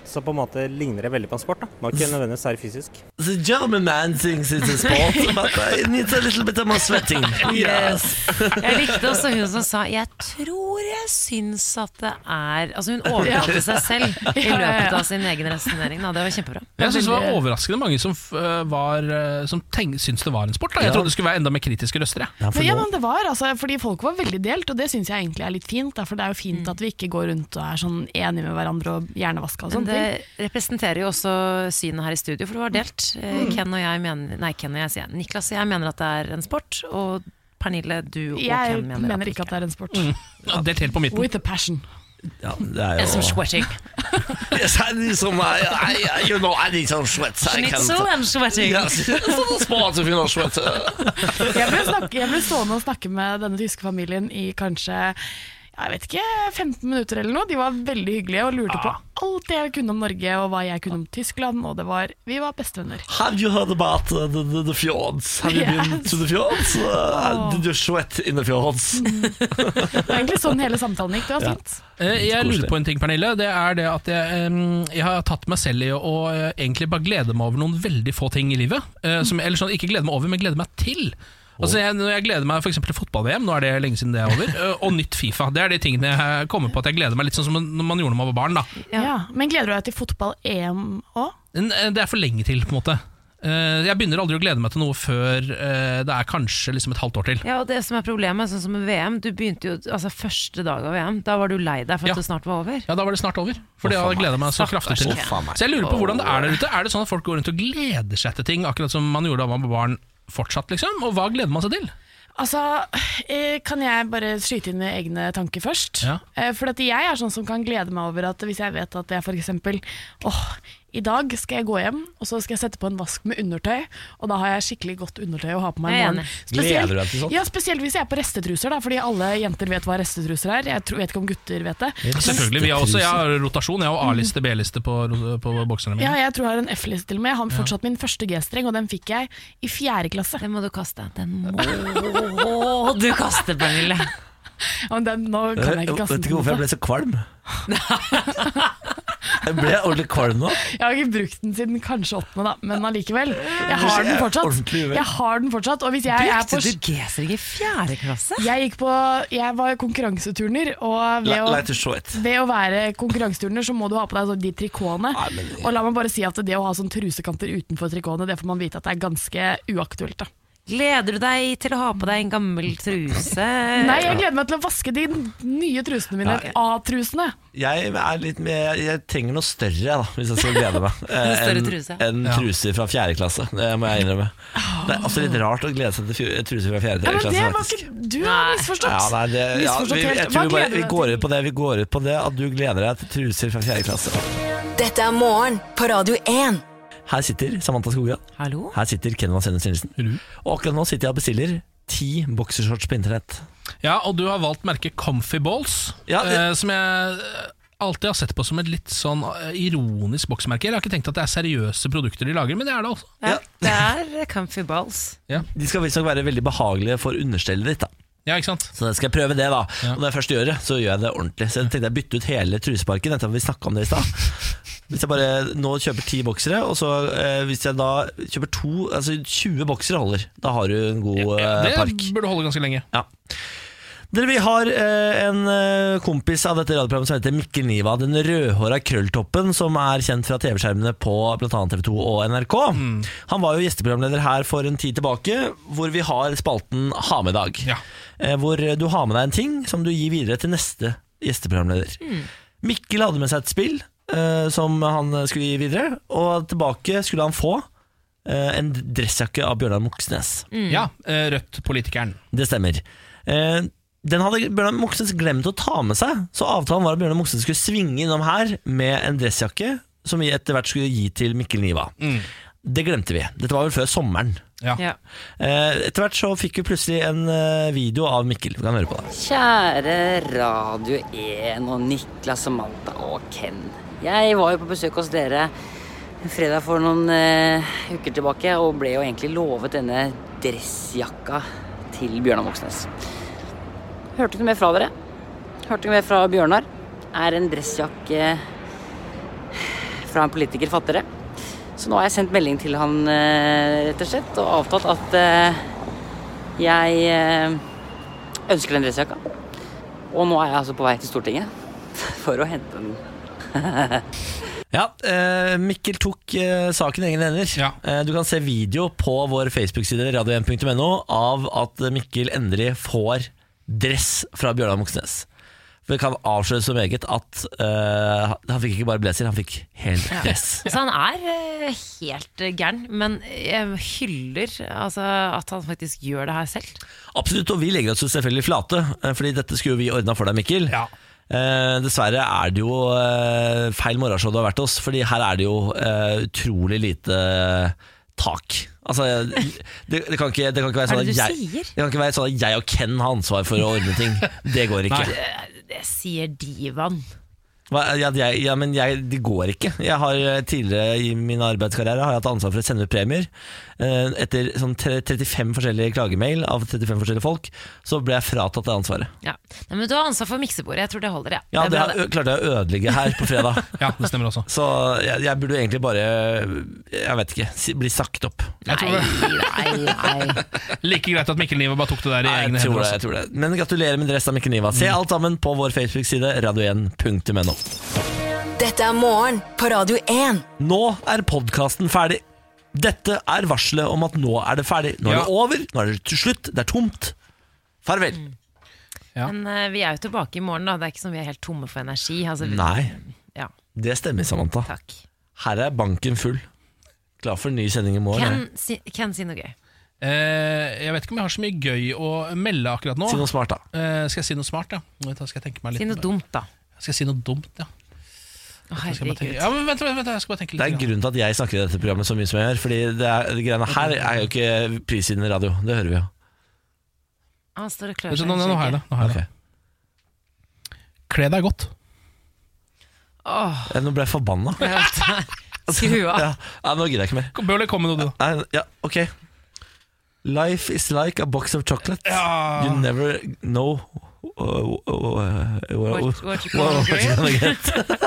[SPEAKER 20] så på en måte ligner det veldig på en sport, da. Må
[SPEAKER 1] Mm.
[SPEAKER 20] ikke nødvendigvis være fysisk.
[SPEAKER 1] The German man thinks it's a sport, but uh, it needs a little bit of more sweating. Yes.
[SPEAKER 2] Jeg likte også hun som sa 'jeg tror jeg syns at det er' Altså hun
[SPEAKER 3] Ja.
[SPEAKER 2] overtalte seg selv i
[SPEAKER 3] Ja, ja,
[SPEAKER 2] løpet
[SPEAKER 3] ja.
[SPEAKER 2] av sin egen resonnering. da. Det var kjempebra.
[SPEAKER 3] Jeg synes Det var overraskende mange som, f- eh, var, eh, som tenk, syntes det var en sport. Da. Jeg
[SPEAKER 1] Ja.
[SPEAKER 3] trodde det skulle være enda mer kritiske røster. Jeg.
[SPEAKER 9] Men, ja, men det var, altså, fordi Folk var veldig delt, og det syns jeg egentlig er litt fint. da, For det er jo
[SPEAKER 12] Mm.
[SPEAKER 9] fint at vi ikke går rundt og er sånn enige med hverandre og hjernevaska og
[SPEAKER 2] Men
[SPEAKER 3] sånn
[SPEAKER 9] sånne
[SPEAKER 2] det
[SPEAKER 9] ting.
[SPEAKER 2] representerer jo også synet her i studio, for det var delt. Eh,
[SPEAKER 9] Mm.
[SPEAKER 2] Ken og jeg mener, nei, Ken og jeg sier jeg. Niklas og jeg mener at det er en sport, og Pernille, du og
[SPEAKER 9] Jeg
[SPEAKER 2] Ken mener,
[SPEAKER 9] mener ikke at det er en sport.
[SPEAKER 12] Mm.
[SPEAKER 3] Ja, Delt helt på midten.
[SPEAKER 9] With a passion.
[SPEAKER 1] Ja, det er
[SPEAKER 2] Som
[SPEAKER 1] jo
[SPEAKER 2] sweating.
[SPEAKER 1] yes, I need some, I, uh, I, you know, I need some sweat. I can't-
[SPEAKER 2] Schnitzel and sweating.
[SPEAKER 1] Yes, it's a sport if you know sweat.
[SPEAKER 9] Jeg ble, snakke, jeg ble stående og snakke med denne tyske familien i kanskje jeg vet ikke, 15 minutter eller noe. De var veldig hyggelige og lurte på alt jeg kunne om Norge og hva jeg kunne om Tyskland. Og det var, vi var bestevenner.
[SPEAKER 1] Have you heard about uh, the, the, the fjords? Have you been to the fjords? Uh, did you sweat in the
[SPEAKER 9] Mm,
[SPEAKER 1] fjords?
[SPEAKER 9] Det var egentlig sånn hele samtalen gikk. Det var
[SPEAKER 1] Ja.
[SPEAKER 9] fint.
[SPEAKER 3] Eh, Jeg
[SPEAKER 1] Koselig.
[SPEAKER 3] lurer på en ting, Pernille. Det er det at jeg, em, jeg har tatt meg selv i å eh, egentlig bare glede meg over noen veldig få ting i livet. eh, Som, eller sånn, ikke glede meg over, men glede meg til. Altså jeg, når jeg gleder meg for eksempel til fotball-VM, nå er det lenge siden det er over, eh, og nytt Fifa. Det er de tingene jeg kommer på at jeg gleder meg litt sånn som når man gjorde når man var barn. da
[SPEAKER 9] Ja. Men gleder du deg til fotball-EM òg?
[SPEAKER 3] Men, eh, Det er for lenge til, på en måte. Eh, Jeg begynner aldri å glede meg til noe før eh, det er kanskje liksom et halvt år til.
[SPEAKER 2] Ja, og det som er problemet, sånn som med VM, du begynte jo altså første dag av VM, da var du lei deg for at det snart var over.
[SPEAKER 3] Ja, da var det snart over. For det
[SPEAKER 2] Å, faen
[SPEAKER 3] hadde jeg gleda meg
[SPEAKER 2] meg.
[SPEAKER 3] så
[SPEAKER 2] Stakkars
[SPEAKER 3] kraftig til.
[SPEAKER 2] Ken. Å, faen meg.
[SPEAKER 3] Så jeg lurer på hvordan det er der ute. Er det sånn at folk går rundt og gleder seg til ting, akkurat som man gjorde da man var barn fortsatt, liksom? Og hva gleder man seg til?
[SPEAKER 9] Altså, eh, Kan jeg bare skyte inn med egne tanker først?
[SPEAKER 3] Ja.
[SPEAKER 9] Eh, For at jeg er sånn som kan glede meg over at hvis jeg vet at jeg f.eks. Åh, i dag skal jeg gå hjem og så skal jeg sette på en vask med undertøy, og da har jeg skikkelig godt undertøy å ha på meg. i
[SPEAKER 2] Jeg er
[SPEAKER 9] morgen.
[SPEAKER 2] enig.
[SPEAKER 9] Spesielt-
[SPEAKER 1] Gleder du deg til sånt?
[SPEAKER 9] Ja, spesielt hvis jeg er på restetruser, da, fordi alle jenter vet hva restetruser er. Jeg tror, vet ikke om gutter vet det.
[SPEAKER 3] Selvfølgelig, vi har også, Jeg har rotasjon. Jeg har A-liste, B-liste på, på bokserne
[SPEAKER 9] Ja,
[SPEAKER 3] mine.
[SPEAKER 9] jeg tror jeg har en F-liste til og med. Jeg har fortsatt min første G-streng, og den fikk jeg i fjerde klasse.
[SPEAKER 2] Den må du kaste. Den må du kaste, Pernille.
[SPEAKER 9] Ja, men den, nå kan jeg ikke kaste
[SPEAKER 1] Eh, Vet ikke hvorfor jeg ble så kvalm. jeg ble ordentlig kvalm nå.
[SPEAKER 9] Jeg har ikke brukt den siden kanskje åttende, da, men allikevel. Jeg har den fortsatt.
[SPEAKER 2] Ordentlig uvel.
[SPEAKER 9] Jeg har den fortsatt, og hvis jeg er på
[SPEAKER 2] Brukte du G-streng i fjerde klasse?
[SPEAKER 9] jeg, gikk på, jeg var konkurranseturner, og ved
[SPEAKER 1] La-
[SPEAKER 9] å,
[SPEAKER 1] Light to short.
[SPEAKER 9] ved å være konkurranseturner så må du ha på deg sånn de trikotene. Og la meg bare si at det å ha sånn trusekanter utenfor trikotene, det får man vite at det er ganske uaktuelt. da.
[SPEAKER 2] Gleder du deg til å ha på deg en gammel truse?
[SPEAKER 9] Nei, jeg gleder meg til å vaske de nye trusene mine.
[SPEAKER 1] Nei.
[SPEAKER 9] A-trusene.
[SPEAKER 1] Jeg, er litt mer, jeg trenger noe større, jeg, da, hvis jeg skal glede meg. Eh,
[SPEAKER 9] Noe større
[SPEAKER 1] Enn
[SPEAKER 9] truse. Ah.
[SPEAKER 1] enn truser fra fjerde klasse, det må jeg innrømme. Det er også litt rart å glede seg til fj- truser fra fjerde
[SPEAKER 9] Ja, men
[SPEAKER 1] klasse.
[SPEAKER 9] det
[SPEAKER 1] faktisk.
[SPEAKER 9] var ikke Du har misforstått.
[SPEAKER 1] Ja, nei, det, ja,
[SPEAKER 9] Misforstått
[SPEAKER 1] vi,
[SPEAKER 9] helt.
[SPEAKER 1] jeg
[SPEAKER 9] Hva
[SPEAKER 1] tror vi, bare,
[SPEAKER 9] gleder du
[SPEAKER 1] vi
[SPEAKER 9] deg
[SPEAKER 1] går ut på det, vi går ut på det at du gleder deg til truser fra fjerde klasse.
[SPEAKER 4] Dette er Morgen på Radio 1.
[SPEAKER 1] Her sitter Samantha Skogran.
[SPEAKER 2] Hallo?
[SPEAKER 1] Her sitter Kenvan Sennes Nilsen. Og akkurat nå sitter jeg og bestiller ti boksershorts på internett.
[SPEAKER 3] Ja, og du har valgt merket Comfy Balls, eh, som jeg eh, alltid har sett på som et litt sånn eh, ironisk boksmerke. Jeg har ikke tenkt at det er seriøse produkter de lager, men det er det altså.
[SPEAKER 2] Ja, det er comfy balls.
[SPEAKER 1] De skal visstnok være veldig behagelige for understellet ditt. da
[SPEAKER 3] Ja, ikke sant?
[SPEAKER 1] Så jeg skal prøve det, da. Og når jeg først gjør det, så gjør jeg det ordentlig. Så jeg tenkte jeg bytte ut hele truseparken etter at vi snakka om det i stad. Hvis jeg bare nå kjøper ti boksere, og så eh, hvis jeg da kjøper to Altså 20 boksere holder. Da har du en god eh,
[SPEAKER 3] Det
[SPEAKER 1] park.
[SPEAKER 3] burde holde ganske lenge.
[SPEAKER 1] Ja. Dere, Vi har eh, en eh, kompis av dette radioprogrammet som heter Mikkel Niva. Den rødhåra krølltoppen som er kjent fra TV-skjermene på bl.a. TV 2 og NRK. Han var jo gjesteprogramleder her for en tid tilbake, hvor vi har spalten Ha med dag. Eh, hvor eh, du har med deg en ting som du gir videre til neste gjesteprogramleder. Mikkel hadde med seg et spill eh, som han skulle gi videre, og tilbake skulle han få eh, en dressjakke av Bjørnar Moxnes.
[SPEAKER 3] Mm. Ja, eh, Rødt-politikeren.
[SPEAKER 1] Det stemmer. Eh, den hadde Bjørnar Moxnes glemt å ta med seg, så avtalen var at Bjørnar Moxnes skulle svinge innom her med en dressjakke som vi etter hvert skulle gi til Mikkel Niva. Det glemte vi. Dette var vel før sommeren.
[SPEAKER 3] Ja.
[SPEAKER 1] Eh, etter hvert så fikk vi plutselig en eh, video av Mikkel. Vi kan høre på det.
[SPEAKER 21] Kjære Radio 1 og Niklas og Malta og Ken. Jeg var jo på besøk hos dere en fredag for noen eh, uker tilbake og ble jo egentlig lovet denne dressjakka til Bjørnar Moxnes. Hørte ikke mer fra dere. Hørte ikke mer fra Bjørnar. Er en dressjakke fra en politiker fattigere. Så nå har jeg sendt melding til han, eh, rett og slett, og avtalt at eh, jeg eh, ønsker den dressjakka. Og nå er jeg altså på vei til Stortinget for å hente den.
[SPEAKER 1] Ja, eh, Mikkel tok eh, saken i egne hender. Eh, du kan se video på vår Facebook-side radio1.no av at Mikkel endelig får dress fra Bjørnar Moxnes. For Det kan avsløre så meget at eh, han fikk ikke bare blazer, han fikk hel dress.
[SPEAKER 2] Så han er eh, helt eh, gæren, men jeg hyller altså, at han faktisk gjør det her selv.
[SPEAKER 1] Absolutt, og vi legger oss jo selvfølgelig flate, eh, fordi dette skulle jo vi ordna for deg, Mikkel. Eh, dessverre er det jo eh, feil morgenshow du har vært hos, fordi her er det jo eh, utrolig lite tak. Altså, jeg- det, det, kan ikke, det kan ikke være
[SPEAKER 2] Hva
[SPEAKER 1] sånn
[SPEAKER 2] er
[SPEAKER 1] at
[SPEAKER 2] det du
[SPEAKER 1] jeg,
[SPEAKER 2] sier?
[SPEAKER 1] det kan ikke være sånn at jeg og Ken har ansvar for å ordne ting. Det går ikke.
[SPEAKER 2] Det, det sier divaen.
[SPEAKER 1] Hva, ja, jeg, ja, men jeg, det går ikke. Jeg har eh, Tidligere i min arbeidskarriere har jeg hatt ansvar for å sende ut premier. Eh, Etter sånn tre- 35 forskjellige klagemail av 35 forskjellige folk, så ble jeg fratatt det ansvaret.
[SPEAKER 2] Ja. Nei, men du har ansvar for miksebordet, jeg tror det holder, jeg.
[SPEAKER 1] Ja,
[SPEAKER 2] Det
[SPEAKER 1] det,
[SPEAKER 2] er bra,
[SPEAKER 1] har- ø- klarte jeg å ødelegge her på fredag.
[SPEAKER 3] ja, det stemmer også
[SPEAKER 1] Så jeg, jeg burde jo egentlig bare Jeg vet ikke, si- bli sagt opp.
[SPEAKER 3] Like greit at Mikkel Niva bare tok det der i egne
[SPEAKER 1] Jeg tror
[SPEAKER 3] hender.
[SPEAKER 1] det,
[SPEAKER 3] også.
[SPEAKER 1] jeg tror det. Men gratulerer med dress av Mikkel Niva.
[SPEAKER 2] Mm.
[SPEAKER 1] Se alt sammen på vår Facebook-side radio1.no.
[SPEAKER 4] Dette er Morgen på Radio 1.
[SPEAKER 1] Nå er podkasten ferdig. Dette er varselet om at nå er det ferdig. Nå er det over, nå er det til slutt, det er tomt. Farvel.
[SPEAKER 2] Mm. Men eh, vi er jo tilbake i morgen, da. Det er ikke som vi er helt tomme for energi. Altså, vi,
[SPEAKER 1] Nei,
[SPEAKER 2] Ja.
[SPEAKER 1] det stemmer, Samantha. Her er banken full. Klar for en ny sending i morgen.
[SPEAKER 2] Ken, si, Ken, si noe gøy.
[SPEAKER 3] Eh, jeg vet ikke om jeg har så mye gøy å melde akkurat nå.
[SPEAKER 1] Si noe smart, da.
[SPEAKER 3] Eh, skal jeg si noe smart, ja? Nå vet jeg, Skal jeg tenke meg litt
[SPEAKER 2] Si noe dumt, da.
[SPEAKER 3] Skal jeg si noe dumt, ja. Skal jeg bare tenke- Ja, men vent, vent, vent, jeg skal bare tenke
[SPEAKER 1] Det er en
[SPEAKER 3] litt. grann.
[SPEAKER 1] grunn til at jeg snakker i dette programmet så mye som jeg gjør. Fordi det er, de greiene her er jo ikke prisgivende radio. Det hører vi jo.
[SPEAKER 2] Han står og klør
[SPEAKER 3] Vet du,
[SPEAKER 2] seg.
[SPEAKER 3] Nå,
[SPEAKER 2] i
[SPEAKER 3] nå, nå har jeg det. Nå har jeg det. Kle deg godt.
[SPEAKER 2] Åh,
[SPEAKER 1] Jeg- Eh, Nå ble jeg forbanna.
[SPEAKER 2] jeg vet det. Skru av.
[SPEAKER 1] Ja, ja, nå gidder jeg ikke mer.
[SPEAKER 3] Bøhler, kom med noe, du,
[SPEAKER 1] da. Ja, ok. Life is like a box of chocolates. You never know uh, uh, uh,
[SPEAKER 2] What- what you gonna
[SPEAKER 1] what you're gonna
[SPEAKER 2] get?
[SPEAKER 1] get.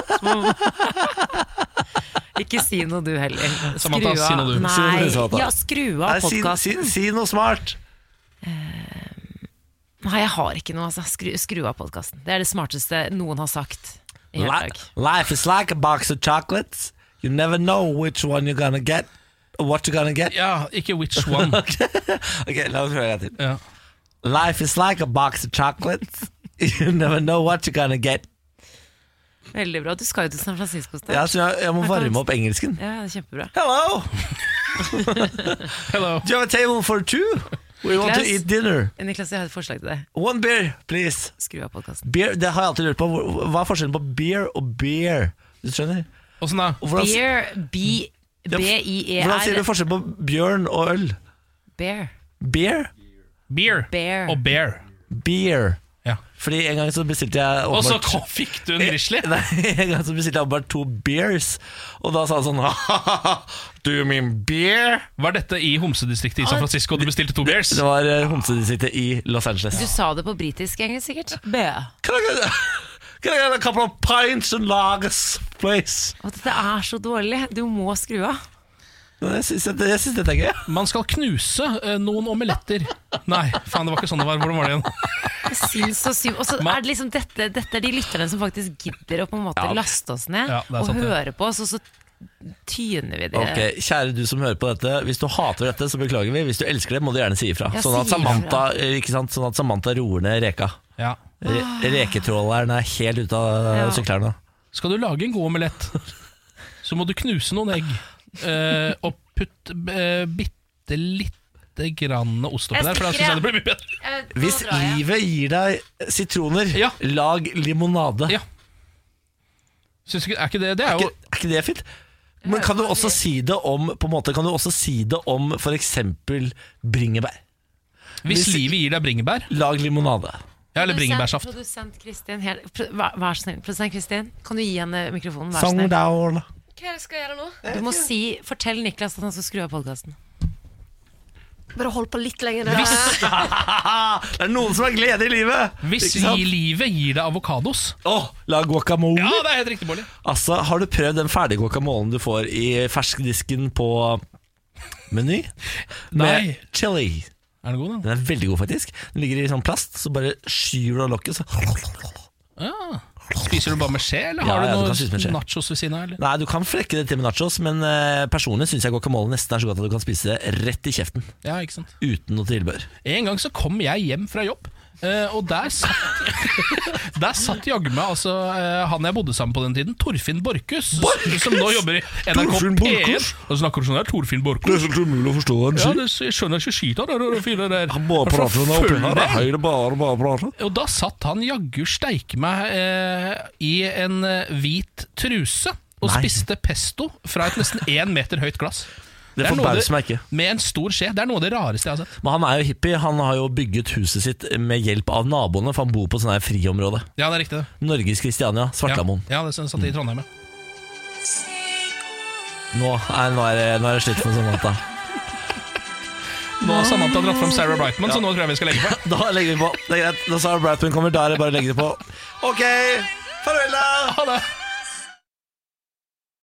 [SPEAKER 2] Ikke si noe du heller.
[SPEAKER 1] Samantha,
[SPEAKER 2] Skru
[SPEAKER 1] si
[SPEAKER 2] av.
[SPEAKER 1] noe du. Si noe du, Samantha.
[SPEAKER 2] Nei, ja, skru
[SPEAKER 1] Nei,
[SPEAKER 2] av
[SPEAKER 1] si- si-
[SPEAKER 2] podkasten.
[SPEAKER 1] si noe smart.
[SPEAKER 2] Nei, jeg har ikke noe, altså. Skru, skru av podkasten. Det er det smarteste noen har sagt. i hele dag.
[SPEAKER 1] Li- Life is like a box of chocolates. You never know which one you're gonna get. or What you're gonna get.
[SPEAKER 3] Ja, ikke which one.
[SPEAKER 1] ok, la oss prøve en gang til. Life is like a box of chocolates. You never know what you're gonna get.
[SPEAKER 2] Veldig bra. Du skal jo til San Francisco snart.
[SPEAKER 1] Ja, så jeg, jeg må
[SPEAKER 2] Her kan du-
[SPEAKER 1] varme opp engelsken.
[SPEAKER 2] Ja, det er kjempebra.
[SPEAKER 1] Hello!
[SPEAKER 3] Hello.
[SPEAKER 1] Do you have a table for two? We want to
[SPEAKER 2] Niklas?
[SPEAKER 1] eat dinner.
[SPEAKER 2] Niklas, jeg har et forslag til deg.
[SPEAKER 1] One beer, please.
[SPEAKER 2] Skru av podkasten.
[SPEAKER 1] Beer, det har jeg alltid lurt på. Hvor- Hva er forskjellen på beer og beer? Du skjønner?
[SPEAKER 3] Åssen sånn da?
[SPEAKER 2] Beer, B- E B-I-E-R.
[SPEAKER 1] Hvordan sier du forskjell på bjørn og øl?
[SPEAKER 2] Bear.
[SPEAKER 1] Beer?
[SPEAKER 3] Beer.
[SPEAKER 2] Bear.
[SPEAKER 3] Og bear.
[SPEAKER 1] Beer. Fordi en gang så bestilte jeg
[SPEAKER 3] Og så
[SPEAKER 1] åpenbart-
[SPEAKER 3] kom- fikk du en grizzly!
[SPEAKER 1] Nei, en gang så bestilte jeg åpenbart to beers, og da sa han sånn «Hahaha, Do you mean beer?
[SPEAKER 3] Var dette i homsedistriktet i San Francisco du bestilte to beers?
[SPEAKER 1] Det var eh, homsedistriktet i Los Angeles.
[SPEAKER 2] Du sa det på britisk engelsk, sikkert. Bear.
[SPEAKER 1] Can I get, can I get a couple of pints and lagers, please?
[SPEAKER 2] Og dette er så dårlig. Du må skru av.
[SPEAKER 1] Jeg syns dette er gøy.
[SPEAKER 3] Man skal knuse eh, noen omeletter. Nei, faen, det var ikke sånn det var. Hvordan var det igjen?
[SPEAKER 2] Jeg Syns og syv. Og så er det liksom dette, dette er de lytterne som faktisk gidder å på en måte
[SPEAKER 1] Ja.
[SPEAKER 2] laste oss ned
[SPEAKER 1] Ja, det er
[SPEAKER 2] og
[SPEAKER 1] sant det.
[SPEAKER 2] høre på oss, og så tyner vi det.
[SPEAKER 1] Ok, Kjære du som hører på dette, hvis du hater dette, så beklager vi. Hvis du elsker det, må du gjerne si ifra.
[SPEAKER 2] Ja,
[SPEAKER 1] Sånn at
[SPEAKER 2] si ifra.
[SPEAKER 1] Samantha, eh, ikke sant? Sånn at Samantha roer ned reka.
[SPEAKER 3] Ja.
[SPEAKER 1] Re
[SPEAKER 2] Ah.
[SPEAKER 1] reketråleren er helt ute av eh,
[SPEAKER 3] Ja.
[SPEAKER 1] syklerne.
[SPEAKER 3] Skal du lage en god omelett, så må du knuse noen egg eh, og putte eh, bitte lite grann ost oppi
[SPEAKER 2] Jeg
[SPEAKER 3] der. For da
[SPEAKER 2] stikker,
[SPEAKER 3] synes
[SPEAKER 2] ja.
[SPEAKER 3] jeg det blir mye bedre.
[SPEAKER 1] Hvis livet gir deg sitroner, lag limonade.
[SPEAKER 3] Syns ikke, er ikke det Det er jo
[SPEAKER 1] Er ikke det fint? Men kan du også si det om På en måte kan du også si det om f.eks. bringebær?
[SPEAKER 3] Hvis livet gir deg bringebær
[SPEAKER 1] Lag limonade.
[SPEAKER 3] Ja, eller bringebærsaft.
[SPEAKER 2] Produsent Kristin, helt- pr- vær vær så snill. Produsent Kristin, kan du gi henne mikrofonen? Vær så snill.
[SPEAKER 1] Sangdown.
[SPEAKER 16] Hva skal jeg gjøre nå?
[SPEAKER 2] Du må si, fortell Niklas at han skal skru av podkasten.
[SPEAKER 16] Bare hold på litt lenger. da.
[SPEAKER 1] det er noen som har glede i livet!
[SPEAKER 3] Hvis
[SPEAKER 1] Ikke sant?
[SPEAKER 3] gi livet gir deg avokados
[SPEAKER 1] Åh, La guacamole.
[SPEAKER 3] Ja, det er helt riktig, Bårdli.
[SPEAKER 1] Altså, Har du prøvd den ferdige guacamolen du får i ferskdisken på Meny? Med
[SPEAKER 3] Nei.
[SPEAKER 1] chili.
[SPEAKER 3] Er den god, da?
[SPEAKER 1] Den er veldig god, faktisk. Den ligger i sånn plast, så bare skyver du av lokket, så
[SPEAKER 3] Ja. Spiser du bare med skje, eller
[SPEAKER 1] Ja,
[SPEAKER 3] har
[SPEAKER 1] ja, du
[SPEAKER 3] du
[SPEAKER 1] kan spise med skje.
[SPEAKER 3] noe nachos ved siden av? eller?
[SPEAKER 1] Nei, du kan flekke det til med nachos, men eh, personlig syns jeg guacamole nesten er så godt at du kan spise det rett i kjeften.
[SPEAKER 3] Ja, ikke sant
[SPEAKER 1] Uten noe tilbør.
[SPEAKER 3] En gang så kom jeg hjem fra jobb, eh, og der satt, der satt jaggu meg altså, eh, han jeg bodde sammen på den tiden, Torfinn Borchhus, som nå jobber i NRK
[SPEAKER 1] Torfinn
[SPEAKER 3] P1.
[SPEAKER 1] Borchhus?
[SPEAKER 3] Han snakker sånn der, Torfinn Borchhus.
[SPEAKER 1] helt umulig å forstå hva
[SPEAKER 3] Ja, det, jeg skjønner ikke skit av det, det fyret der. Han
[SPEAKER 1] Bare prate med deg oppi her, det er
[SPEAKER 3] Følg deg.
[SPEAKER 1] høyre bare, bare prate.
[SPEAKER 3] Og da satt han jaggu steike meg eh, i en eh, hvit truse og spiste pesto fra et nesten én meter høyt glass.
[SPEAKER 1] Det
[SPEAKER 3] er noe av
[SPEAKER 1] forbauser meg ikke.
[SPEAKER 3] Med en stor skje. Det er noe av det rareste jeg har sett.
[SPEAKER 1] Men han er jo hippie, han har jo bygget huset sitt med hjelp av naboene, for han bor på sånn her friområde.
[SPEAKER 3] Ja, det er riktig. det.
[SPEAKER 1] Norges Kristiania, Svartlamoen.
[SPEAKER 3] Ja, det sånn satt i Trondheim, ja.
[SPEAKER 1] Nå, er- nå, er det- nå er det slutt for sånn Samantha.
[SPEAKER 3] Nå har Samantha dratt fram Sarah Brightman, så nå tror jeg vi skal legge på.
[SPEAKER 1] Da legger vi på. Det er greit. Når Sarah Brightman kommer, da er det bare å legge det på. Ok, farvel da!
[SPEAKER 3] Ha det!